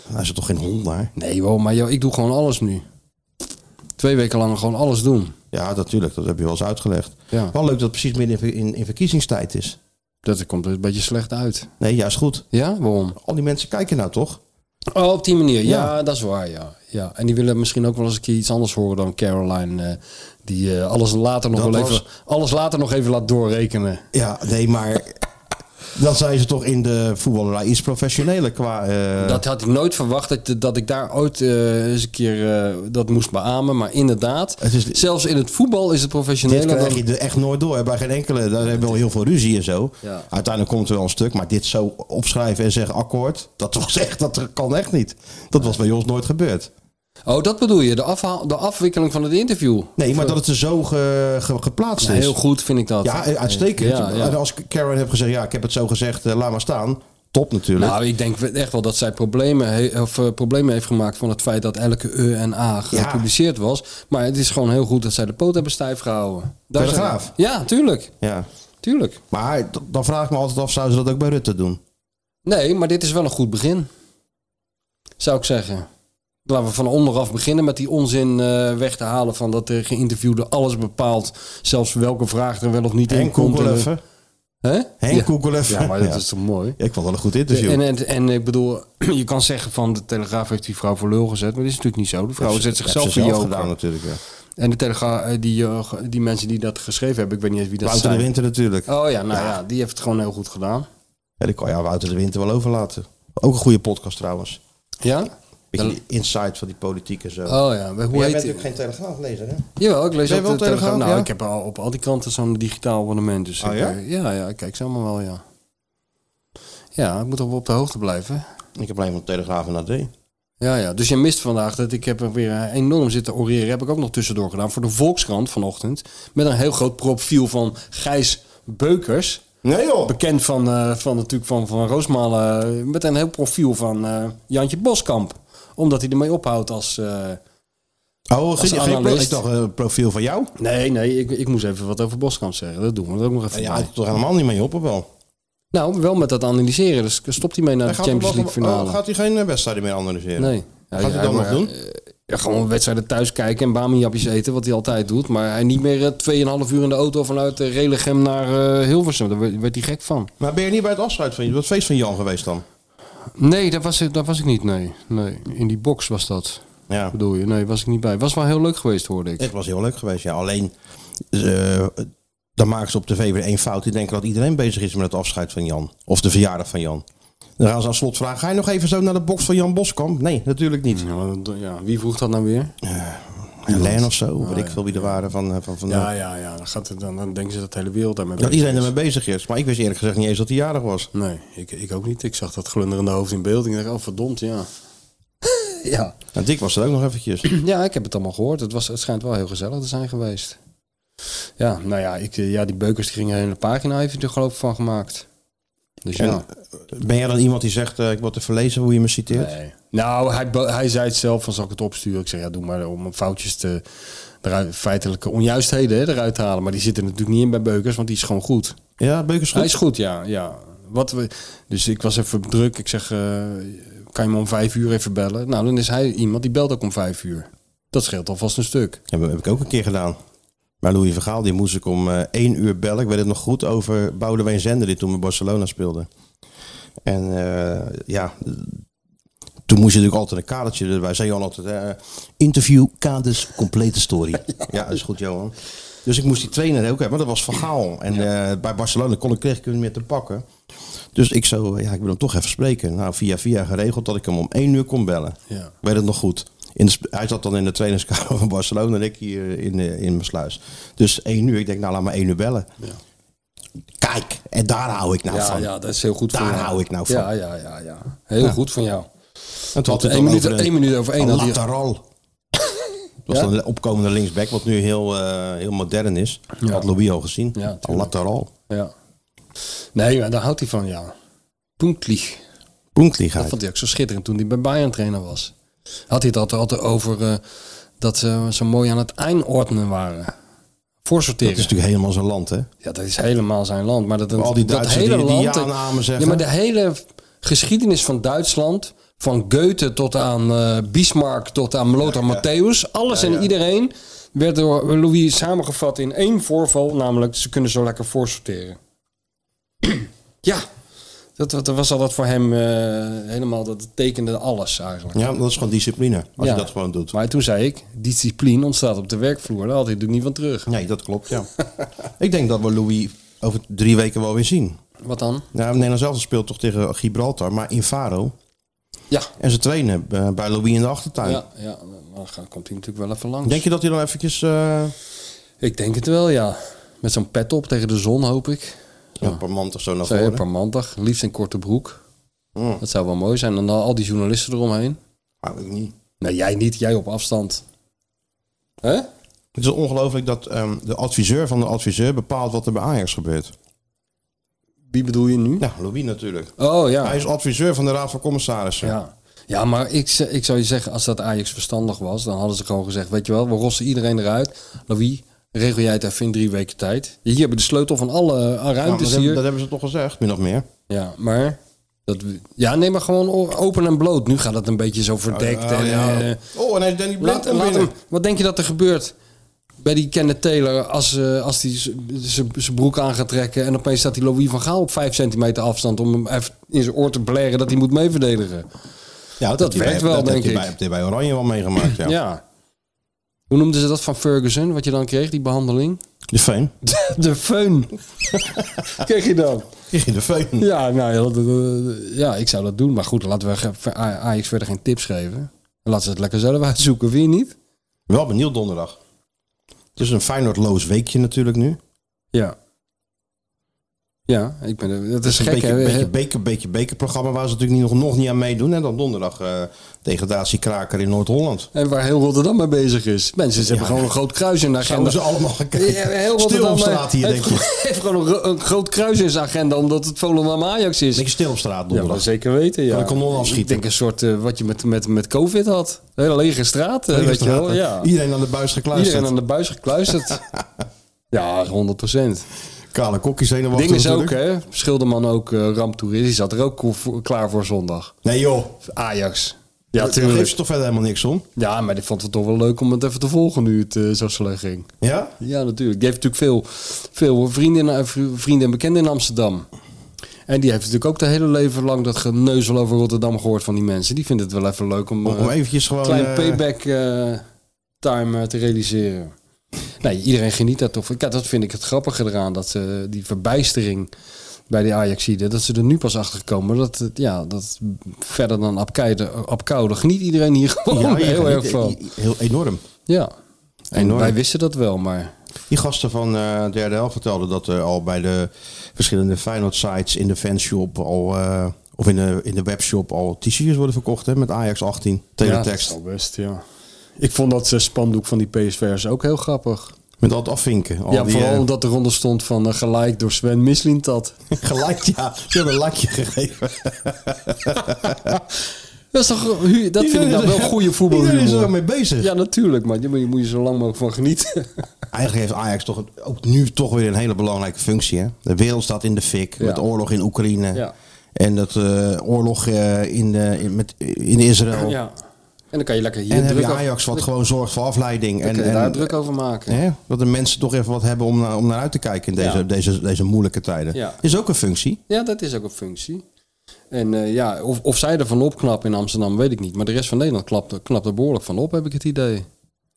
[SPEAKER 2] Nee, Hij is er toch geen hond daar?
[SPEAKER 3] Nee, joh, maar joh, ik doe gewoon alles nu. Twee weken lang gewoon alles doen.
[SPEAKER 2] Ja, natuurlijk. Dat heb je wel eens uitgelegd.
[SPEAKER 3] Ja.
[SPEAKER 2] Wel leuk dat het precies midden in, in, in verkiezingstijd is.
[SPEAKER 3] Dat komt er een beetje slecht uit.
[SPEAKER 2] Nee, juist goed.
[SPEAKER 3] Ja, waarom?
[SPEAKER 2] Al die mensen kijken nou toch?
[SPEAKER 3] Oh, op die manier. Ja,
[SPEAKER 2] Ja.
[SPEAKER 3] dat is waar, ja. ja. En die willen misschien ook wel eens een keer iets anders horen dan Caroline. eh, die eh, alles, later nog
[SPEAKER 2] Dat
[SPEAKER 3] wel
[SPEAKER 2] was-
[SPEAKER 3] even, alles later nog even laat doorrekenen.
[SPEAKER 2] Ja, nee, maar dan zijn ze toch in de voetballerij iets professioneler qua... eh,
[SPEAKER 3] Dat had ik nooit verwacht, dat, dat ik daar ooit eh, eens een keer eh, dat moest beamen. Maar inderdaad,
[SPEAKER 2] Het is-
[SPEAKER 3] zelfs in het voetbal is
[SPEAKER 2] dit
[SPEAKER 3] het professioneler
[SPEAKER 2] krijg
[SPEAKER 3] dan-
[SPEAKER 2] je er echt nooit door. hè, Bij geen enkele, daar hebben we wel heel veel ruzie en zo.
[SPEAKER 3] Ja.
[SPEAKER 2] Uiteindelijk komt er wel een stuk, maar dit zo opschrijven en zeggen akkoord, dat was echt, dat kan echt niet. Dat was bij ons nooit gebeurd.
[SPEAKER 3] Oh, dat bedoel je? De, afhaal, de afwikkeling van het interview?
[SPEAKER 2] Nee, maar dat het er zo ge- ge- geplaatst
[SPEAKER 3] Ja,
[SPEAKER 2] is.
[SPEAKER 3] heel goed vind ik dat.
[SPEAKER 2] Ja, eh, uitstekend.
[SPEAKER 3] Ja, ja.
[SPEAKER 2] En als Karen heeft gezegd, ja, ik heb het zo gezegd, eh, laat maar staan. Top natuurlijk.
[SPEAKER 3] Nou, ik denk echt wel dat zij problemen, he- of, eh, problemen heeft gemaakt van het feit dat elke E en A gepubliceerd was. Maar het is gewoon heel goed dat zij de poot hebben stijf gehouden. Daar zijn-
[SPEAKER 2] Telegraaf.
[SPEAKER 3] Ja, tuurlijk.
[SPEAKER 2] ja.
[SPEAKER 3] Tuurlijk.
[SPEAKER 2] Maar d- dan vraag ik me altijd af, zouden ze dat ook bij Rutte doen?
[SPEAKER 3] Nee, maar dit is wel een goed begin. Zou ik zeggen. Laten we van onderaf beginnen met die onzin eh, weg te halen van dat de geïnterviewde alles bepaalt. Zelfs welke vraag er wel of niet in
[SPEAKER 2] Henk
[SPEAKER 3] komt.
[SPEAKER 2] Koekel
[SPEAKER 3] En- eh,
[SPEAKER 2] even.
[SPEAKER 3] Hè?
[SPEAKER 2] Henk
[SPEAKER 3] ja.
[SPEAKER 2] Koekel even.
[SPEAKER 3] ja, maar dat
[SPEAKER 2] Ja.
[SPEAKER 3] is toch mooi?
[SPEAKER 2] Ja, ik vond wel een goed interview.
[SPEAKER 3] En, en, en ik bedoel, je kan zeggen van de Telegraaf heeft die vrouw voor lul gezet. Maar dat is natuurlijk niet zo. De vrouw
[SPEAKER 2] Dat
[SPEAKER 3] zet
[SPEAKER 2] heeft
[SPEAKER 3] zichzelf
[SPEAKER 2] ze
[SPEAKER 3] voor
[SPEAKER 2] zelf
[SPEAKER 3] joker.
[SPEAKER 2] gedaan natuurlijk. Ja.
[SPEAKER 3] En de Telegraaf, eh, die, eh, ge- die mensen die dat geschreven hebben, ik weet niet eens wie dat
[SPEAKER 2] Wouter de
[SPEAKER 3] zijn.
[SPEAKER 2] Winter natuurlijk.
[SPEAKER 3] Oh ja, nou ja. die heeft het gewoon heel goed gedaan.
[SPEAKER 2] Ja, die kan je aan Wouter de Winter wel overlaten. Ook een goede podcast trouwens.
[SPEAKER 3] Ja?
[SPEAKER 2] Beetje
[SPEAKER 3] Dan-
[SPEAKER 2] die insight van die politiek en zo.
[SPEAKER 3] Oh ja,
[SPEAKER 2] Jij
[SPEAKER 3] maar hoe
[SPEAKER 2] bent
[SPEAKER 3] heet die?
[SPEAKER 2] natuurlijk geen telegraaflezer, hè?
[SPEAKER 3] Jawel, ik lees
[SPEAKER 2] Ben
[SPEAKER 3] ook
[SPEAKER 2] je
[SPEAKER 3] de
[SPEAKER 2] wel
[SPEAKER 3] Telegraaf.
[SPEAKER 2] Telegraaf,
[SPEAKER 3] Nou,
[SPEAKER 2] ja?
[SPEAKER 3] ik heb al, op al die kranten zo'n digitaal abonnement. Dus
[SPEAKER 2] Oh
[SPEAKER 3] ik,
[SPEAKER 2] ja?
[SPEAKER 3] eh, ja, ja, ik kijk ze allemaal wel, ja. Ja, ik moet toch wel op de hoogte blijven.
[SPEAKER 2] Ik heb alleen van Telegraaf en AD.
[SPEAKER 3] Ja, ja. Dus je mist vandaag dat ik heb er weer eh, enorm zitten oreren. Heb ik ook nog tussendoor gedaan voor de Volkskrant vanochtend. Met een heel groot profiel van Gijs Beukers.
[SPEAKER 2] Nee joh!
[SPEAKER 3] Bekend van, eh, van natuurlijk van, van Roosmalen. eh, Met een heel profiel van eh, Jantje Boskamp. Omdat hij ermee ophoudt als... eh,
[SPEAKER 2] Oh, geen, geen pro-
[SPEAKER 3] analist.
[SPEAKER 2] ik dacht een profiel van jou?
[SPEAKER 3] Nee, nee, ik, ik moest even wat over Boskamp zeggen. Dat doen we er ook nog even
[SPEAKER 2] Ja,
[SPEAKER 3] bij.
[SPEAKER 2] hij houdt er toch helemaal niet mee op, of wel?
[SPEAKER 3] Nou, wel met dat analyseren. Dus stopt hij mee naar
[SPEAKER 2] Hij
[SPEAKER 3] de Champions
[SPEAKER 2] toch wel-
[SPEAKER 3] League finale.
[SPEAKER 2] oh, gaat hij geen eh, wedstrijden meer analyseren?
[SPEAKER 3] Nee. Ja,
[SPEAKER 2] Gaat hij dan nog
[SPEAKER 3] maar,
[SPEAKER 2] doen?
[SPEAKER 3] ja, gewoon wedstrijden thuis kijken en bamiapjes eten, wat hij altijd doet. Maar hij niet meer eh, 2,5 uur in de auto vanuit eh, Relegem naar eh, Hilversum. Daar werd, werd hij gek van.
[SPEAKER 2] Maar ben je niet bij het afscheid van het feest van Jan geweest dan?
[SPEAKER 3] Nee, daar was, daar was ik niet. Nee. nee, in die box was dat.
[SPEAKER 2] Ja.
[SPEAKER 3] Bedoel je? Nee, was ik niet bij. Was wel heel leuk geweest, hoorde ik.
[SPEAKER 2] Het was heel leuk geweest, ja. Alleen, eh, dan maken ze op tv weer één fout. Die denken dat iedereen bezig is met het afscheid van Jan. Of de verjaardag van Jan. Dan gaan ze aan slot vragen, ga je nog even zo naar de box van Jan Boskamp? Nee, natuurlijk niet.
[SPEAKER 3] Ja, maar dat- ja, wie vroeg dat nou weer?
[SPEAKER 2] En Len of zo, weet ik veel wie er waren van... eh, van, van
[SPEAKER 3] Ah, Ja, ja, ja. Dan, gaat het, dan, dan denken ze dat de hele wereld daarmee
[SPEAKER 2] Dat
[SPEAKER 3] bezig
[SPEAKER 2] iedereen
[SPEAKER 3] is.
[SPEAKER 2] ermee bezig is. Maar ik wist eerlijk gezegd niet eens dat hij jarig was.
[SPEAKER 3] Nee, ik, ik ook niet. Ik zag dat glunderende hoofd in beeld. Ik dacht, oh verdomd, ja. ja.
[SPEAKER 2] En Nou, Dick was er ook nog eventjes.
[SPEAKER 3] Ja, ik heb het allemaal gehoord. Het, was, het schijnt wel heel gezellig te zijn geweest. Ja, nou ja, ik, eh, ja die beukers die gingen een hele pagina even er geloof ik van gemaakt. Dus
[SPEAKER 2] En,
[SPEAKER 3] ja.
[SPEAKER 2] Ben jij dan iemand die zegt, eh, ik word te verlezen hoe je me citeert?
[SPEAKER 3] Nee. Nou, hij, be- hij zei het zelf van zal ik het opsturen? Ik zeg ja, doe maar om foutjes te eruit, feitelijke onjuistheden hè, eruit te halen. Maar die zitten natuurlijk niet in bij Beukers, want die is gewoon goed.
[SPEAKER 2] Ja, Beukers goed?
[SPEAKER 3] Hij is goed, ja. ja. Wat we, dus ik was even druk. Ik zeg, eh, kan je me om vijf uur even bellen? Nou, dan is hij iemand die belt ook om vijf uur. Dat scheelt alvast een stuk.
[SPEAKER 2] Ja, maar dat heb ik ook een keer gedaan. Maar Louis Vergaal, die moest ik om eh, één uur bellen. Ik weet het nog goed over Boudewijn Zender, die toen met Barcelona speelde. En eh, ja, toen moest je natuurlijk altijd een kadertje erbij. Zei Johan altijd, eh, interview, kaders, complete story. ja. dat is goed Johan. Dus ik moest die trainer ook hebben, maar dat was Vergaal. En eh, bij Barcelona kon ik, kreeg ik hem niet meer te pakken. Dus ik zo, ja, ik wil hem toch even spreken. Nou, via via geregeld dat ik hem om één uur kon bellen.
[SPEAKER 3] Ja.
[SPEAKER 2] Ik weet het nog goed. In de sp- hij zat dan in de trainingskamer van Barcelona en ik hier in, eh, in mijn sluis. Dus één uur. Ik denk, nou laat maar één uur bellen. Kijk, en daar hou ik nou
[SPEAKER 3] Ja,
[SPEAKER 2] van.
[SPEAKER 3] ja, dat is heel goed
[SPEAKER 2] Daar
[SPEAKER 3] van jou.
[SPEAKER 2] hou ik nou van.
[SPEAKER 3] Ja, ja, ja. ja. Heel goed van jou.
[SPEAKER 2] En toen had het
[SPEAKER 3] Eén
[SPEAKER 2] dan
[SPEAKER 3] minuut-
[SPEAKER 2] over een-
[SPEAKER 3] één minuut over één
[SPEAKER 2] Een
[SPEAKER 3] had hij-
[SPEAKER 2] lateral. Dat was
[SPEAKER 3] Ja?
[SPEAKER 2] dan een opkomende linksback, wat nu heel, eh, heel modern is. Dat had Louis al gezien.
[SPEAKER 3] Ja,
[SPEAKER 2] Een
[SPEAKER 3] tuurlijk.
[SPEAKER 2] lateral.
[SPEAKER 3] Ja. Nee, maar daar houdt hij van, ja. Puntlich. Dat
[SPEAKER 2] Punktligheid.
[SPEAKER 3] vond hij ook zo schitterend toen hij bij Bayern trainer was. Had hij dat er altijd over eh, dat ze zo mooi aan het einordnen waren.
[SPEAKER 2] Dat
[SPEAKER 3] Voorsorteren.
[SPEAKER 2] is natuurlijk helemaal zijn land, hè?
[SPEAKER 3] Ja, dat is helemaal zijn land. Maar dat,
[SPEAKER 2] Al die
[SPEAKER 3] dat
[SPEAKER 2] Duitsers
[SPEAKER 3] hele
[SPEAKER 2] die- die
[SPEAKER 3] land.
[SPEAKER 2] ja-namen zeggen.
[SPEAKER 3] Ja, maar de hele geschiedenis van Duitsland. Van Goethe tot aan eh, Bismarck tot aan Lothar Matthäus. Alles en iedereen werd door Louis samengevat in één voorval. Namelijk, ze kunnen zo lekker voorsorteren. ja, dat, dat was al dat voor hem eh, helemaal. Dat tekende alles eigenlijk.
[SPEAKER 2] Ja, dat is gewoon discipline. Als
[SPEAKER 3] Ja.
[SPEAKER 2] je dat gewoon doet.
[SPEAKER 3] Maar toen zei ik, discipline ontstaat op de werkvloer. Daar had hij natuurlijk niet van terug.
[SPEAKER 2] Nee, dat klopt, ja. ik denk dat we Louis over drie weken wel weer zien.
[SPEAKER 3] Wat dan?
[SPEAKER 2] Nou, Nederland zelf speelt toch tegen Gibraltar, maar in Faro.
[SPEAKER 3] Ja.
[SPEAKER 2] En ze trainen eh, bij Louis in de achtertuin.
[SPEAKER 3] Ja, ja, dan gaat- komt hij natuurlijk wel even langs.
[SPEAKER 2] Denk je dat hij dan eventjes... eh
[SPEAKER 3] Ik denk het wel, ja. Met zo'n pet op tegen de zon, hoop ik.
[SPEAKER 2] Een paar man of zo naar
[SPEAKER 3] Zo heel
[SPEAKER 2] voren.
[SPEAKER 3] parmantig. Liefst een korte broek.
[SPEAKER 2] Mm.
[SPEAKER 3] Hmm. Dat zou wel mooi zijn. En dan al die journalisten eromheen.
[SPEAKER 2] Hou Ah, ik niet.
[SPEAKER 3] Nee, jij niet. Jij op afstand. Hè?
[SPEAKER 2] Het is ongelooflijk dat ehm, de adviseur van de adviseur bepaalt wat er bij Ajax gebeurt.
[SPEAKER 3] Wie bedoel je nu?
[SPEAKER 2] Nou, Louis natuurlijk.
[SPEAKER 3] Oh ja.
[SPEAKER 2] Hij is adviseur van de Raad van Commissarissen.
[SPEAKER 3] Ja, ja maar ik, z- ik zou je zeggen, als dat Ajax verstandig was, dan hadden ze gewoon gezegd, weet je wel, we rossen iedereen eruit. Louis, regel jij het even in drie weken tijd. Hier hebben we de sleutel van alle eh,
[SPEAKER 2] Nou, dat,
[SPEAKER 3] ruimtes
[SPEAKER 2] hebben,
[SPEAKER 3] hier.
[SPEAKER 2] dat hebben ze toch gezegd, min of meer.
[SPEAKER 3] Ja, maar... Dat, we- ja, nee, maar gewoon o- open en bloot. Nu gaat het een beetje zo verdekt. en, eh,
[SPEAKER 2] Oh, en hij is Danny
[SPEAKER 3] laat,
[SPEAKER 2] Blind aan
[SPEAKER 3] laat
[SPEAKER 2] binnen.
[SPEAKER 3] hem, wat denk je dat er gebeurt bij die Kenneth Taylor als, eh, als hij zijn broek aan gaat trekken... en opeens staat die Louis van Gaal op vijf centimeter afstand... om hem even in zijn oor te blaren dat hij moet meeverdedigen.
[SPEAKER 2] Ja, dat,
[SPEAKER 3] werkt
[SPEAKER 2] heeft hij
[SPEAKER 3] wel,
[SPEAKER 2] bij- dat heeft
[SPEAKER 3] denk
[SPEAKER 2] hij Bij,
[SPEAKER 3] ik.
[SPEAKER 2] dat heeft hij bij Oranje wel meegemaakt, ja.
[SPEAKER 3] Ja. Hoe noemden ze dat van Ferguson, wat je dan kreeg, die behandeling?
[SPEAKER 2] De feun.
[SPEAKER 3] De feun. kreeg je dan?
[SPEAKER 2] De feun.
[SPEAKER 3] Ja, nou ja, dat- dat- dat- ja, ik zou dat doen. Maar goed, laten we ge- ver- A- Ajax verder geen tips geven. Laten ze het lekker zelf uitzoeken, vind je niet?
[SPEAKER 2] Wel benieuwd donderdag. Het is een Feyenoordloos weekje natuurlijk nu.
[SPEAKER 3] Ja. Ja, ik ben er- Dat
[SPEAKER 2] Het
[SPEAKER 3] is
[SPEAKER 2] is een
[SPEAKER 3] gek,
[SPEAKER 2] beetje,
[SPEAKER 3] hè?
[SPEAKER 2] beetje, beker, beetje bekerprogramma waar ze natuurlijk nog, nog niet aan meedoen. En dan donderdag eh degradatiekraker in Noord-Holland.
[SPEAKER 3] En waar heel Rotterdam mee bezig is. Mensen, ze hebben gewoon een groot kruis in de agenda.
[SPEAKER 2] Zouden ze allemaal gaan kijken.
[SPEAKER 3] Ja, heel
[SPEAKER 2] Stil
[SPEAKER 3] Rotterdam,
[SPEAKER 2] op
[SPEAKER 3] eh,
[SPEAKER 2] straat hier,
[SPEAKER 3] heeft
[SPEAKER 2] denk je.
[SPEAKER 3] gewoon- heeft gewoon een, ro- een groot kruis in zijn agenda, omdat het Volendam Ajax is.
[SPEAKER 2] Niks stil op straat
[SPEAKER 3] Ja, maar
[SPEAKER 2] donderdag.
[SPEAKER 3] zeker weten, ja.
[SPEAKER 2] Kan ik hem nog afschieten?
[SPEAKER 3] Ik denk een soort eh, wat je met, met, met COVID had. Een hele lege straat, eh,
[SPEAKER 2] Iedereen
[SPEAKER 3] weet je
[SPEAKER 2] straat,
[SPEAKER 3] wel.
[SPEAKER 2] hè?
[SPEAKER 3] Ja.
[SPEAKER 2] Iedereen aan de buis
[SPEAKER 3] Iedereen
[SPEAKER 2] gekluisterd.
[SPEAKER 3] aan de buis gekluisterd. ja, 100 procent.
[SPEAKER 2] Kale kokjes heen en wachten
[SPEAKER 3] Ding is ook,
[SPEAKER 2] natuurlijk.
[SPEAKER 3] hè. Schilderman ook, eh ramptoerist. Die zat er ook ko- voor- klaar voor zondag.
[SPEAKER 2] Nee joh,
[SPEAKER 3] Ajax. Ja,
[SPEAKER 2] daar geeft
[SPEAKER 3] tuurlijk.
[SPEAKER 2] ze toch verder helemaal niks om.
[SPEAKER 3] Ja, maar die vond het toch wel leuk om het even te volgen nu het eh, zo slecht ging.
[SPEAKER 2] Ja?
[SPEAKER 3] Ja, natuurlijk. Die heeft natuurlijk veel, veel vrienden, en- eh, vrienden en bekenden in Amsterdam. En die heeft natuurlijk ook de hele leven lang dat geneuzel over Rotterdam gehoord van die mensen. Die vinden het wel even leuk om,
[SPEAKER 2] Om, om
[SPEAKER 3] eh,
[SPEAKER 2] eventjes gewoon...
[SPEAKER 3] klein
[SPEAKER 2] eh,
[SPEAKER 3] payback eh, time eh, te realiseren. Nee, iedereen geniet daar toch van. Kijk, dat vind ik het grappige eraan. Dat ze die verbijstering bij die Ajaxiden, dat ze er nu pas achter komen. Dat, het- ja, dat verder dan Apkoude, Apkoude geniet iedereen hier gewoon
[SPEAKER 2] ja, je
[SPEAKER 3] Oh, heel
[SPEAKER 2] geniet,
[SPEAKER 3] erg van.
[SPEAKER 2] eh, Heel enorm.
[SPEAKER 3] Ja. En
[SPEAKER 2] Enorm.
[SPEAKER 3] wij wisten dat wel, maar
[SPEAKER 2] Die gasten van eh derde helft vertelden dat er al bij de verschillende Feyenoord sites in de fanshop al eh, of in de, in de webshop al t-shirts worden verkocht hè, met Ajax 18 teletext.
[SPEAKER 3] Ja, dat is wel best, ja. Ik vond dat eh, spandoek van die PSV'ers ook heel grappig.
[SPEAKER 2] Met al het afvinken. Al
[SPEAKER 3] ja,
[SPEAKER 2] die,
[SPEAKER 3] vooral
[SPEAKER 2] eh,
[SPEAKER 3] omdat eronder stond van eh, gelijk door Sven Mislintat.
[SPEAKER 2] geliked, ja. Ze hebben een lakje gegeven.
[SPEAKER 3] Dat is toch, hu- dat vind ik nou wel goede voetbalhumor.
[SPEAKER 2] Iedereen is er wel mee bezig.
[SPEAKER 3] Ja, natuurlijk, maar daar moet je, moet je zo lang mogelijk van genieten.
[SPEAKER 2] Eigenlijk heeft Ajax toch ook nu toch weer een hele belangrijke functie. Hè? De wereld staat in de fik
[SPEAKER 3] Ja.
[SPEAKER 2] met de oorlog in Oekraïne.
[SPEAKER 3] Ja.
[SPEAKER 2] En dat eh, oorlog eh, in, de, in, met, in Israël.
[SPEAKER 3] En dan kan je lekker hier
[SPEAKER 2] Oh. En heb
[SPEAKER 3] druk
[SPEAKER 2] je
[SPEAKER 3] over-
[SPEAKER 2] Ajax wat
[SPEAKER 3] dan
[SPEAKER 2] gewoon zorgt voor afleiding.
[SPEAKER 3] kan
[SPEAKER 2] En,
[SPEAKER 3] je
[SPEAKER 2] en,
[SPEAKER 3] daar druk over maken.
[SPEAKER 2] Hè? Dat de mensen toch even wat hebben om naar, om naar uit te kijken in deze,
[SPEAKER 3] Ja.
[SPEAKER 2] deze, deze moeilijke tijden.
[SPEAKER 3] Ja.
[SPEAKER 2] Is ook een functie.
[SPEAKER 3] Ja, dat is ook een functie. En eh, ja, of, of zij er van opknappen in Amsterdam, weet ik niet. Maar de rest van Nederland knapt, er- knapt er behoorlijk van op, heb ik het idee.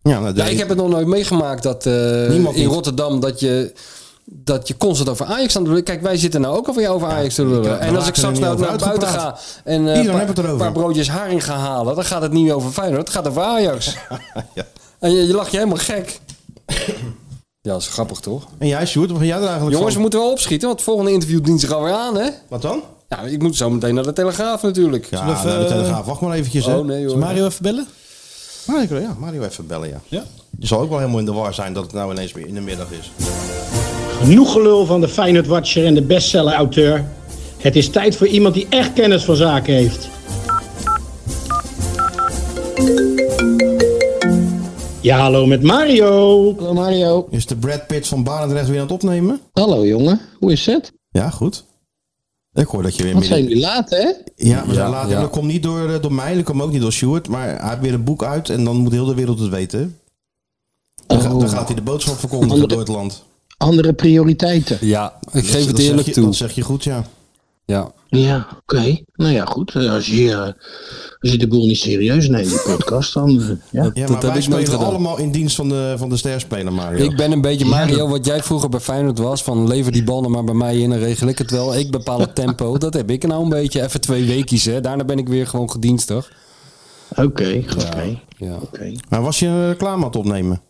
[SPEAKER 2] Ja, nou, de-
[SPEAKER 3] Ja, ik heb het nog nooit meegemaakt dat eh,
[SPEAKER 2] Niemand
[SPEAKER 3] in
[SPEAKER 2] niet.
[SPEAKER 3] Rotterdam dat je dat je constant over Ajax aan de lullen. Kijk, wij zitten nou ook alweer over Ajax te
[SPEAKER 2] ik,
[SPEAKER 3] lullen.
[SPEAKER 2] eh,
[SPEAKER 3] en als
[SPEAKER 2] raken
[SPEAKER 3] ik
[SPEAKER 2] er
[SPEAKER 3] straks
[SPEAKER 2] niet
[SPEAKER 3] nou
[SPEAKER 2] over
[SPEAKER 3] naar buiten ga
[SPEAKER 2] uitgepraat.
[SPEAKER 3] en
[SPEAKER 2] Hier,
[SPEAKER 3] eh,
[SPEAKER 2] dan
[SPEAKER 3] paar-
[SPEAKER 2] hebben we het
[SPEAKER 3] een
[SPEAKER 2] erover.
[SPEAKER 3] paar broodjes haring gaan halen, dan gaat het niet over Feyenoord, het gaat over Ajax. En je, je lacht je helemaal gek. ja, dat is grappig toch?
[SPEAKER 2] En jij, Sjoerd, wat vind jij er eigenlijk
[SPEAKER 3] Jongens,
[SPEAKER 2] van?
[SPEAKER 3] we moeten wel opschieten, want het volgende interview dient zich alweer aan, hè?
[SPEAKER 2] Wat dan?
[SPEAKER 3] Ja, ik moet zo meteen naar de Telegraaf natuurlijk.
[SPEAKER 2] Ja,
[SPEAKER 4] Zullen we
[SPEAKER 2] nou, de
[SPEAKER 4] even-
[SPEAKER 2] Telegraaf, wacht maar eventjes. hè.
[SPEAKER 3] Oh nee hoor.
[SPEAKER 4] Mario even bellen?
[SPEAKER 2] Mario, ja, Mario even bellen, ja.
[SPEAKER 4] Ja.
[SPEAKER 2] Je zal ook wel helemaal in de war zijn dat het nou ineens weer in de middag is.
[SPEAKER 6] Genoeg gelul van de Feyenoord Watcher en de bestseller-auteur. Het is tijd voor iemand die echt kennis van zaken heeft. Ja, hallo met Mario.
[SPEAKER 7] Hallo Mario.
[SPEAKER 2] Is de Brad Pitt van Barendrecht weer aan het opnemen?
[SPEAKER 7] Hallo jongen, hoe is het?
[SPEAKER 2] Ja, goed. Ik hoor dat je weer
[SPEAKER 7] Wat
[SPEAKER 2] midden-
[SPEAKER 7] zijn jullie laat hè?
[SPEAKER 2] Ja, we zijn laat.
[SPEAKER 3] ja.
[SPEAKER 2] En dat komt niet door, eh, door mij, dat komt ook niet door Sjoerd. Maar hij heeft weer een boek uit en dan moet heel de wereld het weten. Dan, ga-
[SPEAKER 7] Oh.
[SPEAKER 2] dan gaat hij de boodschap verkondigen
[SPEAKER 7] Andere-
[SPEAKER 2] door het land.
[SPEAKER 7] Andere prioriteiten.
[SPEAKER 3] Ja, ik geef
[SPEAKER 2] Dat
[SPEAKER 3] het
[SPEAKER 2] zeg
[SPEAKER 3] eerlijk
[SPEAKER 2] je-
[SPEAKER 3] toe.
[SPEAKER 2] Dat zeg je goed, ja.
[SPEAKER 3] Ja.
[SPEAKER 7] Ja, oké. Nou ja, goed. Eh, Als je, eh, als je de boel niet serieus neemt, die podcast, dan... eh, ja.
[SPEAKER 2] Ja, maar
[SPEAKER 3] Dat heb
[SPEAKER 2] wij
[SPEAKER 3] ik nooit
[SPEAKER 2] spelen
[SPEAKER 3] gedaan.
[SPEAKER 2] allemaal in dienst van de, van de sterspeler, Mario.
[SPEAKER 3] Ik ben een beetje Mario, wat jij vroeger bij Feyenoord was. Van lever die bal er maar bij mij in en regel ik het wel. Ik bepaal het tempo. Dat heb ik nou een beetje. Even twee weekjes hè. Daarna ben ik weer gewoon gedienstig.
[SPEAKER 7] Oké, oké.
[SPEAKER 3] Ja.
[SPEAKER 7] oké.
[SPEAKER 2] Maar was je een reclame aan het opnemen?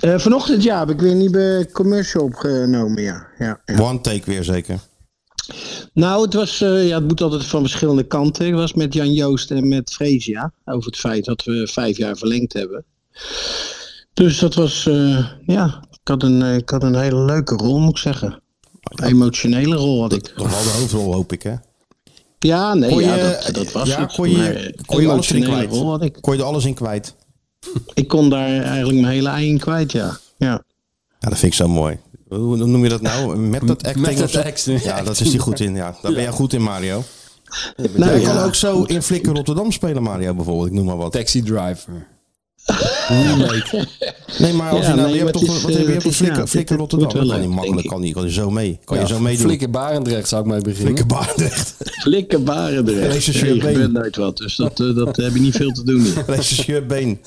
[SPEAKER 7] Eh, vanochtend ja, heb ik weer een nieuwe commercial opgenomen, ja. ja, ja.
[SPEAKER 2] One take weer zeker.
[SPEAKER 7] Nou, het, was, eh, ja, het moet altijd van verschillende kanten. Het was met Jan Joost en met Fresia over het feit dat we vijf jaar verlengd hebben. Dus dat was, eh, ja, ik had, een, eh, ik had een hele leuke rol, moet ik zeggen. Een emotionele rol had ik.
[SPEAKER 2] Toch wel de hoofdrol, hoop ik, hè?
[SPEAKER 7] Ja, nee,
[SPEAKER 2] Kon
[SPEAKER 7] ja,
[SPEAKER 2] je-
[SPEAKER 7] dat, dat was
[SPEAKER 2] ja,
[SPEAKER 7] het.
[SPEAKER 2] kon je-
[SPEAKER 7] Maar, eh,
[SPEAKER 2] kon je alles erin
[SPEAKER 7] emotionele
[SPEAKER 2] kwijt?
[SPEAKER 7] rol had ik.
[SPEAKER 2] Kon je er alles in kwijt?
[SPEAKER 7] Ik kon daar eigenlijk mijn hele ei in kwijt, ja. ja.
[SPEAKER 2] Ja, dat vind ik zo mooi. Hoe hoe noem je dat nou? Met dat acting?
[SPEAKER 3] Method
[SPEAKER 2] of zo?
[SPEAKER 3] acting.
[SPEAKER 2] Ja, dat is die goed in. Ja. Daar ben jij goed in, Mario.
[SPEAKER 7] Nou,
[SPEAKER 2] je
[SPEAKER 7] ja.
[SPEAKER 2] kan ook zo in Flikker Rotterdam spelen, Mario, bijvoorbeeld. Ik noem maar wat.
[SPEAKER 3] Taxi driver.
[SPEAKER 2] Nee, maar als
[SPEAKER 7] Ja,
[SPEAKER 2] je nou,
[SPEAKER 7] nee,
[SPEAKER 2] je hebt
[SPEAKER 7] maar
[SPEAKER 2] toch,
[SPEAKER 7] het is,
[SPEAKER 2] wat heb je
[SPEAKER 7] eh,
[SPEAKER 2] hebt
[SPEAKER 7] het
[SPEAKER 2] een
[SPEAKER 7] is,
[SPEAKER 2] Flikker,
[SPEAKER 7] ja,
[SPEAKER 2] Flikker
[SPEAKER 7] het-
[SPEAKER 2] Rotterdam?
[SPEAKER 7] het moet wel
[SPEAKER 2] Dat kan niet
[SPEAKER 7] leuk,
[SPEAKER 2] makkelijk,
[SPEAKER 7] denk
[SPEAKER 2] kan, niet, kan je zo mee. Kan je zo meedoen.
[SPEAKER 3] Flikker Barendrecht zou ik mee beginnen.
[SPEAKER 2] Flikker Barendrecht.
[SPEAKER 7] Flikke baren er.
[SPEAKER 2] Lees je
[SPEAKER 7] Nee,
[SPEAKER 2] shirt
[SPEAKER 7] er
[SPEAKER 2] mee.
[SPEAKER 7] gebeurt nooit wat, dus dat, eh, dat heb je niet veel te doen. hier.
[SPEAKER 2] Dat is je shirtbeen.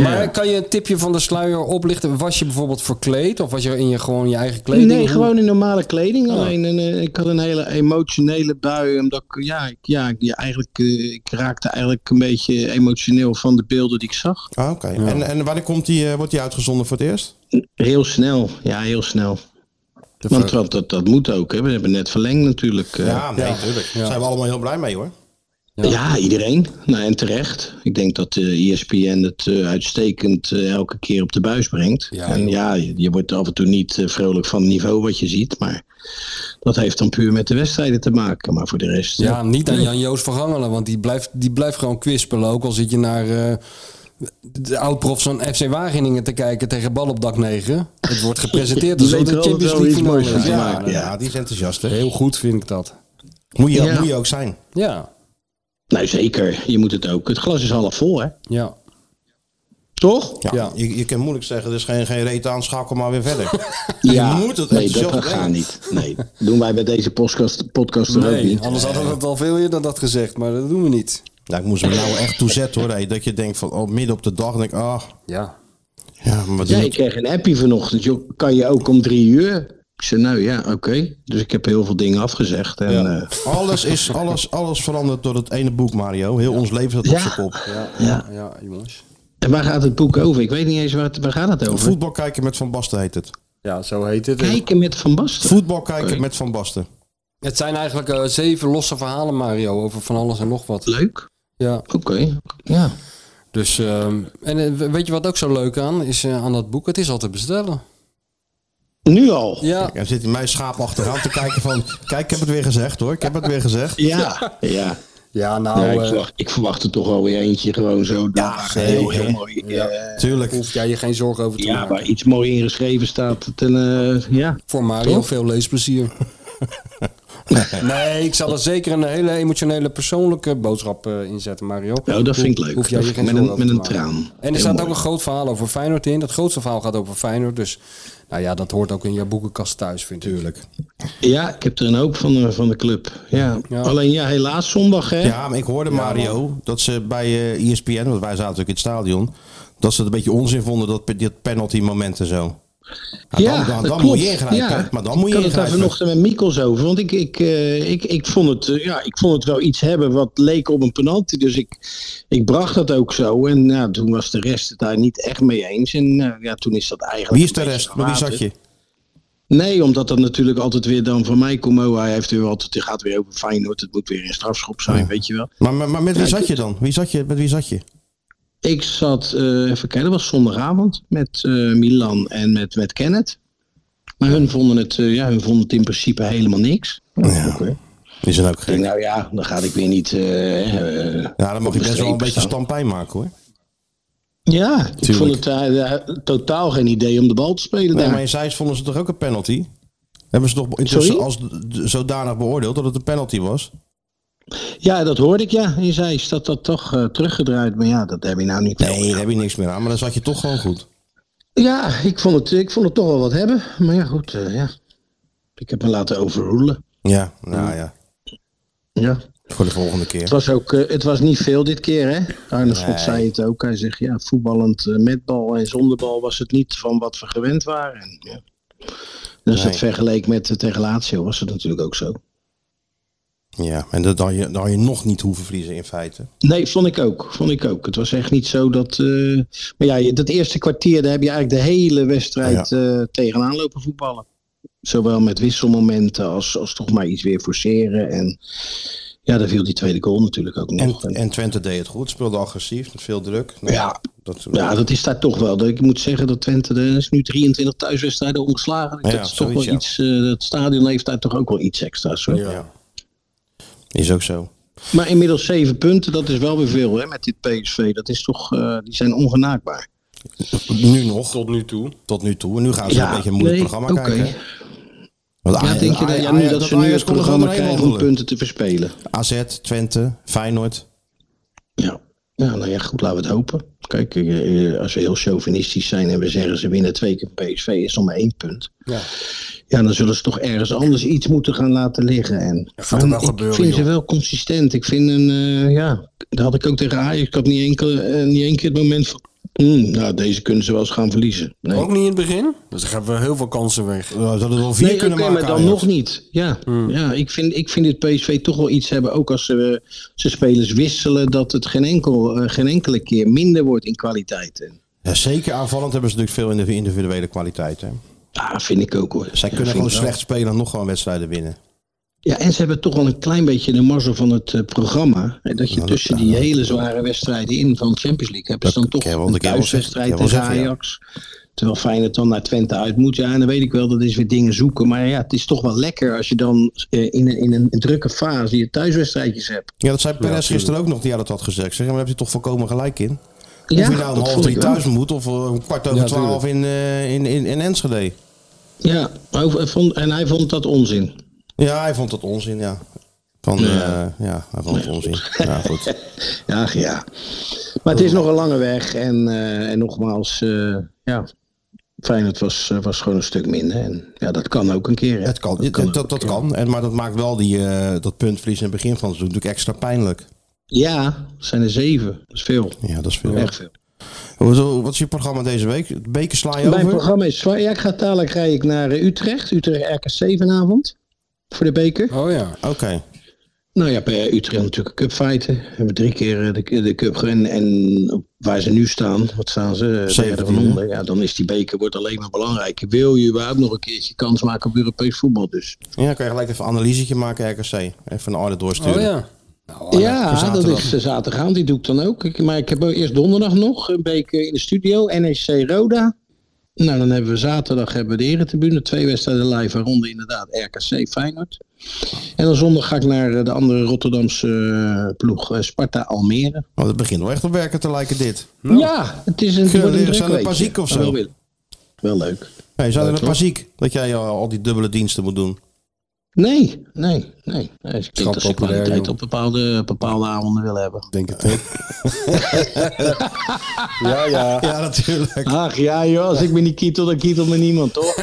[SPEAKER 3] Maar kan je een tipje van de sluier oplichten? Was je bijvoorbeeld verkleed? Of was je in je, gewoon je eigen kleding?
[SPEAKER 7] Nee,
[SPEAKER 3] Hoe-
[SPEAKER 7] gewoon in normale kleding. Alleen een, eh, ik had een hele emotionele bui. Omdat ik, ja, ik, ja, ik- ja, eigenlijk, eh, ik raakte eigenlijk een beetje emotioneel van de beelden die ik zag.
[SPEAKER 2] Ah, Oké. En, en wanneer komt die, eh, wordt die uitgezonden voor het eerst?
[SPEAKER 7] Heel snel, ja, heel snel.
[SPEAKER 3] De
[SPEAKER 7] Want,
[SPEAKER 3] ver-
[SPEAKER 7] want dat, dat moet ook. Hè. We hebben net verlengd natuurlijk. eh.
[SPEAKER 2] Ja, nee, natuurlijk. Daar zijn we allemaal heel blij mee, hoor.
[SPEAKER 7] Ja. iedereen. Nou, en terecht. Ik denk dat eh ESPN het eh, uitstekend eh, elke keer op de buis brengt.
[SPEAKER 3] Ja,
[SPEAKER 7] en
[SPEAKER 3] joh.
[SPEAKER 7] ja, je, je wordt af en toe niet eh, vrolijk van het niveau wat je ziet. Maar dat heeft dan puur met de wedstrijden te maken. Maar voor de rest. eh,
[SPEAKER 3] Ja, niet aan Jan-Joost van Gangelen, want die blijft, die blijft gewoon kwispelen. Ook al zit je naar eh, de oud-profs van FC Wageningen te kijken tegen bal op dak 9. Het wordt gepresenteerd
[SPEAKER 7] Die
[SPEAKER 3] alsof de
[SPEAKER 7] weten altijd
[SPEAKER 3] Champions
[SPEAKER 7] wel
[SPEAKER 3] League
[SPEAKER 7] iets
[SPEAKER 3] finale
[SPEAKER 7] moois van
[SPEAKER 3] is.
[SPEAKER 7] te
[SPEAKER 3] Ja,
[SPEAKER 7] maken,
[SPEAKER 2] Ja,
[SPEAKER 7] ja.
[SPEAKER 2] die is enthousiast, hè?
[SPEAKER 3] heel goed vind ik dat.
[SPEAKER 2] Moet je,
[SPEAKER 7] Ja.
[SPEAKER 2] moet je ook zijn.
[SPEAKER 3] Ja,
[SPEAKER 7] Nou, zeker. Je moet het ook. Het glas is half vol, hè?
[SPEAKER 3] ja.
[SPEAKER 7] Toch?
[SPEAKER 2] Ja, Je, je kan moeilijk zeggen, er is geen, geen reet aan, schakel maar weer verder. Je moet het
[SPEAKER 7] nee,
[SPEAKER 2] enthousiast
[SPEAKER 7] dat gaat
[SPEAKER 2] brengen.
[SPEAKER 7] niet. Nee, doen wij bij deze podcast, podcast er ook
[SPEAKER 3] Nee,
[SPEAKER 7] niet.
[SPEAKER 3] anders hadden we het al veel eerder dat gezegd, maar dat doen we niet.
[SPEAKER 2] Nou, ik moest me nou echt toezetten, hoor. hè. dat je denkt van, oh, midden op de dag, denk ik, ah,
[SPEAKER 3] Ja.
[SPEAKER 2] ja, maar wat
[SPEAKER 7] Ja,
[SPEAKER 2] doe
[SPEAKER 7] ik
[SPEAKER 2] ik?
[SPEAKER 7] kreeg een appje vanochtend. Joh, kan je ook om drie uur? Ik zei, nou ja, oké. Dus ik heb heel veel dingen afgezegd. En, eh, ja.
[SPEAKER 2] Alles is, alles, alles verandert door dat ene boek, Mario. Heel ons leven staat op
[SPEAKER 7] Ja.
[SPEAKER 2] zijn kop.
[SPEAKER 3] Ja, ja.
[SPEAKER 7] Ja.
[SPEAKER 3] ja jongens.
[SPEAKER 7] En waar gaat het boek over? Ik weet niet eens waar, het- waar gaat het over.
[SPEAKER 2] Voetbal kijken met Van Basten heet het.
[SPEAKER 3] Ja, zo heet het.
[SPEAKER 7] Kijken met Van Basten.
[SPEAKER 2] Voetbal kijken met Van Basten.
[SPEAKER 3] Het zijn eigenlijk eh, zeven losse verhalen, Mario, over van alles en nog wat.
[SPEAKER 7] Leuk.
[SPEAKER 3] Ja.
[SPEAKER 7] Oké. Ja.
[SPEAKER 3] Dus, ehm, en eh, weet je wat ook zo leuk aan is eh, aan dat boek? Het is al te bestellen.
[SPEAKER 7] Nu al.
[SPEAKER 3] Ja,
[SPEAKER 2] En zit in mijn schaap achteraan te kijken van, kijk, ik heb het weer gezegd, hoor. Ik heb het weer gezegd.
[SPEAKER 7] Ja. Ja.
[SPEAKER 3] ja nou,
[SPEAKER 7] Ja, ik,
[SPEAKER 3] eh,
[SPEAKER 7] verwacht, ik verwacht er toch wel weer eentje gewoon zo. Ja, heel, heel mooi. eh,
[SPEAKER 2] Tuurlijk.
[SPEAKER 3] hoef jij je geen zorgen over te
[SPEAKER 7] ja,
[SPEAKER 3] maken.
[SPEAKER 7] waar iets mooi ingeschreven staat. Ten, eh, ja.
[SPEAKER 3] Voor Mario veel leesplezier. nee, ik zal er zeker een hele emotionele persoonlijke boodschap eh, in zetten, Mario.
[SPEAKER 7] Nou, dat vind ik leuk.
[SPEAKER 3] Hoef jij je
[SPEAKER 7] Dat-
[SPEAKER 3] geen
[SPEAKER 7] met
[SPEAKER 3] zorgen
[SPEAKER 7] een,
[SPEAKER 3] over
[SPEAKER 7] met
[SPEAKER 3] te
[SPEAKER 7] een
[SPEAKER 3] maken.
[SPEAKER 7] traan.
[SPEAKER 3] En er
[SPEAKER 7] Heel
[SPEAKER 3] staat ook
[SPEAKER 7] mooi.
[SPEAKER 3] een groot verhaal over Feyenoord in. Dat grootste verhaal gaat over Feyenoord. Dus nou ja, dat hoort ook in jouw boekenkast thuis, vind ik. Tuurlijk.
[SPEAKER 7] Ja, ik heb er een hoop van de, van de club. Ja.
[SPEAKER 3] Ja.
[SPEAKER 7] Alleen ja, helaas zondag hè.
[SPEAKER 2] Ja, maar ik hoorde Mario dat ze bij eh, E ISPN, ESPN, want wij zaten ook in het stadion, dat ze het een beetje onzin vonden dat pe- dit penalty moment en zo. Nou,
[SPEAKER 7] Ja,
[SPEAKER 2] dan dan,
[SPEAKER 7] dat
[SPEAKER 2] dan
[SPEAKER 7] klopt.
[SPEAKER 2] moet je ingrijpen.
[SPEAKER 7] Ja.
[SPEAKER 2] Maar dan moet je
[SPEAKER 7] Ik had het daar
[SPEAKER 2] ingrijpen.
[SPEAKER 7] vanochtend met Mikkels over. Want ik, ik, eh, ik, ik, vond het, eh, ja, ik vond het wel iets hebben wat leek op een penalty. Dus ik, ik bracht dat ook zo. En nou, toen was de rest het daar niet echt mee eens. En nou, ja, toen is dat eigenlijk...
[SPEAKER 2] Wie is de
[SPEAKER 7] een
[SPEAKER 2] rest?
[SPEAKER 7] beetje
[SPEAKER 2] Met wie
[SPEAKER 7] verwaterd.
[SPEAKER 2] zat je?
[SPEAKER 7] Nee, omdat dat natuurlijk altijd weer dan van mij komt. Oh, hij heeft weer altijd, het gaat weer over Feyenoord. Het moet weer een strafschop zijn, weet je wel.
[SPEAKER 2] Maar, maar, maar met wie
[SPEAKER 7] Ja, ik-
[SPEAKER 2] zat je dan? Wie zat je? Met wie zat je?
[SPEAKER 7] Ik zat, eh, even kijken, dat was zondagavond met eh, Milan en met, met Kenneth. Maar hun vonden, het, eh, ja, hun vonden het in principe helemaal niks. Oké.
[SPEAKER 2] Die zijn ook
[SPEAKER 7] Ik denk,
[SPEAKER 2] gek.
[SPEAKER 7] nou ja, dan ga ik weer niet. eh, eh,
[SPEAKER 2] Ja, dan mag
[SPEAKER 7] op
[SPEAKER 2] je best wel een
[SPEAKER 7] streep
[SPEAKER 2] beetje
[SPEAKER 7] staan.
[SPEAKER 2] stampijn maken hoor.
[SPEAKER 7] Ja, ik vond het eh, eh, totaal geen idee om de bal te spelen.
[SPEAKER 2] Nee,
[SPEAKER 7] daar.
[SPEAKER 2] maar in Zeist vonden ze toch ook een penalty? Hebben ze toch intussen
[SPEAKER 7] Sorry?
[SPEAKER 2] als d- d- zodanig beoordeeld dat het een penalty was?
[SPEAKER 7] Ja, dat hoorde ik ja. In Zeist dat dat toch eh, teruggedraaid. Maar ja, dat heb je nou niet.
[SPEAKER 2] Nee, daar heb je niks meer aan, maar dan zat je toch gewoon goed.
[SPEAKER 7] Ja, ik vond, het, ik vond het toch wel wat hebben. Maar ja, goed. eh, ja. Ik heb me laten overroelen.
[SPEAKER 2] Ja,
[SPEAKER 7] Hm.
[SPEAKER 2] nou ja.
[SPEAKER 7] Ja.
[SPEAKER 2] Voor de volgende
[SPEAKER 7] Het
[SPEAKER 2] keer.
[SPEAKER 7] was, ook, eh, het was niet veel dit keer, hè? Arne Slot zei het ook. Hij zegt, ja, voetballend eh, met bal en zonder bal was het niet van wat we gewend waren. En, ja. Dus dat vergeleken met de tegen Lazio was het natuurlijk ook zo.
[SPEAKER 2] Ja, en dat had je, dat had je nog niet hoeven vriezen in feite.
[SPEAKER 7] Nee, vond ik ook. Vond ik ook. Het was echt niet zo dat... eh, maar ja, je- dat eerste kwartier, daar heb je eigenlijk de hele wedstrijd eh, tegenaan lopen voetballen. Zowel met wisselmomenten als, als toch maar iets weer forceren. En ja, daar viel die tweede goal natuurlijk ook
[SPEAKER 2] En,
[SPEAKER 7] nog. En-
[SPEAKER 2] en Twente deed het goed. Speelde agressief, met veel druk. Nou,
[SPEAKER 7] ja,
[SPEAKER 2] dat,
[SPEAKER 7] ja, dat is daar toch wel. Ik moet zeggen dat Twente er is nu 23 thuiswedstrijden ongeslagen.
[SPEAKER 2] Ja,
[SPEAKER 7] dat is toch wel
[SPEAKER 2] zoiets, ja.
[SPEAKER 7] iets. eh, het stadion heeft daar toch ook wel iets extra's. Hoor.
[SPEAKER 2] ja. Is ook zo.
[SPEAKER 7] Maar inmiddels zeven punten, dat is wel weer veel hè, met dit PSV. Dat is toch, eh, die zijn ongenaakbaar.
[SPEAKER 2] Nu nog,
[SPEAKER 3] Tot nu toe.
[SPEAKER 2] tot nu toe. En nu gaan ze
[SPEAKER 7] Ja,
[SPEAKER 2] een beetje een moeilijk
[SPEAKER 7] nee,
[SPEAKER 2] programma
[SPEAKER 7] oké.
[SPEAKER 2] krijgen. Want
[SPEAKER 7] Ja,
[SPEAKER 2] Aj-
[SPEAKER 7] denk je dat,
[SPEAKER 2] Aj-
[SPEAKER 7] ja, nu
[SPEAKER 2] Aj-
[SPEAKER 7] dat ze nu
[SPEAKER 2] Ajax
[SPEAKER 7] het
[SPEAKER 2] kon er
[SPEAKER 7] programma
[SPEAKER 2] gewoon doorheen
[SPEAKER 7] krijgen om
[SPEAKER 2] wandelen.
[SPEAKER 7] punten te verspelen?
[SPEAKER 2] AZ, Twente, Feyenoord.
[SPEAKER 7] Ja. ja, nou ja, goed, laten we het hopen. Kijk, eh, eh, als we heel chauvinistisch zijn en we zeggen ze winnen twee keer PSV, is nog maar één punt.
[SPEAKER 3] Ja.
[SPEAKER 7] Ja, dan zullen ze toch ergens anders iets moeten gaan laten liggen. En
[SPEAKER 8] gaat er wel
[SPEAKER 7] ik
[SPEAKER 8] gebeuren,
[SPEAKER 7] vind ze
[SPEAKER 8] joh.
[SPEAKER 7] wel consistent. Ik vind een, eh, ja, dat had ik ook tegen Ajax. Ik had niet enkel, eh, niet één keer het moment van, hmm, nou, deze kunnen ze wel eens gaan verliezen. Nee.
[SPEAKER 3] Ook niet in het begin. Dus dan hebben we heel veel kansen weg.
[SPEAKER 2] We hadden er wel vier
[SPEAKER 7] nee,
[SPEAKER 2] kunnen
[SPEAKER 7] oké,
[SPEAKER 2] maken. Hmm.
[SPEAKER 7] maar dan
[SPEAKER 2] Ajax.
[SPEAKER 7] nog niet. Ja, ja ik, vind, ik vind dit PSV toch wel iets hebben. Ook als ze, eh, ze spelers wisselen, dat het geen, enkel, eh, geen enkele keer minder wordt in kwaliteit. En,
[SPEAKER 2] Ja, zeker aanvallend hebben ze natuurlijk veel in de individuele kwaliteit. Hè.
[SPEAKER 7] ah, vind ik ook hoor.
[SPEAKER 2] Zij
[SPEAKER 7] Ja,
[SPEAKER 2] kunnen
[SPEAKER 7] vind
[SPEAKER 2] gewoon
[SPEAKER 7] ik wel.
[SPEAKER 2] slecht spelen en nog gewoon wedstrijden winnen.
[SPEAKER 7] Ja, en ze hebben toch wel een klein beetje de mazzel van het eh, programma.
[SPEAKER 2] Nou,
[SPEAKER 7] Hè, dat je tussen die hele zware wedstrijden in van Champions League hebt. ze
[SPEAKER 2] Dat
[SPEAKER 7] dan toch
[SPEAKER 2] kan je wel-
[SPEAKER 7] een
[SPEAKER 2] dat kan je wel zeggen.
[SPEAKER 7] thuiswedstrijd
[SPEAKER 2] Kan je wel
[SPEAKER 7] tegen
[SPEAKER 2] zeggen, ja.
[SPEAKER 7] Ajax. Terwijl Feyenoord dan naar Twente uit moet. Ja, en dan weet ik wel, dat is weer dingen zoeken. Maar ja, het is toch wel lekker als je dan eh, in, een, in een drukke fase je thuiswedstrijdjes hebt.
[SPEAKER 2] Ja, dat zei Perez gisteren ook nog, die had het had gezegd. Ik Zeg, maar daar heb je toch volkomen gelijk in.
[SPEAKER 7] Ja,
[SPEAKER 2] of je nou om
[SPEAKER 7] dat
[SPEAKER 2] half
[SPEAKER 7] vond
[SPEAKER 2] drie
[SPEAKER 7] ik wel.
[SPEAKER 2] thuis moet of eh, om kwart over
[SPEAKER 3] Ja,
[SPEAKER 2] twaalf in, eh, in, in, in Enschede.
[SPEAKER 7] Ja, hij vond- en hij vond dat onzin.
[SPEAKER 2] Ja, hij vond dat onzin, ja. Van, ja. ja, hij vond het onzin. Ja, goed.
[SPEAKER 7] Ja, ja. Maar het is nog een lange weg. En, eh, en nogmaals, eh ja, Feyenoord was, eh, was gewoon een stuk minder. En ja, dat kan ook een keer. hè.
[SPEAKER 2] Het kan, dat,
[SPEAKER 7] ook
[SPEAKER 2] dat,
[SPEAKER 7] een keer.
[SPEAKER 2] kan. En, maar dat maakt wel die, eh, dat puntverlies in het begin van het seizoen natuurlijk extra pijnlijk.
[SPEAKER 7] Ja, het zijn er zeven. Dat is veel.
[SPEAKER 2] Ja, dat is veel.
[SPEAKER 7] Echt veel.
[SPEAKER 2] Wat wat is je programma deze week? Het beker sla je
[SPEAKER 7] Mijn
[SPEAKER 2] over?
[SPEAKER 7] programma is zwaar. Ja, ik ga dadelijk rij ik naar eh, Utrecht. Utrecht RKC vanavond. Voor de beker.
[SPEAKER 3] Oh ja.
[SPEAKER 2] Oké.
[SPEAKER 7] Nou ja, bij Utrecht natuurlijk cupfighten. We hebben drie keer eh, de, de cup gewonnen. En op- waar ze nu staan, wat staan ze? Eh, Derde van
[SPEAKER 2] 17e.
[SPEAKER 7] onder. Ja, dan is die beker wordt alleen maar belangrijk. Wil je überhaupt nog een keertje kans maken op Europees voetbal? Dus
[SPEAKER 2] Ja, dan kan je gelijk even een analysetje maken, RKC. Even een audit doorsturen.
[SPEAKER 3] Oh ja. Nou,
[SPEAKER 7] ja, dat
[SPEAKER 2] zaterdag.
[SPEAKER 7] is eh, zaterdagavond. Die doe ik dan ook. Ik- Maar ik heb ook eerst donderdag nog een beker in de studio. NEC Roda. Nou, dan hebben we zaterdag hebben we de Eretribune. Twee wedstrijden live, waaronder inderdaad RKC Feyenoord. En dan zondag ga ik naar eh, de andere Rotterdamse eh, ploeg, eh, Sparta Almere.
[SPEAKER 2] Want het begint wel echt op werken te lijken, dit.
[SPEAKER 7] Ja, het is een,
[SPEAKER 2] Kunnen
[SPEAKER 7] het wordt
[SPEAKER 2] we
[SPEAKER 7] een
[SPEAKER 2] er-
[SPEAKER 7] druk
[SPEAKER 2] zijn er
[SPEAKER 7] weekje.
[SPEAKER 2] paar ziek of zo?
[SPEAKER 7] Maar Wel, wil- wel leuk.
[SPEAKER 2] Nee, zijn er een
[SPEAKER 7] klopt.
[SPEAKER 2] paar ziek dat jij al, al die dubbele diensten moet doen?
[SPEAKER 7] Nee, nee, nee. nee ik denk dat ze
[SPEAKER 3] populair,
[SPEAKER 7] kwaliteit
[SPEAKER 3] joh.
[SPEAKER 7] op bepaalde, bepaalde avonden willen hebben.
[SPEAKER 3] Ik denk het ook. ja, ja.
[SPEAKER 2] Ja, natuurlijk.
[SPEAKER 7] Ach ja, joh, als ik me niet kietel, dan kietel me niemand, toch?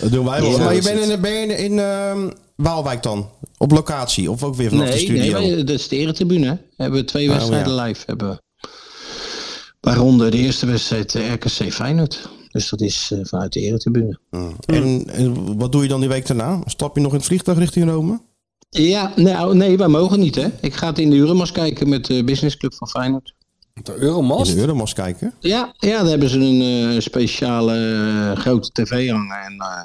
[SPEAKER 2] Dat doen wij wel.
[SPEAKER 7] Ja,
[SPEAKER 2] maar je
[SPEAKER 7] dat
[SPEAKER 2] bent
[SPEAKER 7] is
[SPEAKER 2] in, ben je in, in ehm, Waalwijk dan? Op locatie? Of ook weer vanaf de
[SPEAKER 7] nee,
[SPEAKER 2] studio?
[SPEAKER 7] Nee, wij- dat is de eretribune. hè. Hebben we twee
[SPEAKER 2] Oh,
[SPEAKER 7] wedstrijden live. Hebben. we. Waaronder de eerste wedstrijd eh, RKC Feyenoord. Dus dat is eh, vanuit de eretribune.
[SPEAKER 2] en, en wat doe je dan die week daarna? Stap je nog in het vliegtuig richting Rome?
[SPEAKER 7] Ja, nou, nee, wij mogen niet hè. Ik ga het in de Uremas kijken met de Business Club van Feyenoord.
[SPEAKER 3] De
[SPEAKER 2] In
[SPEAKER 3] Euromast?
[SPEAKER 2] de Euromast kijken?
[SPEAKER 7] Ja, ja daar hebben ze een eh, speciale eh, grote tv hangen. En eh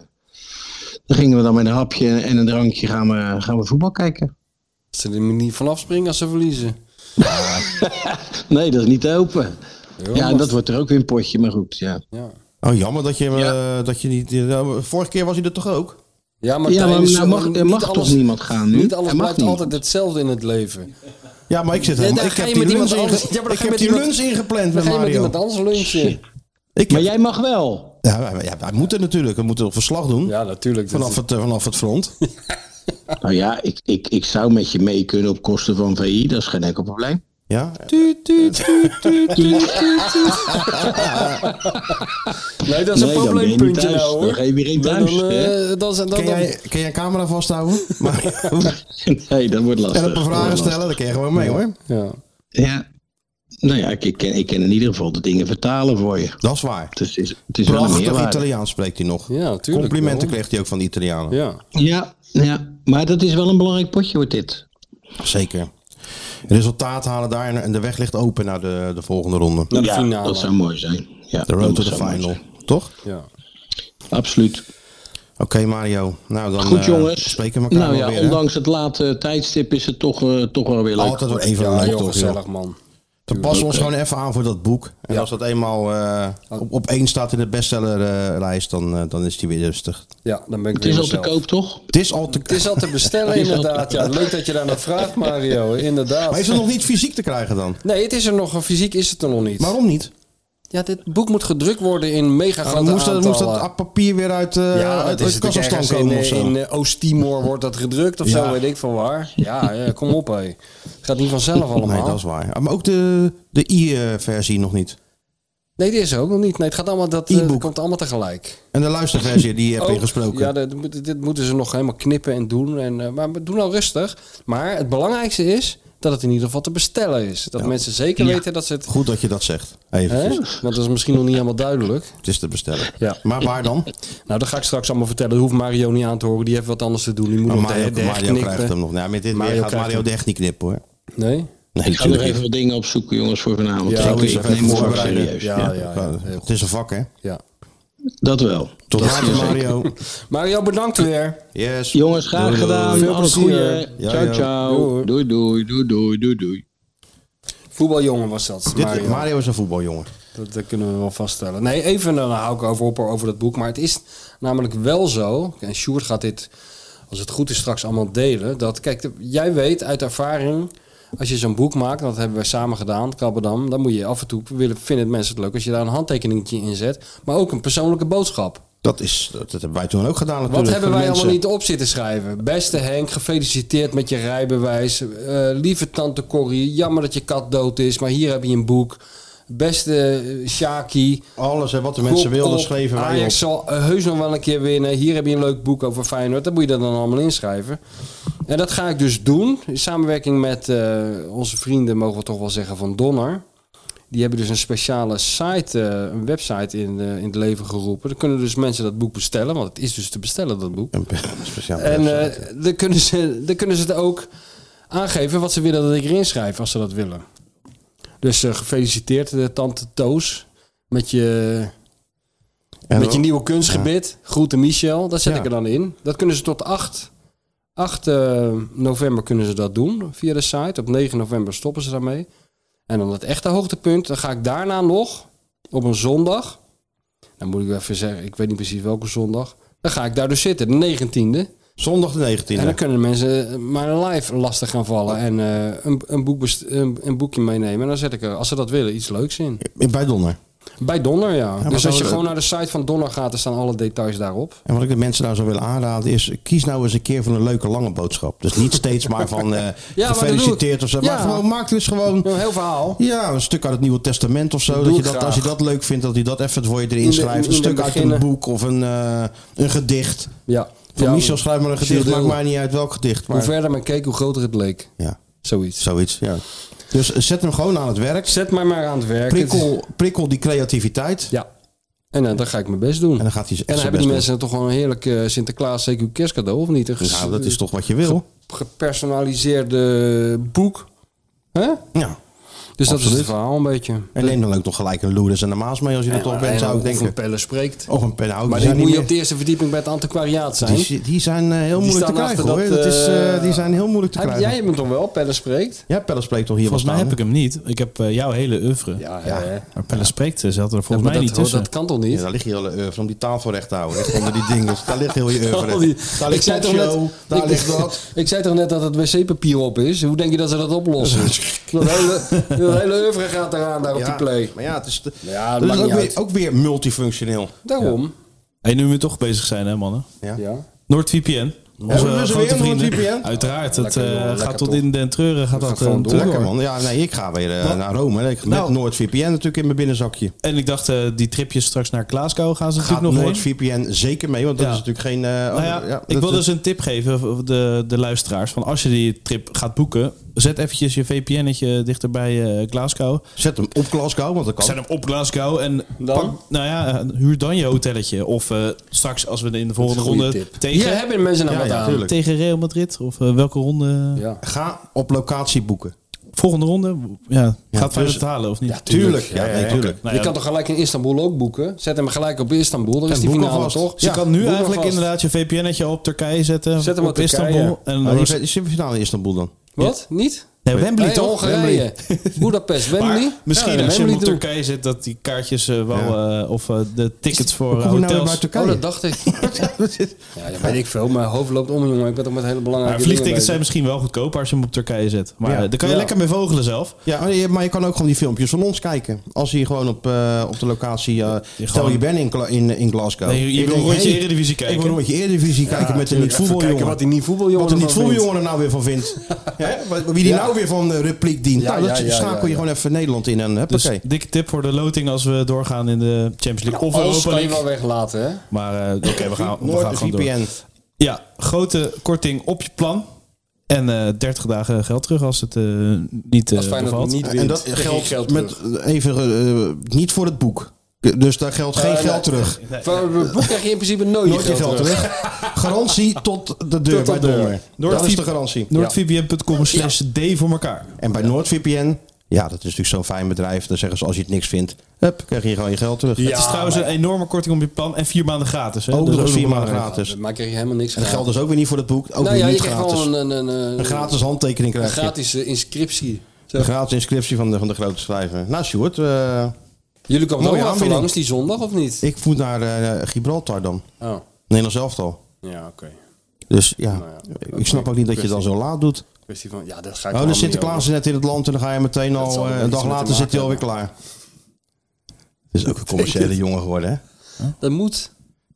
[SPEAKER 7] dan gingen we dan met een hapje en een drankje gaan we, gaan we voetbal kijken.
[SPEAKER 3] Ze er niet vanaf springen als ze verliezen.
[SPEAKER 7] Nee, dat is niet te open.
[SPEAKER 3] Euromast.
[SPEAKER 7] Ja, en dat wordt er ook weer een potje, maar goed, ja.
[SPEAKER 3] Ja.
[SPEAKER 2] Oh, jammer dat je, eh, dat je niet... eh, vorige keer was hij er toch ook?
[SPEAKER 3] Ja, maar,
[SPEAKER 7] Ja, maar
[SPEAKER 3] tijdens
[SPEAKER 7] nou
[SPEAKER 3] zo'n-
[SPEAKER 7] mag, er
[SPEAKER 3] niet
[SPEAKER 7] mag
[SPEAKER 3] alles-
[SPEAKER 7] toch niemand gaan nu?
[SPEAKER 3] Niet alles
[SPEAKER 7] Er mag
[SPEAKER 3] blijft
[SPEAKER 7] niet.
[SPEAKER 3] altijd hetzelfde in het leven.
[SPEAKER 2] Ja, maar ik zit helemaal...
[SPEAKER 3] dan
[SPEAKER 2] ik
[SPEAKER 3] ga
[SPEAKER 2] heb
[SPEAKER 3] je
[SPEAKER 2] die
[SPEAKER 3] met iemand
[SPEAKER 2] lunch,
[SPEAKER 3] anders-
[SPEAKER 2] inge-
[SPEAKER 3] Ja, maar dan
[SPEAKER 2] ik
[SPEAKER 3] ga je
[SPEAKER 2] heb
[SPEAKER 3] met
[SPEAKER 2] die
[SPEAKER 3] iemand-
[SPEAKER 2] lunch ingepland
[SPEAKER 3] Dan
[SPEAKER 2] met
[SPEAKER 3] ga je met
[SPEAKER 2] Mario.
[SPEAKER 3] iemand anders lunchen.
[SPEAKER 2] Ik
[SPEAKER 7] Maar
[SPEAKER 2] heb-
[SPEAKER 7] jij mag wel.
[SPEAKER 2] ja, wij, wij- wij moeten natuurlijk. We moeten een verslag doen.
[SPEAKER 3] Ja, natuurlijk. dat
[SPEAKER 2] Vanaf
[SPEAKER 3] is-
[SPEAKER 2] het, eh, vanaf het front.
[SPEAKER 7] Nou ja, ik, ik, ik zou met je mee kunnen op kosten van VI. Dat is geen enkel probleem.
[SPEAKER 2] Ja?
[SPEAKER 3] Nee, dat is een
[SPEAKER 7] dan ben je niet
[SPEAKER 3] probleempuntje
[SPEAKER 7] thuis.
[SPEAKER 3] nou
[SPEAKER 7] Dan
[SPEAKER 3] hoor.
[SPEAKER 7] ga je weer in
[SPEAKER 3] Dan,
[SPEAKER 7] thuis.
[SPEAKER 3] eh,
[SPEAKER 7] hè?
[SPEAKER 3] dan zijn- dan-
[SPEAKER 2] Kun
[SPEAKER 3] dan-
[SPEAKER 2] jij, kun jij een camera vasthouden? Maar,
[SPEAKER 3] eh,
[SPEAKER 7] nee, dat wordt lastig.
[SPEAKER 2] en een paar
[SPEAKER 7] Dat
[SPEAKER 2] vragen
[SPEAKER 7] wordt
[SPEAKER 2] stellen, dan kun je gewoon mee hoor.
[SPEAKER 3] Ja.
[SPEAKER 7] lastig. Ja. Nou ja, ik, ik, ken, ik ken in ieder geval de dingen vertalen voor je.
[SPEAKER 2] Dat is waar.
[SPEAKER 7] Dus het is, het is wel een
[SPEAKER 2] Prachtig
[SPEAKER 7] meerwaarde.
[SPEAKER 2] Italiaans spreekt hij nog.
[SPEAKER 3] Ja, tuurlijk
[SPEAKER 2] Complimenten
[SPEAKER 3] wel.
[SPEAKER 2] kreeg hij ook van de Italianen.
[SPEAKER 3] Ja.
[SPEAKER 7] Ja, ja, maar dat is wel een belangrijk potje wordt dit.
[SPEAKER 2] Zeker. Resultaat halen daar en- en de weg ligt open naar de, de volgende ronde.
[SPEAKER 3] Naar de
[SPEAKER 7] ja,
[SPEAKER 3] finale.
[SPEAKER 7] dat zou mooi zijn. Ja,
[SPEAKER 2] De road
[SPEAKER 7] dat
[SPEAKER 2] to the
[SPEAKER 7] zou mooi
[SPEAKER 2] final.
[SPEAKER 7] zijn.
[SPEAKER 2] Toch?
[SPEAKER 3] Ja.
[SPEAKER 7] Absoluut.
[SPEAKER 2] Oké, Oké Mario, nou dan
[SPEAKER 7] Goed
[SPEAKER 2] eh,
[SPEAKER 7] jongens.
[SPEAKER 2] spreken we elkaar
[SPEAKER 7] nou
[SPEAKER 2] wel
[SPEAKER 7] ja,
[SPEAKER 2] weer. hè?
[SPEAKER 7] ondanks het late tijdstip is het toch, eh, toch wel weer leuk.
[SPEAKER 2] Altijd wel even
[SPEAKER 3] Ja,
[SPEAKER 2] leuk
[SPEAKER 3] heel
[SPEAKER 2] toch, joh.
[SPEAKER 3] gezellig, man.
[SPEAKER 2] Dan passen we ons gewoon even aan voor dat boek. En als dat eenmaal eh, op, op één staat in de bestsellerlijst, dan, eh, dan is die weer rustig.
[SPEAKER 3] Ja, dan ben ik
[SPEAKER 7] het is
[SPEAKER 3] weer
[SPEAKER 7] al te
[SPEAKER 3] mezelf.
[SPEAKER 7] koop toch?
[SPEAKER 2] Het is al te...
[SPEAKER 3] Het is al te bestellen,
[SPEAKER 7] Het is al te
[SPEAKER 3] inderdaad. Ja, leuk dat je daar naar vraagt, Mario. Inderdaad.
[SPEAKER 2] Maar is het nog niet fysiek te krijgen dan?
[SPEAKER 3] Nee, het is er nog. eh, Fysiek is het er nog niet.
[SPEAKER 2] Waarom niet?
[SPEAKER 3] Ja, dit boek moet gedrukt worden in mega grote
[SPEAKER 2] Dan moest, dat, moest
[SPEAKER 3] aantallen.
[SPEAKER 2] dat papier weer uit, eh
[SPEAKER 3] ja,
[SPEAKER 2] uit,
[SPEAKER 3] het is
[SPEAKER 2] uit
[SPEAKER 3] natuurlijk
[SPEAKER 2] Kazachstan
[SPEAKER 3] ergens
[SPEAKER 2] komen
[SPEAKER 3] in,
[SPEAKER 2] of zo?
[SPEAKER 3] in eh, Oost-Timor wordt dat gedrukt of
[SPEAKER 2] Ja.
[SPEAKER 3] zo, weet ik van waar. Ja, ja, kom op hé. Het gaat niet vanzelf allemaal.
[SPEAKER 2] Nee, dat is waar. Maar ook de, de i-versie nog niet.
[SPEAKER 3] Nee, dit is er ook nog niet. Nee, het gaat allemaal, dat, eh,
[SPEAKER 2] E-book.
[SPEAKER 3] dat komt allemaal tegelijk.
[SPEAKER 2] En de luisterversie, die heb je
[SPEAKER 3] Ook-
[SPEAKER 2] gesproken.
[SPEAKER 3] Oh, Ja, dat moet- dit moeten ze nog helemaal knippen en doen. En, eh, maar we doen al rustig. Maar het belangrijkste is dat het in ieder geval te bestellen is. Dat mensen zeker weten dat ze het...
[SPEAKER 2] Goed dat je dat zegt.
[SPEAKER 3] Hè?
[SPEAKER 2] Even,
[SPEAKER 3] Want dat is misschien nog niet helemaal duidelijk.
[SPEAKER 2] het is te bestellen.
[SPEAKER 3] Ja.
[SPEAKER 2] Maar waar dan?
[SPEAKER 3] Nou, dat ga ik straks allemaal vertellen. Dat hoeft Mario niet aan te horen. Die heeft wat anders te doen. Die moet
[SPEAKER 2] Maar
[SPEAKER 3] nog de-
[SPEAKER 2] Mario,
[SPEAKER 3] de
[SPEAKER 2] Mario
[SPEAKER 3] hechtknippen.
[SPEAKER 2] krijgt hem nog. Nou, met dit
[SPEAKER 3] Mario
[SPEAKER 2] weer gaat
[SPEAKER 3] krijgt
[SPEAKER 2] Mario
[SPEAKER 3] hem.
[SPEAKER 2] de echt niet knippen hoor.
[SPEAKER 3] Nee?
[SPEAKER 2] Nee,
[SPEAKER 7] Ik ga nog
[SPEAKER 2] natuurlijk
[SPEAKER 7] even
[SPEAKER 2] niet.
[SPEAKER 7] wat dingen opzoeken jongens voor vanavond.
[SPEAKER 3] Ja,
[SPEAKER 7] Ik
[SPEAKER 3] doe
[SPEAKER 7] doe
[SPEAKER 3] eens
[SPEAKER 7] het
[SPEAKER 3] even
[SPEAKER 7] even voor
[SPEAKER 2] voorbereiden.
[SPEAKER 7] serieus.
[SPEAKER 3] Ja, ja, ja. ja, heel
[SPEAKER 2] Het is een vak hè.
[SPEAKER 3] Ja.
[SPEAKER 7] Dat wel.
[SPEAKER 2] Tot later Mario.
[SPEAKER 3] Mario, bedankt weer.
[SPEAKER 2] Yes.
[SPEAKER 7] Jongens, graag
[SPEAKER 2] Doei, doei.
[SPEAKER 7] gedaan.
[SPEAKER 3] Veel
[SPEAKER 7] Alles
[SPEAKER 3] plezier.
[SPEAKER 7] goede.
[SPEAKER 2] Ja,
[SPEAKER 7] ciao,
[SPEAKER 2] ja.
[SPEAKER 7] ciao. Doei, doei, doei, doei, doei, doei.
[SPEAKER 3] Voetbaljongen was dat,
[SPEAKER 2] Dit,
[SPEAKER 3] Mario.
[SPEAKER 2] Mario. is een voetbaljongen.
[SPEAKER 3] Dat, dat kunnen we wel vaststellen. Nee, even eh, dan hou ik over op over dat boek. Maar het is namelijk wel zo, en Sjoerd gaat dit, als het goed is, straks allemaal delen. Dat, kijk, de- jij weet uit ervaring, als je zo'n boek maakt, dat hebben wij samen gedaan, Kabberdam, dan moet je af en toe willen, vinden mensen het leuk als je daar een handtekeningetje in zet. Maar ook een persoonlijke boodschap.
[SPEAKER 2] Dat, is, dat, dat hebben wij toen ook gedaan natuurlijk.
[SPEAKER 3] Wat hebben
[SPEAKER 2] voor
[SPEAKER 3] wij
[SPEAKER 2] de mensen.
[SPEAKER 3] allemaal niet op zitten schrijven? Beste Henk, gefeliciteerd met je rijbewijs. Eh, lieve tante Corrie, jammer dat je kat dood is, maar hier heb je een boek. Beste eh, Sjaki.
[SPEAKER 2] Alles hè, wat de mensen
[SPEAKER 3] kop
[SPEAKER 2] wilden
[SPEAKER 3] op,
[SPEAKER 2] schreven wij op.
[SPEAKER 3] Ajax zal eh, heus nog wel een keer winnen. Hier heb je een leuk boek over Feyenoord. Dat moet je dan allemaal inschrijven. En dat ga ik dus doen. In samenwerking met eh, onze vrienden, mogen we toch wel zeggen, van Donner. Die hebben dus een speciale site, eh, een website in, eh, in het leven geroepen. Dan kunnen dus mensen dat boek bestellen, want het is dus te bestellen, dat boek.
[SPEAKER 2] Een speciaal
[SPEAKER 3] En
[SPEAKER 2] website.
[SPEAKER 3] eh, dan, kunnen ze, dan kunnen ze het ook aangeven wat ze willen dat ik erin schrijf, als ze dat willen. Dus eh, gefeliciteerd, eh, tante Toos, met je,
[SPEAKER 2] En
[SPEAKER 3] met je
[SPEAKER 2] ook-
[SPEAKER 3] nieuwe kunstgebit. Groeten Michel, dat zet
[SPEAKER 2] Ja.
[SPEAKER 3] ik er dan in. Dat kunnen ze tot 8, 8 eh, november kunnen ze dat doen via de site. Op 9 november stoppen ze daarmee. En dan het echte hoogtepunt, dan ga ik daarna nog op een zondag. Dan moet ik wel even zeggen, ik weet niet precies welke zondag. Dan ga ik daar dus zitten, de 19e.
[SPEAKER 2] Zondag de 19e.
[SPEAKER 3] En dan kunnen de mensen maar live lastig gaan vallen en eh, een, een, boek best- een, een boekje meenemen. En dan zet ik er, als ze dat willen, iets leuks in.
[SPEAKER 2] Bij Donner.
[SPEAKER 3] Bij Donner, ja. dus als
[SPEAKER 2] zou
[SPEAKER 3] je
[SPEAKER 2] het-
[SPEAKER 3] gewoon naar de site van Donner gaat, dan staan alle details daarop.
[SPEAKER 2] En wat ik de mensen nou zou willen aanraden is... kies nou eens een keer van een leuke lange boodschap. Dus niet steeds maar van eh,
[SPEAKER 3] doe ik.
[SPEAKER 2] gefeliciteerd of zo.
[SPEAKER 3] Ja.
[SPEAKER 2] Maar gewoon, maak dus gewoon...
[SPEAKER 3] Een heel verhaal.
[SPEAKER 2] Ja, een stuk uit het Nieuwe Testament of zo. Dat
[SPEAKER 3] ik
[SPEAKER 2] je dat,
[SPEAKER 3] graag.
[SPEAKER 2] als je dat leuk vindt, dat je dat even voor je
[SPEAKER 3] In
[SPEAKER 2] erin
[SPEAKER 3] de-
[SPEAKER 2] schrijft.
[SPEAKER 3] in
[SPEAKER 2] Een
[SPEAKER 3] de
[SPEAKER 2] stuk uit een
[SPEAKER 3] beginnen.
[SPEAKER 2] boek of een, eh, een gedicht.
[SPEAKER 3] Ja.
[SPEAKER 2] Van
[SPEAKER 3] ja,
[SPEAKER 2] Michel, schrijf maar een gedicht.
[SPEAKER 3] Cyril.
[SPEAKER 2] Maakt mij niet uit welk gedicht.
[SPEAKER 3] Hoe
[SPEAKER 2] Maar,
[SPEAKER 3] verder men keek, hoe groter het leek.
[SPEAKER 2] ja,
[SPEAKER 3] Zoiets.
[SPEAKER 2] zoiets. Ja. Dus eh, zet hem gewoon aan het werk.
[SPEAKER 3] Zet mij maar aan het werk. Het-
[SPEAKER 2] Prikkel, prikkel die creativiteit.
[SPEAKER 3] Ja. En eh, dan ga ik mijn best doen.
[SPEAKER 2] En dan gaat hij echt
[SPEAKER 3] En dan
[SPEAKER 2] zijn
[SPEAKER 3] hebben die
[SPEAKER 2] best
[SPEAKER 3] mensen toch gewoon een heerlijk eh, Sinterklaas CQ kerstcadeau, of niet? Een
[SPEAKER 2] doen.
[SPEAKER 3] ges-
[SPEAKER 2] Nou, dat is toch wat je wil.
[SPEAKER 3] gepersonaliseerde boek. Hè?
[SPEAKER 2] Ja.
[SPEAKER 3] Dus dat is
[SPEAKER 2] Absoluut.
[SPEAKER 3] het verhaal een beetje.
[SPEAKER 2] En neem dan ook nog gelijk een Loerders en de Maas mee als je er toch bent, zou ik
[SPEAKER 3] Of een
[SPEAKER 2] denken.
[SPEAKER 3] pelle spreekt.
[SPEAKER 2] Of een penhoud.
[SPEAKER 3] maar die moet je op de eerste verdieping bij het antiquariaat zijn.
[SPEAKER 2] Die, die zijn eh, heel
[SPEAKER 3] Die
[SPEAKER 2] moeilijk te
[SPEAKER 3] staan
[SPEAKER 2] krijgen
[SPEAKER 3] achter
[SPEAKER 2] hoor.
[SPEAKER 3] dat,
[SPEAKER 2] Dat is, eh,
[SPEAKER 3] eh,
[SPEAKER 2] die zijn heel moeilijk te
[SPEAKER 3] Heb,
[SPEAKER 2] krijgen.
[SPEAKER 3] jij hebt hem toch wel, pelle spreekt?
[SPEAKER 2] Ja, Pelle spreekt toch hier
[SPEAKER 4] Volgens
[SPEAKER 2] wel
[SPEAKER 4] mij
[SPEAKER 2] staan,
[SPEAKER 4] heb ik hem niet. Ik heb eh, jouw hele oeuvre.
[SPEAKER 3] ja. hè. Ja,
[SPEAKER 4] Maar Pelle spreekt, eh, ze had er volgens mij
[SPEAKER 3] maar dat,
[SPEAKER 4] niet tussen.
[SPEAKER 3] dat kan toch niet?
[SPEAKER 2] hè? Ja, daar ligt je hele oeuvre om die tafel recht te houden. Echt onder die dingen. Daar ligt heel je
[SPEAKER 3] Al
[SPEAKER 2] oeuvre.
[SPEAKER 3] die-
[SPEAKER 2] Daar ligt
[SPEAKER 3] zei toch
[SPEAKER 2] Show,
[SPEAKER 3] net-
[SPEAKER 2] daar
[SPEAKER 3] ik-
[SPEAKER 2] ligt dat.
[SPEAKER 3] Ik zei toch net dat het wc-papier op is? Hoe denk je dat ze dat oplossen? dat hele, dat hele oeuvre gaat eraan daar op die play.
[SPEAKER 2] Maar ja, het is, de-
[SPEAKER 3] Ja,
[SPEAKER 2] dat
[SPEAKER 3] dat
[SPEAKER 2] is
[SPEAKER 3] maakt
[SPEAKER 2] ook,
[SPEAKER 3] niet
[SPEAKER 2] weer,
[SPEAKER 3] uit.
[SPEAKER 2] ook weer multifunctioneel.
[SPEAKER 3] Daarom.
[SPEAKER 4] Hey, nu we toch bezig zijn, hè, mannen?
[SPEAKER 3] Ja.
[SPEAKER 4] NordVPN. Onze
[SPEAKER 2] Hebben we ze
[SPEAKER 4] grote
[SPEAKER 2] weer,
[SPEAKER 4] vrienden.
[SPEAKER 2] NordVPN?
[SPEAKER 4] Uiteraard. Het
[SPEAKER 3] Lekker,
[SPEAKER 4] eh,
[SPEAKER 3] jongen, lekker
[SPEAKER 4] gaat tot
[SPEAKER 3] toch?
[SPEAKER 4] in den treuren. Gaat dat
[SPEAKER 3] gewoon
[SPEAKER 4] eh,
[SPEAKER 3] door.
[SPEAKER 4] door.
[SPEAKER 2] Lekker man. Ja, nee, ik ga weer eh, naar Rome. hè. Ik, met
[SPEAKER 4] Nou.
[SPEAKER 2] NoordVPN natuurlijk in mijn binnenzakje.
[SPEAKER 4] En ik dacht, eh, die tripjes straks naar Glasgow gaan ze
[SPEAKER 2] Gaat
[SPEAKER 4] natuurlijk nog heen.
[SPEAKER 2] NoordVPN zeker mee, want dat
[SPEAKER 4] Ja.
[SPEAKER 2] is natuurlijk geen... eh,
[SPEAKER 4] Nou ja,
[SPEAKER 2] andere-
[SPEAKER 4] ik
[SPEAKER 2] dat-
[SPEAKER 4] wil dus een tip geven voor de, de luisteraars. Van als je die trip gaat boeken, zet eventjes je VPN'tje dichterbij eh, Glasgow.
[SPEAKER 2] Zet hem op Glasgow, want dat kan.
[SPEAKER 4] Zet hem op Glasgow en
[SPEAKER 3] Dan?
[SPEAKER 4] pak- nou ja, eh, huur dan je hotelletje. Of eh, straks als we in de volgende
[SPEAKER 3] Goeie
[SPEAKER 4] ronde
[SPEAKER 3] tip.
[SPEAKER 4] tegen,
[SPEAKER 3] Hier hebben mensen nou
[SPEAKER 2] Ja,
[SPEAKER 3] wat
[SPEAKER 2] ja,
[SPEAKER 3] aan.
[SPEAKER 2] tuurlijk.
[SPEAKER 4] tegen Real Madrid of eh, welke ronde.
[SPEAKER 3] Ja.
[SPEAKER 2] Ga op locatie boeken.
[SPEAKER 4] Volgende ronde? Ja, gaat Feyenoord
[SPEAKER 2] dus-
[SPEAKER 4] het halen of niet?
[SPEAKER 2] tuurlijk. Ja, nee, tuurlijk.
[SPEAKER 4] Nou
[SPEAKER 3] je
[SPEAKER 4] ja,
[SPEAKER 3] kan toch gelijk in Istanbul ook boeken? Zet hem gelijk op Istanbul. Dan is
[SPEAKER 4] en
[SPEAKER 3] die
[SPEAKER 4] boek
[SPEAKER 3] finale
[SPEAKER 4] alvast.
[SPEAKER 3] toch?
[SPEAKER 4] Dus je
[SPEAKER 3] Ja,
[SPEAKER 4] kan nu
[SPEAKER 3] boek
[SPEAKER 4] eigenlijk
[SPEAKER 3] alvast.
[SPEAKER 4] inderdaad je VPN-netje op Turkije zetten.
[SPEAKER 3] Zet hem op Turkije.
[SPEAKER 4] Istanbul. En dan
[SPEAKER 2] Maar
[SPEAKER 4] is-
[SPEAKER 2] die is in de finale in Istanbul dan.
[SPEAKER 3] Wat? Niet?
[SPEAKER 4] nee, Wembley
[SPEAKER 3] Nee,
[SPEAKER 4] toch?
[SPEAKER 3] Hongarije. Budapest, Wembley.
[SPEAKER 4] Maar misschien
[SPEAKER 3] Ja,
[SPEAKER 4] als je
[SPEAKER 3] Wembley
[SPEAKER 4] hem op
[SPEAKER 3] doen.
[SPEAKER 4] Turkije zit, dat die kaartjes eh, wel... eh, of eh, de tickets voor eh,
[SPEAKER 2] Hoe nou weer
[SPEAKER 4] hotels...
[SPEAKER 2] bij
[SPEAKER 3] Oh,
[SPEAKER 2] Turkije?
[SPEAKER 3] dat dacht ik. ja, dat weet ik veel. Mijn hoofd loopt om, jongen. Ik ben toch met hele belangrijke
[SPEAKER 4] maar vliegtickets zijn
[SPEAKER 3] dingen
[SPEAKER 4] misschien wel goedkoper als je hem op Turkije zet. Maar
[SPEAKER 2] Ja.
[SPEAKER 4] eh, daar kan je
[SPEAKER 3] Ja.
[SPEAKER 4] lekker mee vogelen zelf.
[SPEAKER 2] Ja, maar je- maar je kan ook gewoon die filmpjes van ons kijken. Als je gewoon op, eh, op de locatie... eh stel,
[SPEAKER 4] gewoon-
[SPEAKER 2] je bent in, Gla- in, in Glasgow.
[SPEAKER 4] Nee, je- je
[SPEAKER 2] Ik
[SPEAKER 4] wil
[SPEAKER 2] denk,
[SPEAKER 4] rondje
[SPEAKER 2] hey,
[SPEAKER 4] Eredivisie
[SPEAKER 2] Ik
[SPEAKER 4] kijken.
[SPEAKER 2] wil een rondje Eredivisie kijken met de
[SPEAKER 3] bezig. Even kijken
[SPEAKER 2] niet-voetbaljongen.
[SPEAKER 3] wat die niet-voetbaljongen
[SPEAKER 2] Wat de
[SPEAKER 3] ervan vindt.
[SPEAKER 2] niet-voetbaljongen er nou weer van vindt. Hè? Wat- Wie die
[SPEAKER 3] Ja.
[SPEAKER 2] nou weer van de repliek dient.
[SPEAKER 3] Ja,
[SPEAKER 2] nou, dat
[SPEAKER 3] ja, ja,
[SPEAKER 2] schakel
[SPEAKER 3] ja,
[SPEAKER 2] je
[SPEAKER 3] ja.
[SPEAKER 2] gewoon even Nederland in. En,
[SPEAKER 4] Dus
[SPEAKER 2] huppakee.
[SPEAKER 4] dikke tip voor de loting als we doorgaan in de Champions League of
[SPEAKER 3] Alles
[SPEAKER 4] Europa
[SPEAKER 3] Nou, kan je
[SPEAKER 4] League.
[SPEAKER 3] wel weglaten, hè?
[SPEAKER 4] Maar eh, oké, we gaan, we gaan
[SPEAKER 2] Noord,
[SPEAKER 4] gewoon door.
[SPEAKER 2] VPN.
[SPEAKER 4] Ja, grote korting op je plan. En eh 30 dagen geld terug als het eh, niet eh
[SPEAKER 3] Als Feyenoord
[SPEAKER 4] bevalt.
[SPEAKER 3] niet wint,
[SPEAKER 2] En dat
[SPEAKER 3] krijg je
[SPEAKER 2] geldt
[SPEAKER 3] geld
[SPEAKER 2] met,
[SPEAKER 3] terug.
[SPEAKER 2] even eh, niet voor het boek. Dus daar geldt geen
[SPEAKER 3] Eh, nee.
[SPEAKER 2] geld terug.
[SPEAKER 3] Voor het boek krijg je in principe nooit,
[SPEAKER 2] Nooit je geld terug. Garantie tot de deur
[SPEAKER 3] Tot de
[SPEAKER 2] bij Donner.
[SPEAKER 3] deur.
[SPEAKER 2] Dat is
[SPEAKER 4] Noordvip-
[SPEAKER 2] de garantie.
[SPEAKER 4] Noordvpn.com slash D voor elkaar.
[SPEAKER 2] En bij NoordVPN, ja, dat is natuurlijk zo'n fijn bedrijf. Dan zeggen ze als je het niks vindt, hup, krijg je gewoon je geld terug.
[SPEAKER 4] het is trouwens een enorme korting op je plan en vier maanden gratis. Hè? Dus
[SPEAKER 2] ook
[SPEAKER 4] Dat is
[SPEAKER 2] nog vier maanden
[SPEAKER 4] belangrijk.
[SPEAKER 2] gratis.
[SPEAKER 3] Dat maakt je helemaal niks
[SPEAKER 2] En
[SPEAKER 3] aan.
[SPEAKER 2] dat geldt dus ook weer niet voor het boek. Ook
[SPEAKER 3] Nou
[SPEAKER 2] weer
[SPEAKER 3] ja, je
[SPEAKER 2] niet
[SPEAKER 3] krijgt
[SPEAKER 2] gratis.
[SPEAKER 3] gewoon een, een, een,
[SPEAKER 2] Een gratis handtekening
[SPEAKER 3] een
[SPEAKER 2] krijg je.
[SPEAKER 3] gratis eh, inscriptie. Zo.
[SPEAKER 2] Een gratis inscriptie van de, van de grote schrijver. Nou, Sjoerd, eh,
[SPEAKER 3] Jullie komen
[SPEAKER 2] Mooie
[SPEAKER 3] ook wel even
[SPEAKER 2] aanbieding.
[SPEAKER 3] langs die zondag, of niet?
[SPEAKER 2] ik moet naar eh, Gibraltar dan.
[SPEAKER 3] Oh,
[SPEAKER 2] Nederlands elftal.
[SPEAKER 3] ja, oké.
[SPEAKER 2] Dus ja,
[SPEAKER 3] Nou ja,
[SPEAKER 2] ik snap ook niet dat je dan zo laat doet.
[SPEAKER 3] Kwestie van, ja, dat ga ik
[SPEAKER 2] Oh,
[SPEAKER 3] wel
[SPEAKER 2] dan
[SPEAKER 3] mee
[SPEAKER 2] zit Sinterklaas net in het land en dan ga je meteen
[SPEAKER 3] Dat zal
[SPEAKER 2] al eh,
[SPEAKER 3] er
[SPEAKER 2] een
[SPEAKER 3] niks
[SPEAKER 2] dag
[SPEAKER 3] mee te
[SPEAKER 2] later zit
[SPEAKER 3] maken
[SPEAKER 2] hij alweer klaar. Het is ook een commerciële jongen geworden, hè?
[SPEAKER 3] over. Dat moet.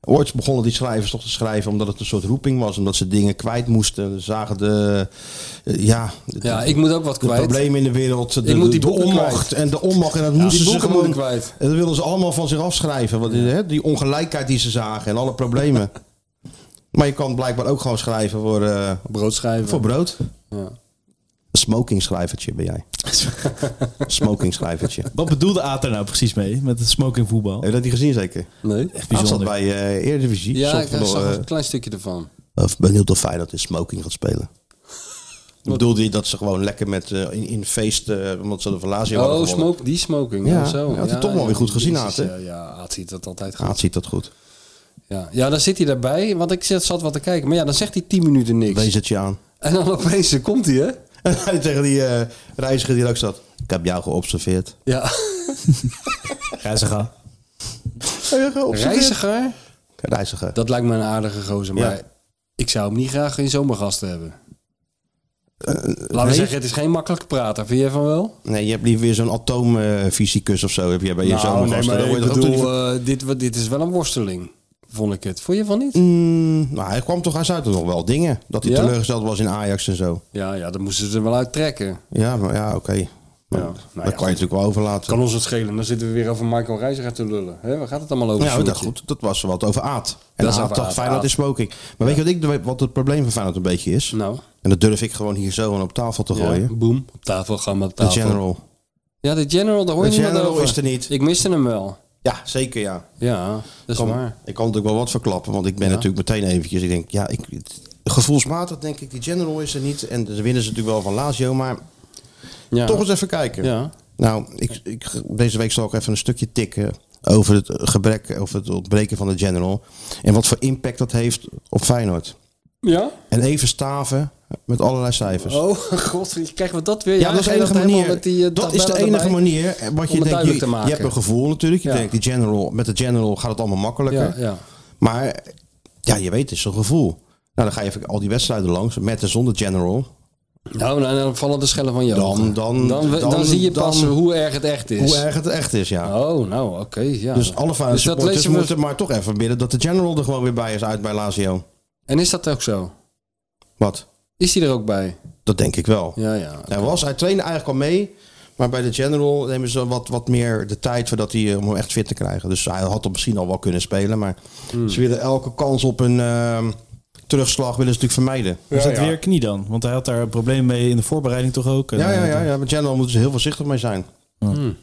[SPEAKER 2] Ooit begonnen die schrijvers toch te schrijven omdat het een soort roeping was. Omdat ze dingen kwijt moesten. Ze zagen de, eh, ja, de,
[SPEAKER 3] Ja, ik moet ook wat
[SPEAKER 2] de
[SPEAKER 3] kwijt.
[SPEAKER 2] problemen in de wereld. De,
[SPEAKER 3] moet die
[SPEAKER 2] de
[SPEAKER 3] boeken
[SPEAKER 2] onmacht.
[SPEAKER 3] kwijt.
[SPEAKER 2] En de onmacht. En dat moesten
[SPEAKER 3] die
[SPEAKER 2] ze
[SPEAKER 3] boeken
[SPEAKER 2] gewoon,
[SPEAKER 3] moet ik kwijt.
[SPEAKER 2] En dat wilden ze allemaal van zich afschrijven. Want, hè, die ongelijkheid die ze zagen en alle problemen. maar je kan blijkbaar ook gewoon schrijven voor, eh,
[SPEAKER 3] Broodschrijven.
[SPEAKER 2] voor brood.
[SPEAKER 3] Ja.
[SPEAKER 2] Een smoking schrijvertje ben jij. smoking schrijvertje.
[SPEAKER 4] Wat bedoelde Aad er nou precies mee met het smoking voetbal?
[SPEAKER 2] Heb je dat niet gezien zeker?
[SPEAKER 3] Nee?
[SPEAKER 2] Hij zat bij eh Eredivisie.
[SPEAKER 3] Ja,
[SPEAKER 2] Zat
[SPEAKER 3] ik
[SPEAKER 2] van de-
[SPEAKER 3] zag
[SPEAKER 2] eh,
[SPEAKER 3] een klein stukje ervan.
[SPEAKER 2] Of benieuwd of Feyenoord in smoking gaat spelen. Ik bedoelde je dat ze gewoon lekker met, eh, in, in feest, eh omdat ze de Valazio hadden
[SPEAKER 3] Oh,
[SPEAKER 2] gewonnen.
[SPEAKER 3] smoke, die smoking.
[SPEAKER 2] Ja,
[SPEAKER 3] oh, zo.
[SPEAKER 2] ja, had hij toch wel weer goed gezien,
[SPEAKER 3] Jezus,
[SPEAKER 2] Aad,
[SPEAKER 3] Ja,
[SPEAKER 2] hè?
[SPEAKER 3] ja, Aad ziet dat altijd
[SPEAKER 2] Haat
[SPEAKER 3] goed.
[SPEAKER 2] Ah, ziet dat goed.
[SPEAKER 3] Ja. ja, dan zit hij daarbij, want ik zat zat wat te kijken. Maar ja, dan zegt hij 10 minuten niks.
[SPEAKER 2] Wees het je aan.
[SPEAKER 3] En dan opeens eh, komt hij, hè?
[SPEAKER 2] En hij tegen die eh, reiziger die er ook zat. Ik heb jou geobserveerd.
[SPEAKER 3] Ja.
[SPEAKER 4] Reiziger.
[SPEAKER 3] Reiziger?
[SPEAKER 2] Reiziger.
[SPEAKER 3] Dat lijkt me een aardige gozer, maar
[SPEAKER 2] Ja.
[SPEAKER 3] ik zou hem niet graag in zomergasten hebben. Laten we
[SPEAKER 2] Eh, nee?
[SPEAKER 3] zeggen, het is geen makkelijk praten. Vind jij van wel?
[SPEAKER 2] Nee, je hebt liever weer zo'n atoomfysicus of zo. Heb jij bij je zomer
[SPEAKER 3] Nou, nee,
[SPEAKER 2] gasten.
[SPEAKER 3] maar
[SPEAKER 2] Dan
[SPEAKER 3] ik
[SPEAKER 2] word je toch ook
[SPEAKER 3] bedoel,
[SPEAKER 2] niet-
[SPEAKER 3] eh, dit, wa- dit is wel een worsteling, vond ik het. Vond je van niet?
[SPEAKER 2] Mm, nou, hij kwam toch, hij zei toch nog wel dingen. Dat hij
[SPEAKER 3] Ja?
[SPEAKER 2] teleurgesteld was in Ajax en zo.
[SPEAKER 3] Ja, ja, dan moesten ze er wel uit trekken.
[SPEAKER 2] Ja, maar ja, oké. Maar
[SPEAKER 3] Ja, nou
[SPEAKER 2] dat
[SPEAKER 3] ja,
[SPEAKER 2] kan je
[SPEAKER 3] goed.
[SPEAKER 2] natuurlijk wel overlaten.
[SPEAKER 3] Kan ons het schelen, dan zitten we weer over Michael Reiziger te lullen. Hè, waar gaat het allemaal over?
[SPEAKER 2] Ja, dat,
[SPEAKER 3] Sjoerdje?
[SPEAKER 2] goed, dat was wat over Aad. En
[SPEAKER 3] Dat is
[SPEAKER 2] Aad
[SPEAKER 3] over
[SPEAKER 2] dacht,
[SPEAKER 3] Aad,
[SPEAKER 2] Feyenoord
[SPEAKER 3] Aad.
[SPEAKER 2] is smoking. Maar weet je wat, ik, wat het probleem van Feyenoord een beetje is?
[SPEAKER 3] Nou,
[SPEAKER 2] En dat durf ik gewoon hier zo aan op tafel te
[SPEAKER 3] ja,
[SPEAKER 2] gooien.
[SPEAKER 3] boem. Op tafel, gaan we op
[SPEAKER 2] De
[SPEAKER 3] tafel.
[SPEAKER 2] general.
[SPEAKER 3] Ja, de general, daar hoor
[SPEAKER 2] De
[SPEAKER 3] je niet meer
[SPEAKER 2] general
[SPEAKER 3] over.
[SPEAKER 2] is er niet.
[SPEAKER 3] Ik miste hem wel.
[SPEAKER 2] Ja, zeker ja.
[SPEAKER 3] Ja, dat is
[SPEAKER 2] Kan-
[SPEAKER 3] waar.
[SPEAKER 2] ik kan natuurlijk wel wat verklappen, want ik ben natuurlijk meteen eventjes. Ik denk, ja, ik, het- gevoelsmatig denk ik, die general is er niet. En ze winnen ze natuurlijk wel van Lazio, maar
[SPEAKER 3] Ja.
[SPEAKER 2] toch eens even kijken.
[SPEAKER 3] Ja.
[SPEAKER 2] Nou, ik, ik, deze week zal ik even een stukje tikken over het gebrek, of het ontbreken van de general. En wat voor impact dat heeft op Feyenoord.
[SPEAKER 3] Ja?
[SPEAKER 2] En even staven met allerlei cijfers.
[SPEAKER 3] Oh, god, krijgen we dat weer?
[SPEAKER 2] Dus- Ja, dat is de
[SPEAKER 3] ga je
[SPEAKER 2] enige
[SPEAKER 3] helemaal
[SPEAKER 2] manier.
[SPEAKER 3] met die, eh,
[SPEAKER 2] dat is de
[SPEAKER 3] tabellen
[SPEAKER 2] enige
[SPEAKER 3] erbij?
[SPEAKER 2] manier. eh, Wat
[SPEAKER 3] Om
[SPEAKER 2] je
[SPEAKER 3] het
[SPEAKER 2] denkt,
[SPEAKER 3] duidelijk
[SPEAKER 2] je,
[SPEAKER 3] te maken.
[SPEAKER 2] je hebt een gevoel natuurlijk. Je
[SPEAKER 3] Ja.
[SPEAKER 2] denkt, die general, met de general gaat het allemaal
[SPEAKER 3] Ja,
[SPEAKER 2] makkelijker.
[SPEAKER 3] ja.
[SPEAKER 2] Maar ja, je weet, het is zo'n gevoel. Nou, dan ga je even al die wedstrijden langs, met en zonder general.
[SPEAKER 3] Nou, nou, dan vallen de schellen van je
[SPEAKER 2] Dan-
[SPEAKER 3] ogen.
[SPEAKER 2] dan-
[SPEAKER 3] dan, we- dan,
[SPEAKER 2] dan-
[SPEAKER 3] zie je pas
[SPEAKER 2] dan-
[SPEAKER 3] hoe erg het echt is.
[SPEAKER 2] Hoe erg het echt is, ja.
[SPEAKER 3] Oh, nou, oké. ja.
[SPEAKER 2] Dus alle Feyenoord
[SPEAKER 3] Dus dat
[SPEAKER 2] supporters
[SPEAKER 3] lezen we-
[SPEAKER 2] moeten maar toch even bidden dat de general er gewoon weer bij is uit bij Lazio.
[SPEAKER 3] En is dat ook zo?
[SPEAKER 2] Wat?
[SPEAKER 3] Is hij er ook bij?
[SPEAKER 2] Dat denk ik wel.
[SPEAKER 3] Ja, ja.
[SPEAKER 2] Hij was, hij trainde eigenlijk al mee. Maar bij de general nemen ze wat, wat meer de tijd voordat hij, eh, om hem echt fit te krijgen. Dus hij had hem misschien al wel kunnen spelen. Maar
[SPEAKER 3] Hmm.
[SPEAKER 2] ze willen elke kans op een ehm, terugslag willen ze natuurlijk vermijden.
[SPEAKER 4] Was dat weer knie dan? Want hij had daar een probleem mee in de voorbereiding toch ook? En,
[SPEAKER 2] Ja, ja,
[SPEAKER 4] eh,
[SPEAKER 2] ja. ja. Met general moeten ze heel voorzichtig mee zijn. Hmm.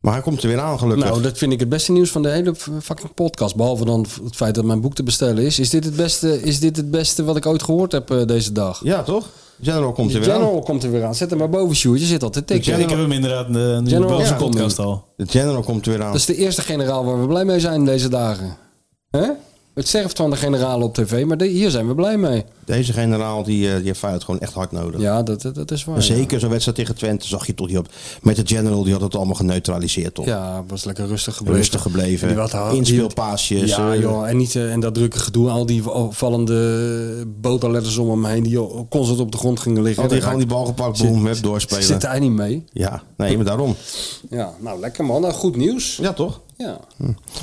[SPEAKER 2] Maar hij komt er weer aan, gelukkig.
[SPEAKER 3] Nou, dat vind ik het beste nieuws van de hele f- fucking podcast. Behalve dan het feit dat mijn boek te bestellen is. Is dit het beste, is dit het beste wat ik ooit gehoord heb eh, deze dag?
[SPEAKER 2] Ja, toch? General komt er weer aan.
[SPEAKER 3] General komt er weer aan. Zet hem maar boven, Sjoerd. Je zit al te tikken.
[SPEAKER 2] General-
[SPEAKER 4] Ik heb hem inderdaad eh, nu in de
[SPEAKER 3] General
[SPEAKER 4] Belgische
[SPEAKER 3] Welcome.
[SPEAKER 4] podcast al.
[SPEAKER 2] De General komt er weer aan.
[SPEAKER 3] Dat is de eerste generaal waar we blij mee zijn deze dagen. Hè? Het sterft van de generalen op tv, maar de- hier zijn we blij mee.
[SPEAKER 2] Deze generaal die, eh, die heeft Feyenoord gewoon echt hard nodig.
[SPEAKER 3] Ja, dat, dat- dat is waar.
[SPEAKER 2] En Zeker zo'n wedstrijd tegen Twente zag je toch die op. Met de General die had het allemaal geneutraliseerd toch?
[SPEAKER 3] Ja, was lekker rustig gebleven.
[SPEAKER 2] Rustig gebleven.
[SPEAKER 3] Die wat haal-
[SPEAKER 2] Inspeelpaasjes,
[SPEAKER 3] Ja,
[SPEAKER 2] eh,
[SPEAKER 3] joh. En, niet, eh, en dat drukke gedoe. Al die vallende boterletters om hem heen die joh, constant op de grond gingen liggen.
[SPEAKER 2] Had hij
[SPEAKER 3] Daar
[SPEAKER 2] gewoon die bal gepakt,
[SPEAKER 3] Zit-
[SPEAKER 2] boom, heb
[SPEAKER 3] raakt-
[SPEAKER 2] doorspelen.
[SPEAKER 3] Zit hij niet mee?
[SPEAKER 2] Ja, nee, maar daarom.
[SPEAKER 3] Ja, nou lekker man. Nou, goed nieuws.
[SPEAKER 2] Ja, toch?
[SPEAKER 3] Ja.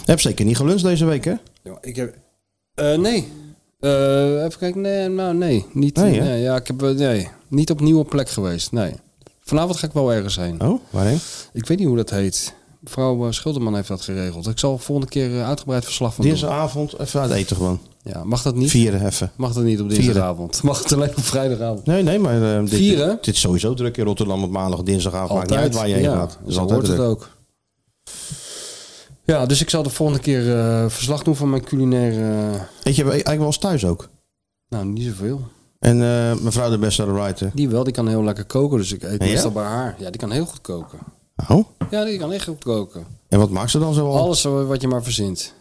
[SPEAKER 2] Heb zeker niet geluncht deze week, hè?
[SPEAKER 3] Ja, ik heb... Eh, nee. Eh, even kijken. Nee, nou, nee. Niet,
[SPEAKER 2] Nee, hè?
[SPEAKER 3] nee, ja, ik heb, eh, nee. niet op nieuwe plek geweest. Nee. Vanavond ga ik wel ergens heen.
[SPEAKER 2] Oh, waarheen?
[SPEAKER 3] Ik weet niet hoe dat heet. Mevrouw eh, Schilderman heeft dat geregeld. Ik zal volgende keer eh, uitgebreid verslag van doen.
[SPEAKER 2] Dinsdagavond even uit eten gewoon.
[SPEAKER 3] Ja, mag dat niet?
[SPEAKER 2] Vieren even.
[SPEAKER 3] Mag dat niet op dinsdagavond? Mag het alleen op vrijdagavond?
[SPEAKER 2] Nee, nee, maar eh, dit,
[SPEAKER 3] Vieren?
[SPEAKER 2] dit is sowieso druk in Rotterdam op maandag, dinsdagavond. Maakt niet uit waar je heen
[SPEAKER 3] ja,
[SPEAKER 2] gaat. Dat is
[SPEAKER 3] zo
[SPEAKER 2] altijd
[SPEAKER 3] hoort het
[SPEAKER 2] druk.
[SPEAKER 3] ook. Ja, dus ik zal de volgende keer eh, verslag doen van mijn culinaire... eh,
[SPEAKER 2] Eet je eigenlijk wel eens thuis ook?
[SPEAKER 3] nou, niet zoveel.
[SPEAKER 2] En eh, mevrouw de beste writer.
[SPEAKER 3] Die wel, die kan heel lekker koken. Dus ik eet
[SPEAKER 2] Ja?
[SPEAKER 3] meestal bij haar. Ja, die kan heel goed koken.
[SPEAKER 2] Oh,
[SPEAKER 3] Ja, die kan echt goed koken.
[SPEAKER 2] en wat maakt ze dan zo al?
[SPEAKER 3] Alles zo wat je maar verzint.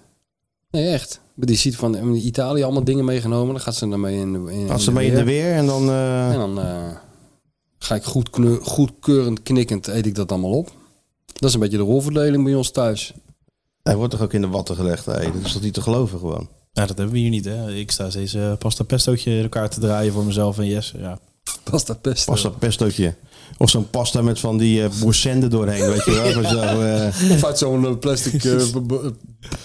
[SPEAKER 3] Nee, echt. Maar die ziet van in Italië allemaal dingen meegenomen. Dan gaat ze daarmee in de in,
[SPEAKER 2] Als ze mee in de weer en dan... eh,
[SPEAKER 3] En dan eh, ga ik goed kneu- goedkeurend knikkend eet ik dat allemaal op. Dat is een beetje de rolverdeling bij ons thuis.
[SPEAKER 2] Hij wordt toch ook in de watten gelegd, hé? Dat is toch niet te geloven gewoon?
[SPEAKER 4] Nou, dat hebben we hier niet, hè. Ik sta steeds eh, pasta pestootje in elkaar te draaien voor mezelf en Jesse. Ja.
[SPEAKER 3] Pasta pesto.
[SPEAKER 2] Pasta pestootje. Of zo'n pasta met van die eh boersende doorheen, weet je wel? Met zo, eh,
[SPEAKER 3] Of uit zo'n eh, plastic eh, b- b-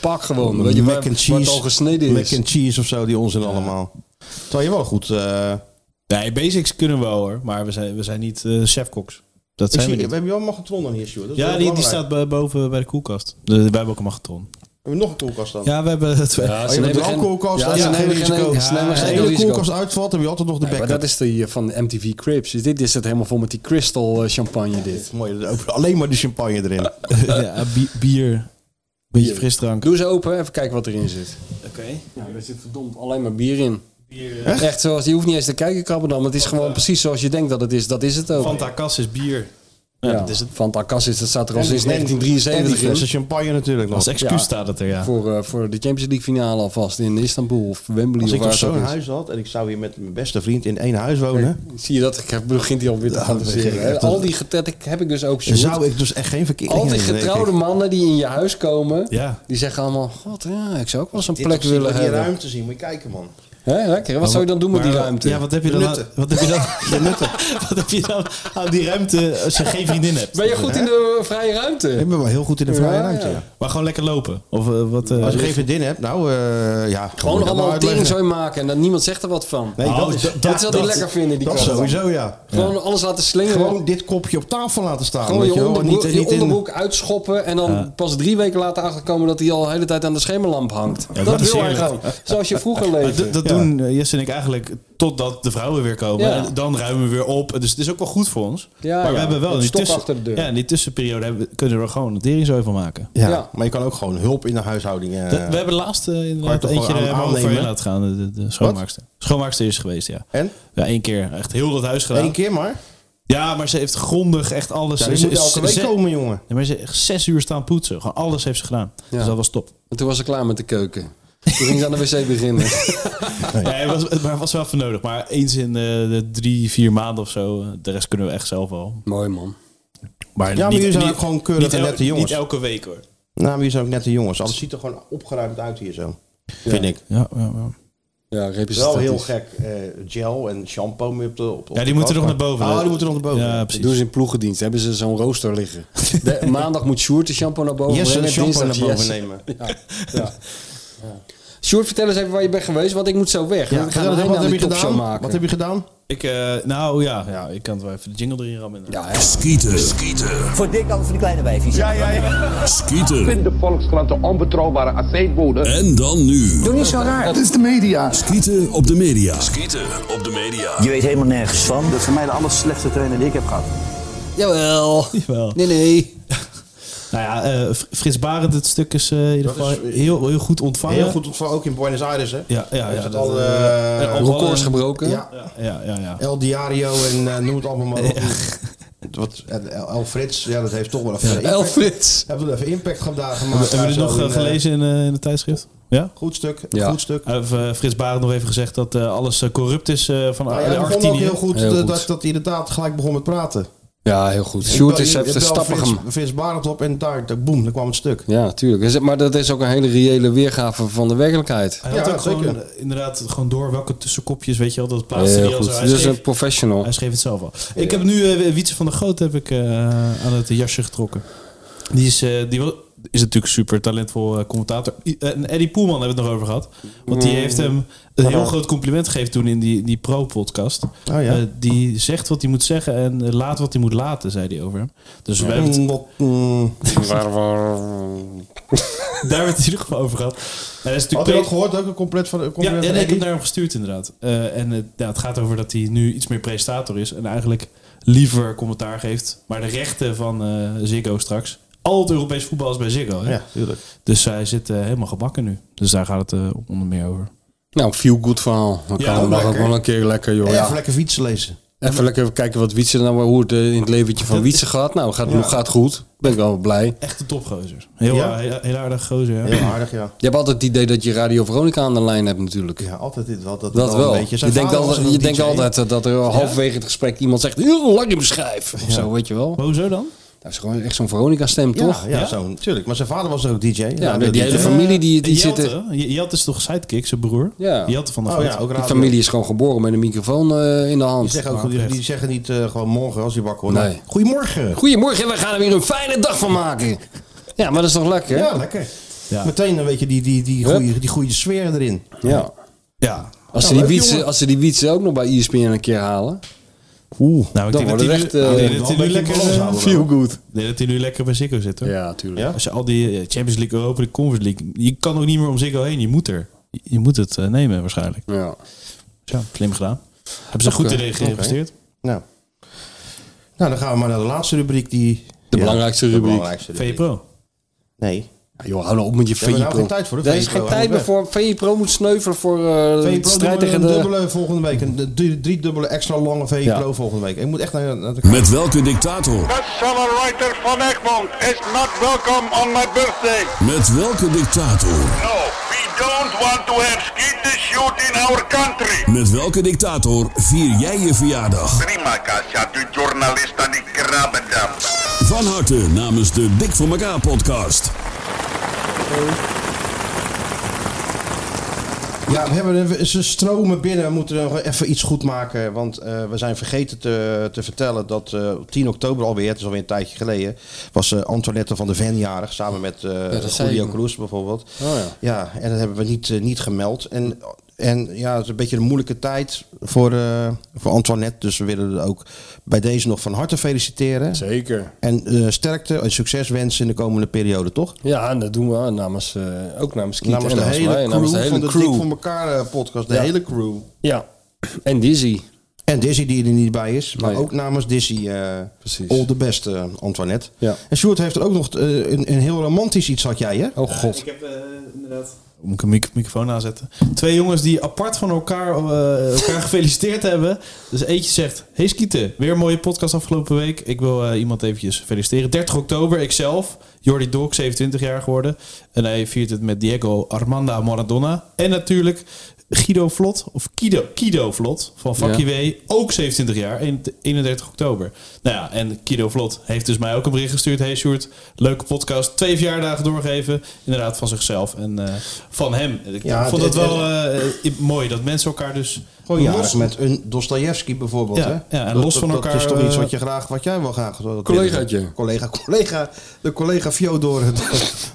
[SPEAKER 3] pak gewoon. Weet je,
[SPEAKER 2] mac
[SPEAKER 3] waar,
[SPEAKER 2] and
[SPEAKER 3] waar het al gesneden
[SPEAKER 2] Mac
[SPEAKER 3] is.
[SPEAKER 2] and cheese of zo, die onzin allemaal. Terwijl je wel goed... eh,
[SPEAKER 4] Nee, basics kunnen we wel, hoor. Maar we zijn, we zijn niet eh, chefkoks. Dat
[SPEAKER 2] ik
[SPEAKER 4] zijn
[SPEAKER 2] zie,
[SPEAKER 4] we
[SPEAKER 2] we
[SPEAKER 4] niet.
[SPEAKER 2] hebben wel een magnetron dan hier, Sjoerd. Dat is
[SPEAKER 4] Ja,
[SPEAKER 2] wel
[SPEAKER 4] die, die
[SPEAKER 2] belangrijk.
[SPEAKER 4] staat bo- boven bij de koelkast. De, wij hebben ook een magnetron.
[SPEAKER 2] Hebben we nog een koelkast dan?
[SPEAKER 4] Ja, we hebben twee.
[SPEAKER 3] Ja,
[SPEAKER 2] Als Oh, je met
[SPEAKER 3] nemen
[SPEAKER 2] de
[SPEAKER 3] geen-
[SPEAKER 2] koelkast,
[SPEAKER 3] ja,
[SPEAKER 2] dan
[SPEAKER 3] ze
[SPEAKER 2] is er geen
[SPEAKER 3] nemen geen
[SPEAKER 2] risico.
[SPEAKER 3] enkel- ze nemen
[SPEAKER 2] Als de
[SPEAKER 3] geen
[SPEAKER 2] hele
[SPEAKER 3] risico.
[SPEAKER 2] koelkast uitvalt, heb je altijd nog de
[SPEAKER 3] Nee, maar
[SPEAKER 2] backup.
[SPEAKER 3] dat is die eh, van de MTV Cribs. Dus dit is het helemaal vol met die crystal eh, champagne dit.
[SPEAKER 2] Mooi, ook alleen maar de champagne erin.
[SPEAKER 4] ja, bi- bier. Beetje frisdrank.
[SPEAKER 3] Doe ze open, even kijken wat erin zit. Oké. Ja, er zit verdomd alleen maar bier eh, in. Echt? zoals, je hoeft niet eens te kijken, krabben dan. Het is gewoon precies zoals je denkt dat het is. Dat is het ook.
[SPEAKER 4] Fanta Kas is bier. Ja, dat is het.
[SPEAKER 3] Fanta Cassis, dat staat er al
[SPEAKER 2] En-
[SPEAKER 3] sinds
[SPEAKER 2] en- en die
[SPEAKER 3] 1973 in.
[SPEAKER 2] flessen champagne natuurlijk nog.
[SPEAKER 4] Als
[SPEAKER 2] Als
[SPEAKER 4] excuus
[SPEAKER 3] Ja.
[SPEAKER 4] staat het er, ja.
[SPEAKER 3] Voor, eh, voor de Champions League finale alvast in Istanbul of Wembley of
[SPEAKER 2] Dus ik
[SPEAKER 3] waar
[SPEAKER 2] nog
[SPEAKER 3] het ook
[SPEAKER 2] zo'n
[SPEAKER 3] is.
[SPEAKER 2] huis had en ik zou hier met mijn beste vriend in één huis wonen...
[SPEAKER 3] Zie je dat? Ik heb- begint hij alweer te fantaseren.
[SPEAKER 2] begin ik
[SPEAKER 3] hè?
[SPEAKER 2] echt
[SPEAKER 3] Al
[SPEAKER 2] te-
[SPEAKER 3] die getretten heb ik dus ook.
[SPEAKER 2] Dan
[SPEAKER 3] Sjoerd.
[SPEAKER 2] zou ik dus echt geen verkeer
[SPEAKER 3] Al die getrouwde mannen die in je huis komen,
[SPEAKER 4] Ja.
[SPEAKER 3] die zeggen allemaal: God, ja, ik zou ook wel zo'n plek willen hebben.
[SPEAKER 2] ruimte zien, moet je kijken man.
[SPEAKER 3] Hè, lekker. Wat zou je dan doen met
[SPEAKER 4] Maar
[SPEAKER 3] die
[SPEAKER 4] wa-
[SPEAKER 3] ruimte?
[SPEAKER 4] Ja, wat heb je dan, aan,
[SPEAKER 2] Nutten.
[SPEAKER 4] wat heb je dan, wat heb je dan aan die ruimte als je geen vriendin hebt?
[SPEAKER 3] Ben je goed in de vrije ruimte?
[SPEAKER 2] Ik ben wel heel goed in de vrije
[SPEAKER 3] Ja,
[SPEAKER 2] ruimte.
[SPEAKER 3] ja.
[SPEAKER 2] ja.
[SPEAKER 4] Maar gewoon lekker lopen? Of eh, wat? eh,
[SPEAKER 2] Als je geen vriendin hebt, nou eh, ja.
[SPEAKER 3] Gewoon
[SPEAKER 2] moet je dat maar
[SPEAKER 3] allemaal
[SPEAKER 2] uitleggen.
[SPEAKER 3] dingen zo maken en dan niemand zegt er wat van.
[SPEAKER 2] Nee,
[SPEAKER 4] Oh,
[SPEAKER 2] dat is,
[SPEAKER 4] dat-
[SPEAKER 3] dat is wat die
[SPEAKER 4] dat-
[SPEAKER 3] lekker vinden, die
[SPEAKER 2] dat
[SPEAKER 3] krabben.
[SPEAKER 2] sowieso ja.
[SPEAKER 3] Gewoon alles laten slingeren.
[SPEAKER 2] Gewoon dit kopje op tafel laten staan.
[SPEAKER 3] Gewoon
[SPEAKER 2] weet
[SPEAKER 3] je,
[SPEAKER 2] je wel,
[SPEAKER 3] onderbroek,
[SPEAKER 2] niet,
[SPEAKER 3] je
[SPEAKER 2] niet in-
[SPEAKER 3] onderbroek uitschoppen en dan pas drie weken later achterkomen dat hij al de hele tijd aan de schemerlamp hangt. dat,
[SPEAKER 4] dat is
[SPEAKER 3] wil hij
[SPEAKER 4] eerlijk.
[SPEAKER 3] gewoon. Zoals je vroeger
[SPEAKER 4] Maar
[SPEAKER 3] leefde.
[SPEAKER 4] d- dat doen eh, Jesse en ik eigenlijk totdat de vrouwen weer komen.
[SPEAKER 3] Ja.
[SPEAKER 4] En dan ruimen we weer op. Dus het is ook wel goed voor ons.
[SPEAKER 3] Ja,
[SPEAKER 4] maar we
[SPEAKER 3] ja.
[SPEAKER 4] hebben wel
[SPEAKER 3] Een
[SPEAKER 4] in die,
[SPEAKER 3] stok
[SPEAKER 4] tussen-
[SPEAKER 3] achter de deur.
[SPEAKER 4] Ja, in die tussenperiode hebben, we- kunnen we er gewoon een teringzooi van maken.
[SPEAKER 2] ja.
[SPEAKER 3] Ja.
[SPEAKER 2] maar je kan ook gewoon hulp in de huishouding. eh,
[SPEAKER 4] Dat- we hebben laatst eh,
[SPEAKER 2] Kan je
[SPEAKER 4] inderdaad
[SPEAKER 2] toch wel
[SPEAKER 4] eentje
[SPEAKER 2] aan-
[SPEAKER 4] eh, mogen
[SPEAKER 2] aannemen?
[SPEAKER 4] voorheen laten gaan. De, de, de schoonmaakster. Schoonmaakster is geweest, ja.
[SPEAKER 2] En?
[SPEAKER 4] Ja, één keer. Echt heel dat huis gedaan.
[SPEAKER 2] Eén keer maar.
[SPEAKER 4] Ja, maar ze heeft grondig echt alles.
[SPEAKER 2] Ja, die
[SPEAKER 4] ze
[SPEAKER 2] moet elke week
[SPEAKER 4] ze-
[SPEAKER 2] komen, jongen.
[SPEAKER 4] Ja, maar ze heeft echt zes uur staan poetsen. Gewoon alles heeft ze gedaan.
[SPEAKER 3] Ja.
[SPEAKER 4] Dus dat was top.
[SPEAKER 3] En toen was ze klaar met de keuken. Toen ging ze aan de wc beginnen.
[SPEAKER 4] Ja, het was, maar het was wel voor nodig. Maar eens in eh, de drie, vier maanden of zo. eh, De rest kunnen we echt zelf wel.
[SPEAKER 3] Mooi man.
[SPEAKER 4] Maar
[SPEAKER 2] Ja, maar jullie zijn ook gewoon keurige,
[SPEAKER 4] niet el-
[SPEAKER 2] nette jongens.
[SPEAKER 4] Niet elke week hoor.
[SPEAKER 2] Nou, maar hier zijn ook net de jongens. Alles ziet er gewoon opgeruimd uit hier zo. Vind ik.
[SPEAKER 4] Ja,
[SPEAKER 3] Ja,
[SPEAKER 2] Wel
[SPEAKER 3] representatief.
[SPEAKER 2] heel gek. eh, gel en shampoo mee op de op, op
[SPEAKER 4] Ah, die
[SPEAKER 2] de
[SPEAKER 4] moeten
[SPEAKER 2] kast,
[SPEAKER 4] nog
[SPEAKER 2] maar-
[SPEAKER 4] naar boven.
[SPEAKER 2] Oh, die moeten nog naar boven.
[SPEAKER 4] Ja,
[SPEAKER 3] Dat
[SPEAKER 4] precies.
[SPEAKER 3] doen ze in ploegendienst. Hebben ze zo'n rooster liggen. De- maandag moet Sjoerd de shampoo naar boven
[SPEAKER 2] Jesse de
[SPEAKER 3] brengen.
[SPEAKER 2] shampoo naar
[SPEAKER 3] dinsdag
[SPEAKER 2] boven
[SPEAKER 3] Jesse.
[SPEAKER 2] nemen.
[SPEAKER 3] Ja. Ja. Sjoerd, vertel eens even waar je bent geweest, want ik moet zo
[SPEAKER 2] Ja,
[SPEAKER 3] weg. we gaan een
[SPEAKER 2] vertel,
[SPEAKER 3] einde
[SPEAKER 2] wat
[SPEAKER 3] aan
[SPEAKER 2] heb je
[SPEAKER 3] die topshow
[SPEAKER 2] gedaan?
[SPEAKER 3] maken.
[SPEAKER 2] Wat heb je gedaan?
[SPEAKER 4] Ik, eh, nou ja, ja, ik kan het wel even de jingle erin rammen.
[SPEAKER 3] Ja, hè?
[SPEAKER 8] Skieten. Skieten.
[SPEAKER 9] Voor dik over de kleine wijfjes.
[SPEAKER 8] Skieten.
[SPEAKER 10] De Volkskrant, de onbetrouwbare aceetbode.
[SPEAKER 8] En dan nu.
[SPEAKER 9] Doe niet zo raar.
[SPEAKER 8] Skieten op de media. Skieten op de media.
[SPEAKER 9] Je weet helemaal nergens van.
[SPEAKER 11] Dat is voor mij de aller slechtste trainer die ik heb gehad.
[SPEAKER 3] Jawel.
[SPEAKER 4] Jawel.
[SPEAKER 3] Nee, nee.
[SPEAKER 4] Nou ja, eh, Fr- Frits Barend, het stuk is eh, in ieder
[SPEAKER 2] Dat
[SPEAKER 4] geval
[SPEAKER 2] is-
[SPEAKER 4] heel, heel goed ontvangen.
[SPEAKER 2] Heel goed ontvangen, ook in Buenos Aires, hè?
[SPEAKER 4] Ja, ja,
[SPEAKER 2] Is
[SPEAKER 4] ja.
[SPEAKER 2] het
[SPEAKER 4] dat,
[SPEAKER 2] al,
[SPEAKER 4] eh,
[SPEAKER 2] eh,
[SPEAKER 4] en al-
[SPEAKER 3] records gebroken.
[SPEAKER 2] Ja.
[SPEAKER 4] Ja, ja, ja.
[SPEAKER 2] El Diario en eh, noem het allemaal maar op. Wat, en El, El Frits, ja, dat heeft toch wel even impact-
[SPEAKER 3] El Frits.
[SPEAKER 2] Hebben we even impact gedaan
[SPEAKER 4] Hebben
[SPEAKER 2] gemaakt.
[SPEAKER 4] hebben we dit
[SPEAKER 2] Zo
[SPEAKER 4] nog eh,
[SPEAKER 2] in, eh,
[SPEAKER 4] gelezen in, eh, in het tijdschrift? Ja?
[SPEAKER 2] Goed stuk,
[SPEAKER 3] Ja.
[SPEAKER 2] goed stuk.
[SPEAKER 4] Heeft eh, Frits Barend nog even gezegd dat eh, alles eh, corrupt is eh, van
[SPEAKER 2] Maar ja,
[SPEAKER 4] de
[SPEAKER 2] het begon ook
[SPEAKER 4] Argentinië.
[SPEAKER 2] heel goed,
[SPEAKER 3] Heel
[SPEAKER 2] eh,
[SPEAKER 3] goed.
[SPEAKER 2] Dat, dat hij inderdaad gelijk begon met praten.
[SPEAKER 3] Ja, heel goed. Sjoerd is heeft de stappen
[SPEAKER 2] stappig.
[SPEAKER 3] gemaakt.
[SPEAKER 2] Frits, Frits Barend op en daar, daar, boem, daar kwam het stuk.
[SPEAKER 3] Ja, natuurlijk. Dus- Maar dat is ook een hele reële weergave van de werkelijkheid.
[SPEAKER 4] Hij had
[SPEAKER 2] Ja,
[SPEAKER 4] ook
[SPEAKER 2] zeker.
[SPEAKER 4] gewoon eh, inderdaad gewoon door welke tussenkopjes, weet je wel, dat plaatste hij
[SPEAKER 3] Heel
[SPEAKER 4] al
[SPEAKER 3] goed.
[SPEAKER 4] zo. Hij
[SPEAKER 3] Dit is
[SPEAKER 4] schreef-
[SPEAKER 3] een professional.
[SPEAKER 4] Hij schreef het zelf al. Ik heb nu eh, Wietse van der Goot heb ik, eh, aan het jasje getrokken. Die is, eh, die wa- is natuurlijk super talentvol eh, commentator. I- En Eddie Poelman hebben we het nog over gehad. Want
[SPEAKER 2] Mm.
[SPEAKER 4] die heeft hem een heel groot compliment gegeven toen in die, die pro-podcast.
[SPEAKER 2] Oh, ja.
[SPEAKER 4] Eh, die zegt wat hij moet zeggen en eh, laat wat hij moet laten, zei hij over hem. Dus wij hebben het-
[SPEAKER 2] Mm, wat, mm.
[SPEAKER 4] daar hebben we het in ieder geval over gehad. En hij is
[SPEAKER 2] Had
[SPEAKER 4] natuurlijk
[SPEAKER 2] je
[SPEAKER 4] pe-
[SPEAKER 2] dat gehoord? Ook een compleet van een
[SPEAKER 4] Ja,
[SPEAKER 2] compliment
[SPEAKER 4] en ik
[SPEAKER 2] van
[SPEAKER 4] heb
[SPEAKER 2] Eddie?
[SPEAKER 4] naar hem gestuurd inderdaad. Eh, en het, ja, het gaat over dat hij nu iets meer presentator is en eigenlijk liever commentaar geeft. Maar de rechten van eh, Ziggo straks. Al het Europees voetbal is bij Ziggo. Hè?
[SPEAKER 2] Ja, tuurlijk.
[SPEAKER 4] Dus zij zit eh, helemaal gebakken nu. Dus daar gaat het eh, onder meer over.
[SPEAKER 3] Nou, feel good verhaal. Dan
[SPEAKER 4] Ja,
[SPEAKER 3] kan
[SPEAKER 2] lekker.
[SPEAKER 3] mag ook wel een keer lekker, joh.
[SPEAKER 2] En
[SPEAKER 3] Ja.
[SPEAKER 2] even lekker fietsen lezen.
[SPEAKER 3] Even lekker kijken wat Wietse nou maar hoe het eh, in het leventje van Wietse gaat. Nou, gaat, gaat goed. Ben ik wel blij.
[SPEAKER 4] Echt een topgozer. Heel,
[SPEAKER 2] Ja?
[SPEAKER 4] heel, heel aardig gozer. Ja.
[SPEAKER 2] Heel aardig, ja.
[SPEAKER 3] Je hebt altijd het idee dat je Radio Veronica aan de lijn hebt natuurlijk.
[SPEAKER 2] Ja, Nou, altijd dit wel. Dat,
[SPEAKER 3] Dat wel.
[SPEAKER 2] Een beetje.
[SPEAKER 3] Je
[SPEAKER 2] Zijn
[SPEAKER 3] denkt
[SPEAKER 2] vader
[SPEAKER 3] altijd,
[SPEAKER 2] was
[SPEAKER 3] je
[SPEAKER 2] een
[SPEAKER 3] denkt
[SPEAKER 2] DJ.
[SPEAKER 3] altijd eh, dat er halverwege het gesprek iemand zegt... heel lang in beschrijf. Of zo, weet je wel.
[SPEAKER 4] Maar hoezo dan?
[SPEAKER 3] Dat is gewoon echt zo'n Veronica-stem,
[SPEAKER 2] Ja,
[SPEAKER 3] toch?
[SPEAKER 2] ja, zo, natuurlijk. Maar zijn vader was ook DJ.
[SPEAKER 3] Ja,
[SPEAKER 2] Nou,
[SPEAKER 3] die,
[SPEAKER 2] dat-
[SPEAKER 3] hele
[SPEAKER 2] eh,
[SPEAKER 3] familie die,
[SPEAKER 4] En
[SPEAKER 3] die zit...
[SPEAKER 4] Jelte,
[SPEAKER 3] er-
[SPEAKER 4] hè? Je- Jelte is toch sidekick, zijn broer?
[SPEAKER 3] Ja.
[SPEAKER 4] Jelte van de
[SPEAKER 2] Oh ja, ook
[SPEAKER 3] Die
[SPEAKER 2] radio.
[SPEAKER 3] familie is gewoon geboren met een microfoon eh, in de
[SPEAKER 2] Die
[SPEAKER 3] hand.
[SPEAKER 2] zeggen, ook, die, die zeggen niet eh, gewoon morgen als je wakker wordt.
[SPEAKER 3] Nee.
[SPEAKER 2] Goedemorgen.
[SPEAKER 3] Goedemorgen, we gaan er weer een fijne dag van maken. Ja, maar dat is toch lekker?
[SPEAKER 2] Ja, lekker.
[SPEAKER 4] Ja.
[SPEAKER 2] Meteen een beetje die, die, die,
[SPEAKER 3] Hup.
[SPEAKER 2] goede, die goede sfeer erin.
[SPEAKER 3] Ja.
[SPEAKER 4] Ja.
[SPEAKER 3] Als, ze
[SPEAKER 2] Nou, leuk,
[SPEAKER 3] die wietsen,
[SPEAKER 2] jongen.
[SPEAKER 3] als ze die wietsen ook nog bij E ESPN een keer halen.
[SPEAKER 4] Oeh. Nou, ik
[SPEAKER 3] Dan
[SPEAKER 4] denk dat
[SPEAKER 3] wordt
[SPEAKER 4] hij
[SPEAKER 3] het
[SPEAKER 4] nu- ik
[SPEAKER 3] echt, eh,
[SPEAKER 4] denk dat hij
[SPEAKER 2] wel
[SPEAKER 4] nu
[SPEAKER 2] een beetje
[SPEAKER 4] lekker,
[SPEAKER 2] balans
[SPEAKER 4] eh,
[SPEAKER 2] houden. Feel
[SPEAKER 3] good.
[SPEAKER 4] ik denk dat hij nu lekker bij Ziggo zit hoor.
[SPEAKER 3] Ja, tuurlijk.
[SPEAKER 2] Ja?
[SPEAKER 4] Als je al die eh, Champions League, Europa League, Conference League... Je kan ook niet meer om Ziggo heen. Je moet er. Je- Je moet het eh, nemen waarschijnlijk.
[SPEAKER 3] Ja.
[SPEAKER 4] Dus ja, slim gedaan. Hebben ze goed
[SPEAKER 3] Oké,
[SPEAKER 4] in geïnvesteerd.
[SPEAKER 2] Nou. nou, dan gaan we maar naar de laatste rubriek. Die,
[SPEAKER 3] De
[SPEAKER 2] Ja,
[SPEAKER 3] belangrijkste
[SPEAKER 2] de
[SPEAKER 3] rubriek.
[SPEAKER 2] belangrijkste rubriek.
[SPEAKER 4] VE Pro.
[SPEAKER 2] Nee.
[SPEAKER 3] Ja, joh, hou nou op met je
[SPEAKER 2] We hebben
[SPEAKER 3] VE
[SPEAKER 2] daar
[SPEAKER 3] Pro.
[SPEAKER 2] geen tijd voor.
[SPEAKER 3] Er is geen tijd meer voor. VE Pro moet sneuvelen voor eh,
[SPEAKER 2] VE
[SPEAKER 3] de
[SPEAKER 2] Pro
[SPEAKER 3] strijd
[SPEAKER 2] doen we
[SPEAKER 3] tegen
[SPEAKER 2] een
[SPEAKER 3] de...
[SPEAKER 2] dubbele volgende week. Een d- drie, drie dubbele extra lange VE
[SPEAKER 3] Ja.
[SPEAKER 2] Pro volgende week. Ik moet echt naar, naar de...
[SPEAKER 12] Met welke dictator?
[SPEAKER 8] Accelerator van Egmond is not welcome on my birthday.
[SPEAKER 12] Met welke dictator?
[SPEAKER 8] No, we don't want to have skeeter shoot in our country.
[SPEAKER 12] Met welke dictator vier jij je verjaardag?
[SPEAKER 8] Prima casa, de journalista di Krabbedam.
[SPEAKER 12] Van harte namens de Dik voor elkaar podcast.
[SPEAKER 2] Ja, we hebben, we- ze stromen binnen. We moeten nog even iets goed maken. Want eh, we zijn vergeten te, te vertellen dat eh, op 10 oktober alweer, het is alweer een tijdje geleden, was eh, Antoinette van der Ven jarig. Samen met eh
[SPEAKER 3] dat zei
[SPEAKER 2] Julio
[SPEAKER 3] ik.
[SPEAKER 2] Cruz bijvoorbeeld.
[SPEAKER 3] Oh ja.
[SPEAKER 2] en dat hebben we niet, eh, niet gemeld. En, en ja, het is een beetje een moeilijke tijd voor, eh, voor Antoinette. Dus we willen er ook bij deze nog van harte feliciteren.
[SPEAKER 3] Zeker.
[SPEAKER 2] En eh, sterkte en succes wensen in de komende periode, toch?
[SPEAKER 3] Ja, en dat doen we namens, eh, ook namens Kiet
[SPEAKER 2] Namens
[SPEAKER 3] en
[SPEAKER 2] de
[SPEAKER 3] namens
[SPEAKER 2] hele
[SPEAKER 3] mij. en
[SPEAKER 2] crew
[SPEAKER 3] Namens de hele
[SPEAKER 2] van de Dik voor
[SPEAKER 3] crew.
[SPEAKER 2] elkaar eh, podcast. De hele crew.
[SPEAKER 3] Ja. En Dizzy.
[SPEAKER 2] En Dizzy die er niet bij is, maar
[SPEAKER 3] Nee.
[SPEAKER 2] ook namens Dizzy eh
[SPEAKER 3] Precies.
[SPEAKER 2] all the best, eh, Antoinette.
[SPEAKER 3] Ja.
[SPEAKER 2] En Sjoerd heeft er ook nog eh, een, een heel romantisch iets had jij, hè?
[SPEAKER 3] Oh god.
[SPEAKER 4] Ik heb inderdaad... Moet ik een mic- microfoon aanzetten? Twee jongens die apart van elkaar, eh, elkaar gefeliciteerd hebben. Dus eentje zegt... Hey Skieten, weer een mooie podcast afgelopen week. Ik wil eh, iemand eventjes feliciteren. 30 oktober, ikzelf. Jordi Dok, 27 jaar geworden. En hij viert het met Diego Armanda Maradona. En natuurlijk Guido Vlot, of Kido, Kido Vlot van Vakkie W. Ook 27 jaar, een- 31 oktober. Nou ja, en Kido Vlot heeft dus mij ook een bericht gestuurd. Hey Sjoerd, leuke podcast. Twee verjaardagen doorgeven. Inderdaad, van zichzelf en eh, van hem. Ik
[SPEAKER 2] Ja,
[SPEAKER 4] vond
[SPEAKER 2] dit-
[SPEAKER 4] het wel eh, mooi dat mensen elkaar dus...
[SPEAKER 2] Gewoon jarig
[SPEAKER 4] los-
[SPEAKER 2] met een Dostoevsky bijvoorbeeld,
[SPEAKER 4] Ja,
[SPEAKER 2] hè?
[SPEAKER 4] ja, en
[SPEAKER 2] Dat-
[SPEAKER 4] los van
[SPEAKER 2] dat,
[SPEAKER 4] elkaar,
[SPEAKER 2] Dat is toch iets
[SPEAKER 4] eh,
[SPEAKER 2] wat, je graag, wat jij wel graag... dat- dat-
[SPEAKER 3] Collegaatje.
[SPEAKER 2] Collega, collega, de collega Fjodor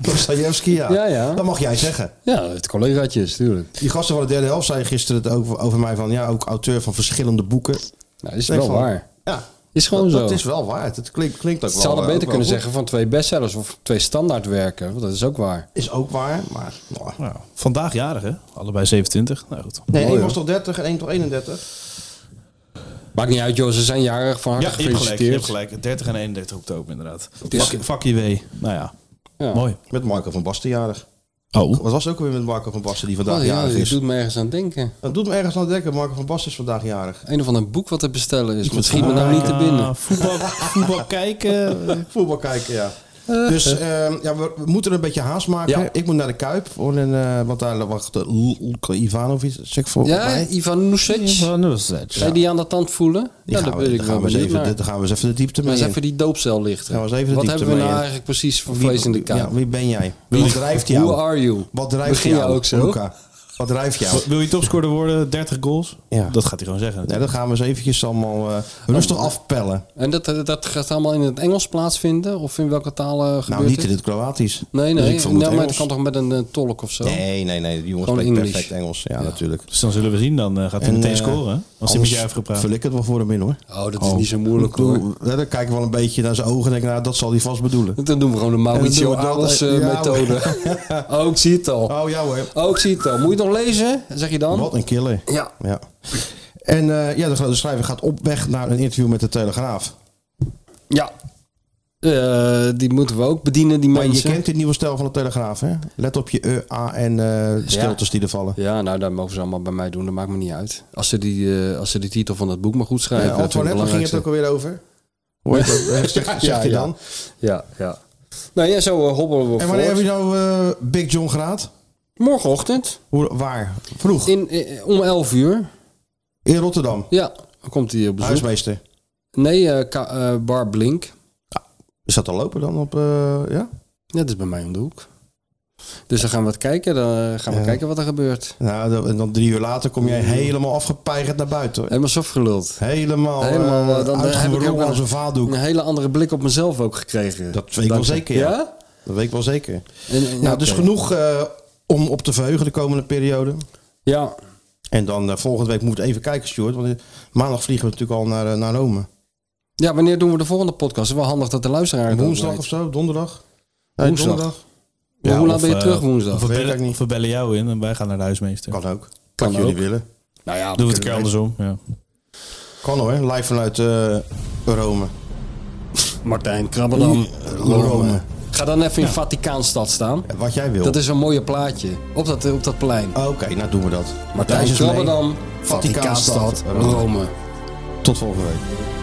[SPEAKER 2] Dostoevsky, ja.
[SPEAKER 3] Ja, ja.
[SPEAKER 2] Dat mag jij zeggen.
[SPEAKER 3] Ja, het collegaatje is tuurlijk.
[SPEAKER 2] Die gasten van de derde helft zeiden gisteren het over, over mij van... Ja, ook auteur van verschillende boeken.
[SPEAKER 3] Nou, dat is
[SPEAKER 2] Denk
[SPEAKER 3] wel
[SPEAKER 2] van,
[SPEAKER 3] waar.
[SPEAKER 2] Ja,
[SPEAKER 3] Is gewoon
[SPEAKER 2] dat,
[SPEAKER 3] zo.
[SPEAKER 2] dat is wel waar. Het klinkt, klinkt ook
[SPEAKER 3] Ze
[SPEAKER 2] wel...
[SPEAKER 3] hadden
[SPEAKER 2] eh,
[SPEAKER 3] beter
[SPEAKER 2] ook wel goed.
[SPEAKER 3] kunnen zeggen van twee bestsellers of twee standaardwerken. want Dat is ook waar.
[SPEAKER 2] Is ook waar, maar... nou,
[SPEAKER 4] Nou, vandaag jarig, hè? Allebei 27. Nou goed.
[SPEAKER 2] Nee,
[SPEAKER 3] Mooi,
[SPEAKER 2] één was
[SPEAKER 3] hoor.
[SPEAKER 2] toch 30 en één toch 31?
[SPEAKER 3] Maakt niet uit, joh. Ze zijn jarig. Van harte
[SPEAKER 5] Ja, je hebt gelijk. Je
[SPEAKER 3] gefeliciteerd.
[SPEAKER 5] hebt gelijk. 30 en 31 oktober inderdaad.
[SPEAKER 3] is-
[SPEAKER 5] Fuck, fuck IW. Nou ja. Mooi.
[SPEAKER 2] Met Marco van Basten jarig.
[SPEAKER 5] Oh.
[SPEAKER 2] Wat was het ook weer met Marco van Basten die vandaag
[SPEAKER 3] Oh, ja,
[SPEAKER 2] jarig
[SPEAKER 3] dat
[SPEAKER 2] is?
[SPEAKER 3] doet me ergens aan denken.
[SPEAKER 2] Dat doet me ergens aan denken. Marco van Basten is vandaag jarig.
[SPEAKER 3] Een of ander boek wat te bestellen is. Misschien me nou niet te
[SPEAKER 4] Ah,
[SPEAKER 3] binnen.
[SPEAKER 2] eh,
[SPEAKER 5] Voetbal, voetbal kijken. eh,
[SPEAKER 2] Voetbal kijken, ja. Dus ehm, ja, we, we moeten er een beetje haast maken.
[SPEAKER 3] Ja.
[SPEAKER 2] Ik moet naar de Kuip. voor een, eh, want daar wacht eh, Lulko Ivanovic. Zeg voor
[SPEAKER 3] Ja,
[SPEAKER 2] mij.
[SPEAKER 3] Ivan Nusic. Zou je die aan de tand voelen?
[SPEAKER 2] Die
[SPEAKER 3] Ja,
[SPEAKER 2] gaan
[SPEAKER 3] dat
[SPEAKER 2] we-
[SPEAKER 3] wil ik
[SPEAKER 2] daar
[SPEAKER 3] wel
[SPEAKER 2] gaan we eens
[SPEAKER 3] benieuwd
[SPEAKER 2] even,
[SPEAKER 3] naar.
[SPEAKER 2] daar gaan we eens even de diepte
[SPEAKER 3] Maar
[SPEAKER 2] mee
[SPEAKER 3] eens
[SPEAKER 2] in.
[SPEAKER 3] even die doopcel lichten.
[SPEAKER 2] Gaan we eens even de
[SPEAKER 3] Wat
[SPEAKER 2] diepte
[SPEAKER 3] hebben we nou
[SPEAKER 2] mee in.
[SPEAKER 3] eigenlijk precies voor
[SPEAKER 2] Wie-
[SPEAKER 3] vlees in de
[SPEAKER 2] Ja,
[SPEAKER 3] kaart?
[SPEAKER 2] wie ben jij?
[SPEAKER 3] Wie-
[SPEAKER 2] Wat drijft jou?
[SPEAKER 3] Who are you?
[SPEAKER 2] Wat drijft
[SPEAKER 3] Begin
[SPEAKER 2] jou,
[SPEAKER 3] je ook zo?
[SPEAKER 2] Luca? Wat drijft jou?
[SPEAKER 5] Wil je topscorer worden? 30 goals?
[SPEAKER 2] Ja.
[SPEAKER 5] Dat gaat hij gewoon zeggen.
[SPEAKER 2] Nee, dat gaan we eens eventjes allemaal eh, rustig afpellen.
[SPEAKER 3] En dat, dat gaat allemaal in het Engels plaatsvinden? Of in welke taal eh, gebeurt
[SPEAKER 2] Nou, niet in
[SPEAKER 3] dit?
[SPEAKER 2] het Kroatisch.
[SPEAKER 3] Nee,
[SPEAKER 2] Dus
[SPEAKER 3] nee.
[SPEAKER 2] ik vermoed
[SPEAKER 3] nou, maar dat
[SPEAKER 2] Engels.
[SPEAKER 3] kan toch met een eh, tolk of zo?
[SPEAKER 2] Nee, nee, nee. Die jongens
[SPEAKER 3] Gewoon
[SPEAKER 2] spreekt
[SPEAKER 3] English.
[SPEAKER 2] perfect Engels. Ja, natuurlijk.
[SPEAKER 5] Dus dan zullen we zien. Dan eh, gaat hij meteen
[SPEAKER 2] eh,
[SPEAKER 5] scoren. hè? Als hij met
[SPEAKER 2] anders
[SPEAKER 5] jou heeft gepraat.
[SPEAKER 2] Vul ik het wel voor hem in hoor.
[SPEAKER 3] Oh, dat is niet zo moeilijk
[SPEAKER 2] Ik bedoel,
[SPEAKER 3] hoor.
[SPEAKER 2] hè, dan kijk ik wel een beetje naar zijn ogen en denk, nou, dat zal hij vast bedoelen.
[SPEAKER 3] Dan doen we gewoon de
[SPEAKER 2] En
[SPEAKER 3] Mauricio
[SPEAKER 2] dan doen we dat,
[SPEAKER 3] Alas
[SPEAKER 2] eh,
[SPEAKER 3] eh,
[SPEAKER 2] ja,
[SPEAKER 3] methode. oh, ik zie het al.
[SPEAKER 2] Oh ja hoor.
[SPEAKER 3] Oh, ik zie het al. Moet je het nog lezen? Zeg je dan?
[SPEAKER 2] Wat een killer.
[SPEAKER 3] Ja.
[SPEAKER 2] Ja. En eh, ja, de grote schrijver gaat op weg naar een interview met de Telegraaf.
[SPEAKER 3] Ja. Eh, die moeten we ook bedienen, die
[SPEAKER 2] Maar je
[SPEAKER 3] mensen.
[SPEAKER 2] kent dit nieuwe stijl van de Telegraaf, hè? Let op je e, a en eh stiltes die er vallen.
[SPEAKER 3] Ja, nou, daar mogen ze allemaal bij mij doen. Dat maakt me niet uit. Als ze, die, eh, als ze de titel van dat boek maar goed schrijven.
[SPEAKER 2] Ja,
[SPEAKER 3] dat vind ik
[SPEAKER 2] Eh, Antoinette, waar ging het
[SPEAKER 3] belangrijkste.
[SPEAKER 2] ook alweer over? Hoor je dat? Eh, Zegt, zegt
[SPEAKER 3] Ja,
[SPEAKER 2] hij
[SPEAKER 3] ja.
[SPEAKER 2] dan.
[SPEAKER 3] Ja, ja. Nou ja, zo eh, hobbelen we
[SPEAKER 2] En wanneer
[SPEAKER 3] voort.
[SPEAKER 2] heb je nou eh, Big John geraad?
[SPEAKER 3] Morgenochtend.
[SPEAKER 2] Hoe, waar? Vroeg.
[SPEAKER 3] In, eh, om 11 uur.
[SPEAKER 2] In Rotterdam.
[SPEAKER 3] Ja, dan komt hij op bezoek.
[SPEAKER 2] Huismeester.
[SPEAKER 3] Nee, eh, Ka- eh, Bar Blink.
[SPEAKER 2] Is dat al lopen dan op, eh, ja?
[SPEAKER 3] Ja, dat is bij mij om de hoek. Dus dan gaan we het kijken. Dan eh, gaan we kijken wat er gebeurt.
[SPEAKER 2] Nou, dan- en dan drie uur later kom jij helemaal afgepeigerd naar buiten. hoor.
[SPEAKER 3] Helemaal softgeluld.
[SPEAKER 2] Helemaal,
[SPEAKER 3] Helemaal,
[SPEAKER 2] Helemaal
[SPEAKER 3] eh, dan heb ik ook
[SPEAKER 2] uitgerold
[SPEAKER 3] wel-
[SPEAKER 2] als een vaatdoek.
[SPEAKER 3] Een hele andere blik op mezelf ook gekregen.
[SPEAKER 2] Dat weet ik wel
[SPEAKER 3] Dankzij-
[SPEAKER 2] zeker, ja.
[SPEAKER 3] Ja?
[SPEAKER 2] Dat weet ik wel zeker.
[SPEAKER 3] En- en-
[SPEAKER 2] nou,
[SPEAKER 3] oké.
[SPEAKER 2] dus genoeg eh, om op te verheugen de komende periode.
[SPEAKER 3] Ja,
[SPEAKER 2] En dan eh, volgende week moeten we even kijken, Stuart. Want eh, maandag vliegen we natuurlijk al naar, eh, naar Rome.
[SPEAKER 3] Ja, wanneer doen we de volgende podcast? Het is wel handig dat de luisteraar het ook
[SPEAKER 2] Woensdag
[SPEAKER 3] weet.
[SPEAKER 2] of zo, donderdag. Nee,
[SPEAKER 3] Woensdag.
[SPEAKER 2] donderdag.
[SPEAKER 3] Maar
[SPEAKER 2] Ja,
[SPEAKER 3] hoe laat
[SPEAKER 2] of,
[SPEAKER 3] ben je
[SPEAKER 5] eh,
[SPEAKER 3] terug woensdag?
[SPEAKER 5] Of we,
[SPEAKER 2] Weet ik
[SPEAKER 5] bellen,
[SPEAKER 2] niet.
[SPEAKER 5] of we bellen jou in en wij gaan naar de huismeester.
[SPEAKER 2] Kan ook.
[SPEAKER 3] Kan
[SPEAKER 2] Wat jullie
[SPEAKER 3] ook.
[SPEAKER 2] willen.
[SPEAKER 3] nou ja, we
[SPEAKER 5] Doe het een keer
[SPEAKER 3] kunnen-
[SPEAKER 5] andersom. Ja.
[SPEAKER 2] Kan hoor, live vanuit eh, Rome.
[SPEAKER 3] Martijn Krabbedam.
[SPEAKER 2] eh, Rome.
[SPEAKER 3] Ga dan even in Vaticaanstad staan.
[SPEAKER 2] Wat jij wil.
[SPEAKER 3] Dat is een mooie plaatje. Op dat, op dat plein.
[SPEAKER 2] Oké, nou doen we dat.
[SPEAKER 3] Martijn
[SPEAKER 2] Thijs is mee.
[SPEAKER 3] Krabbedam,
[SPEAKER 2] Vaticaanstad,
[SPEAKER 3] Vaticaanstad, Rome.
[SPEAKER 2] Tot volgende week.
[SPEAKER 3] Doei.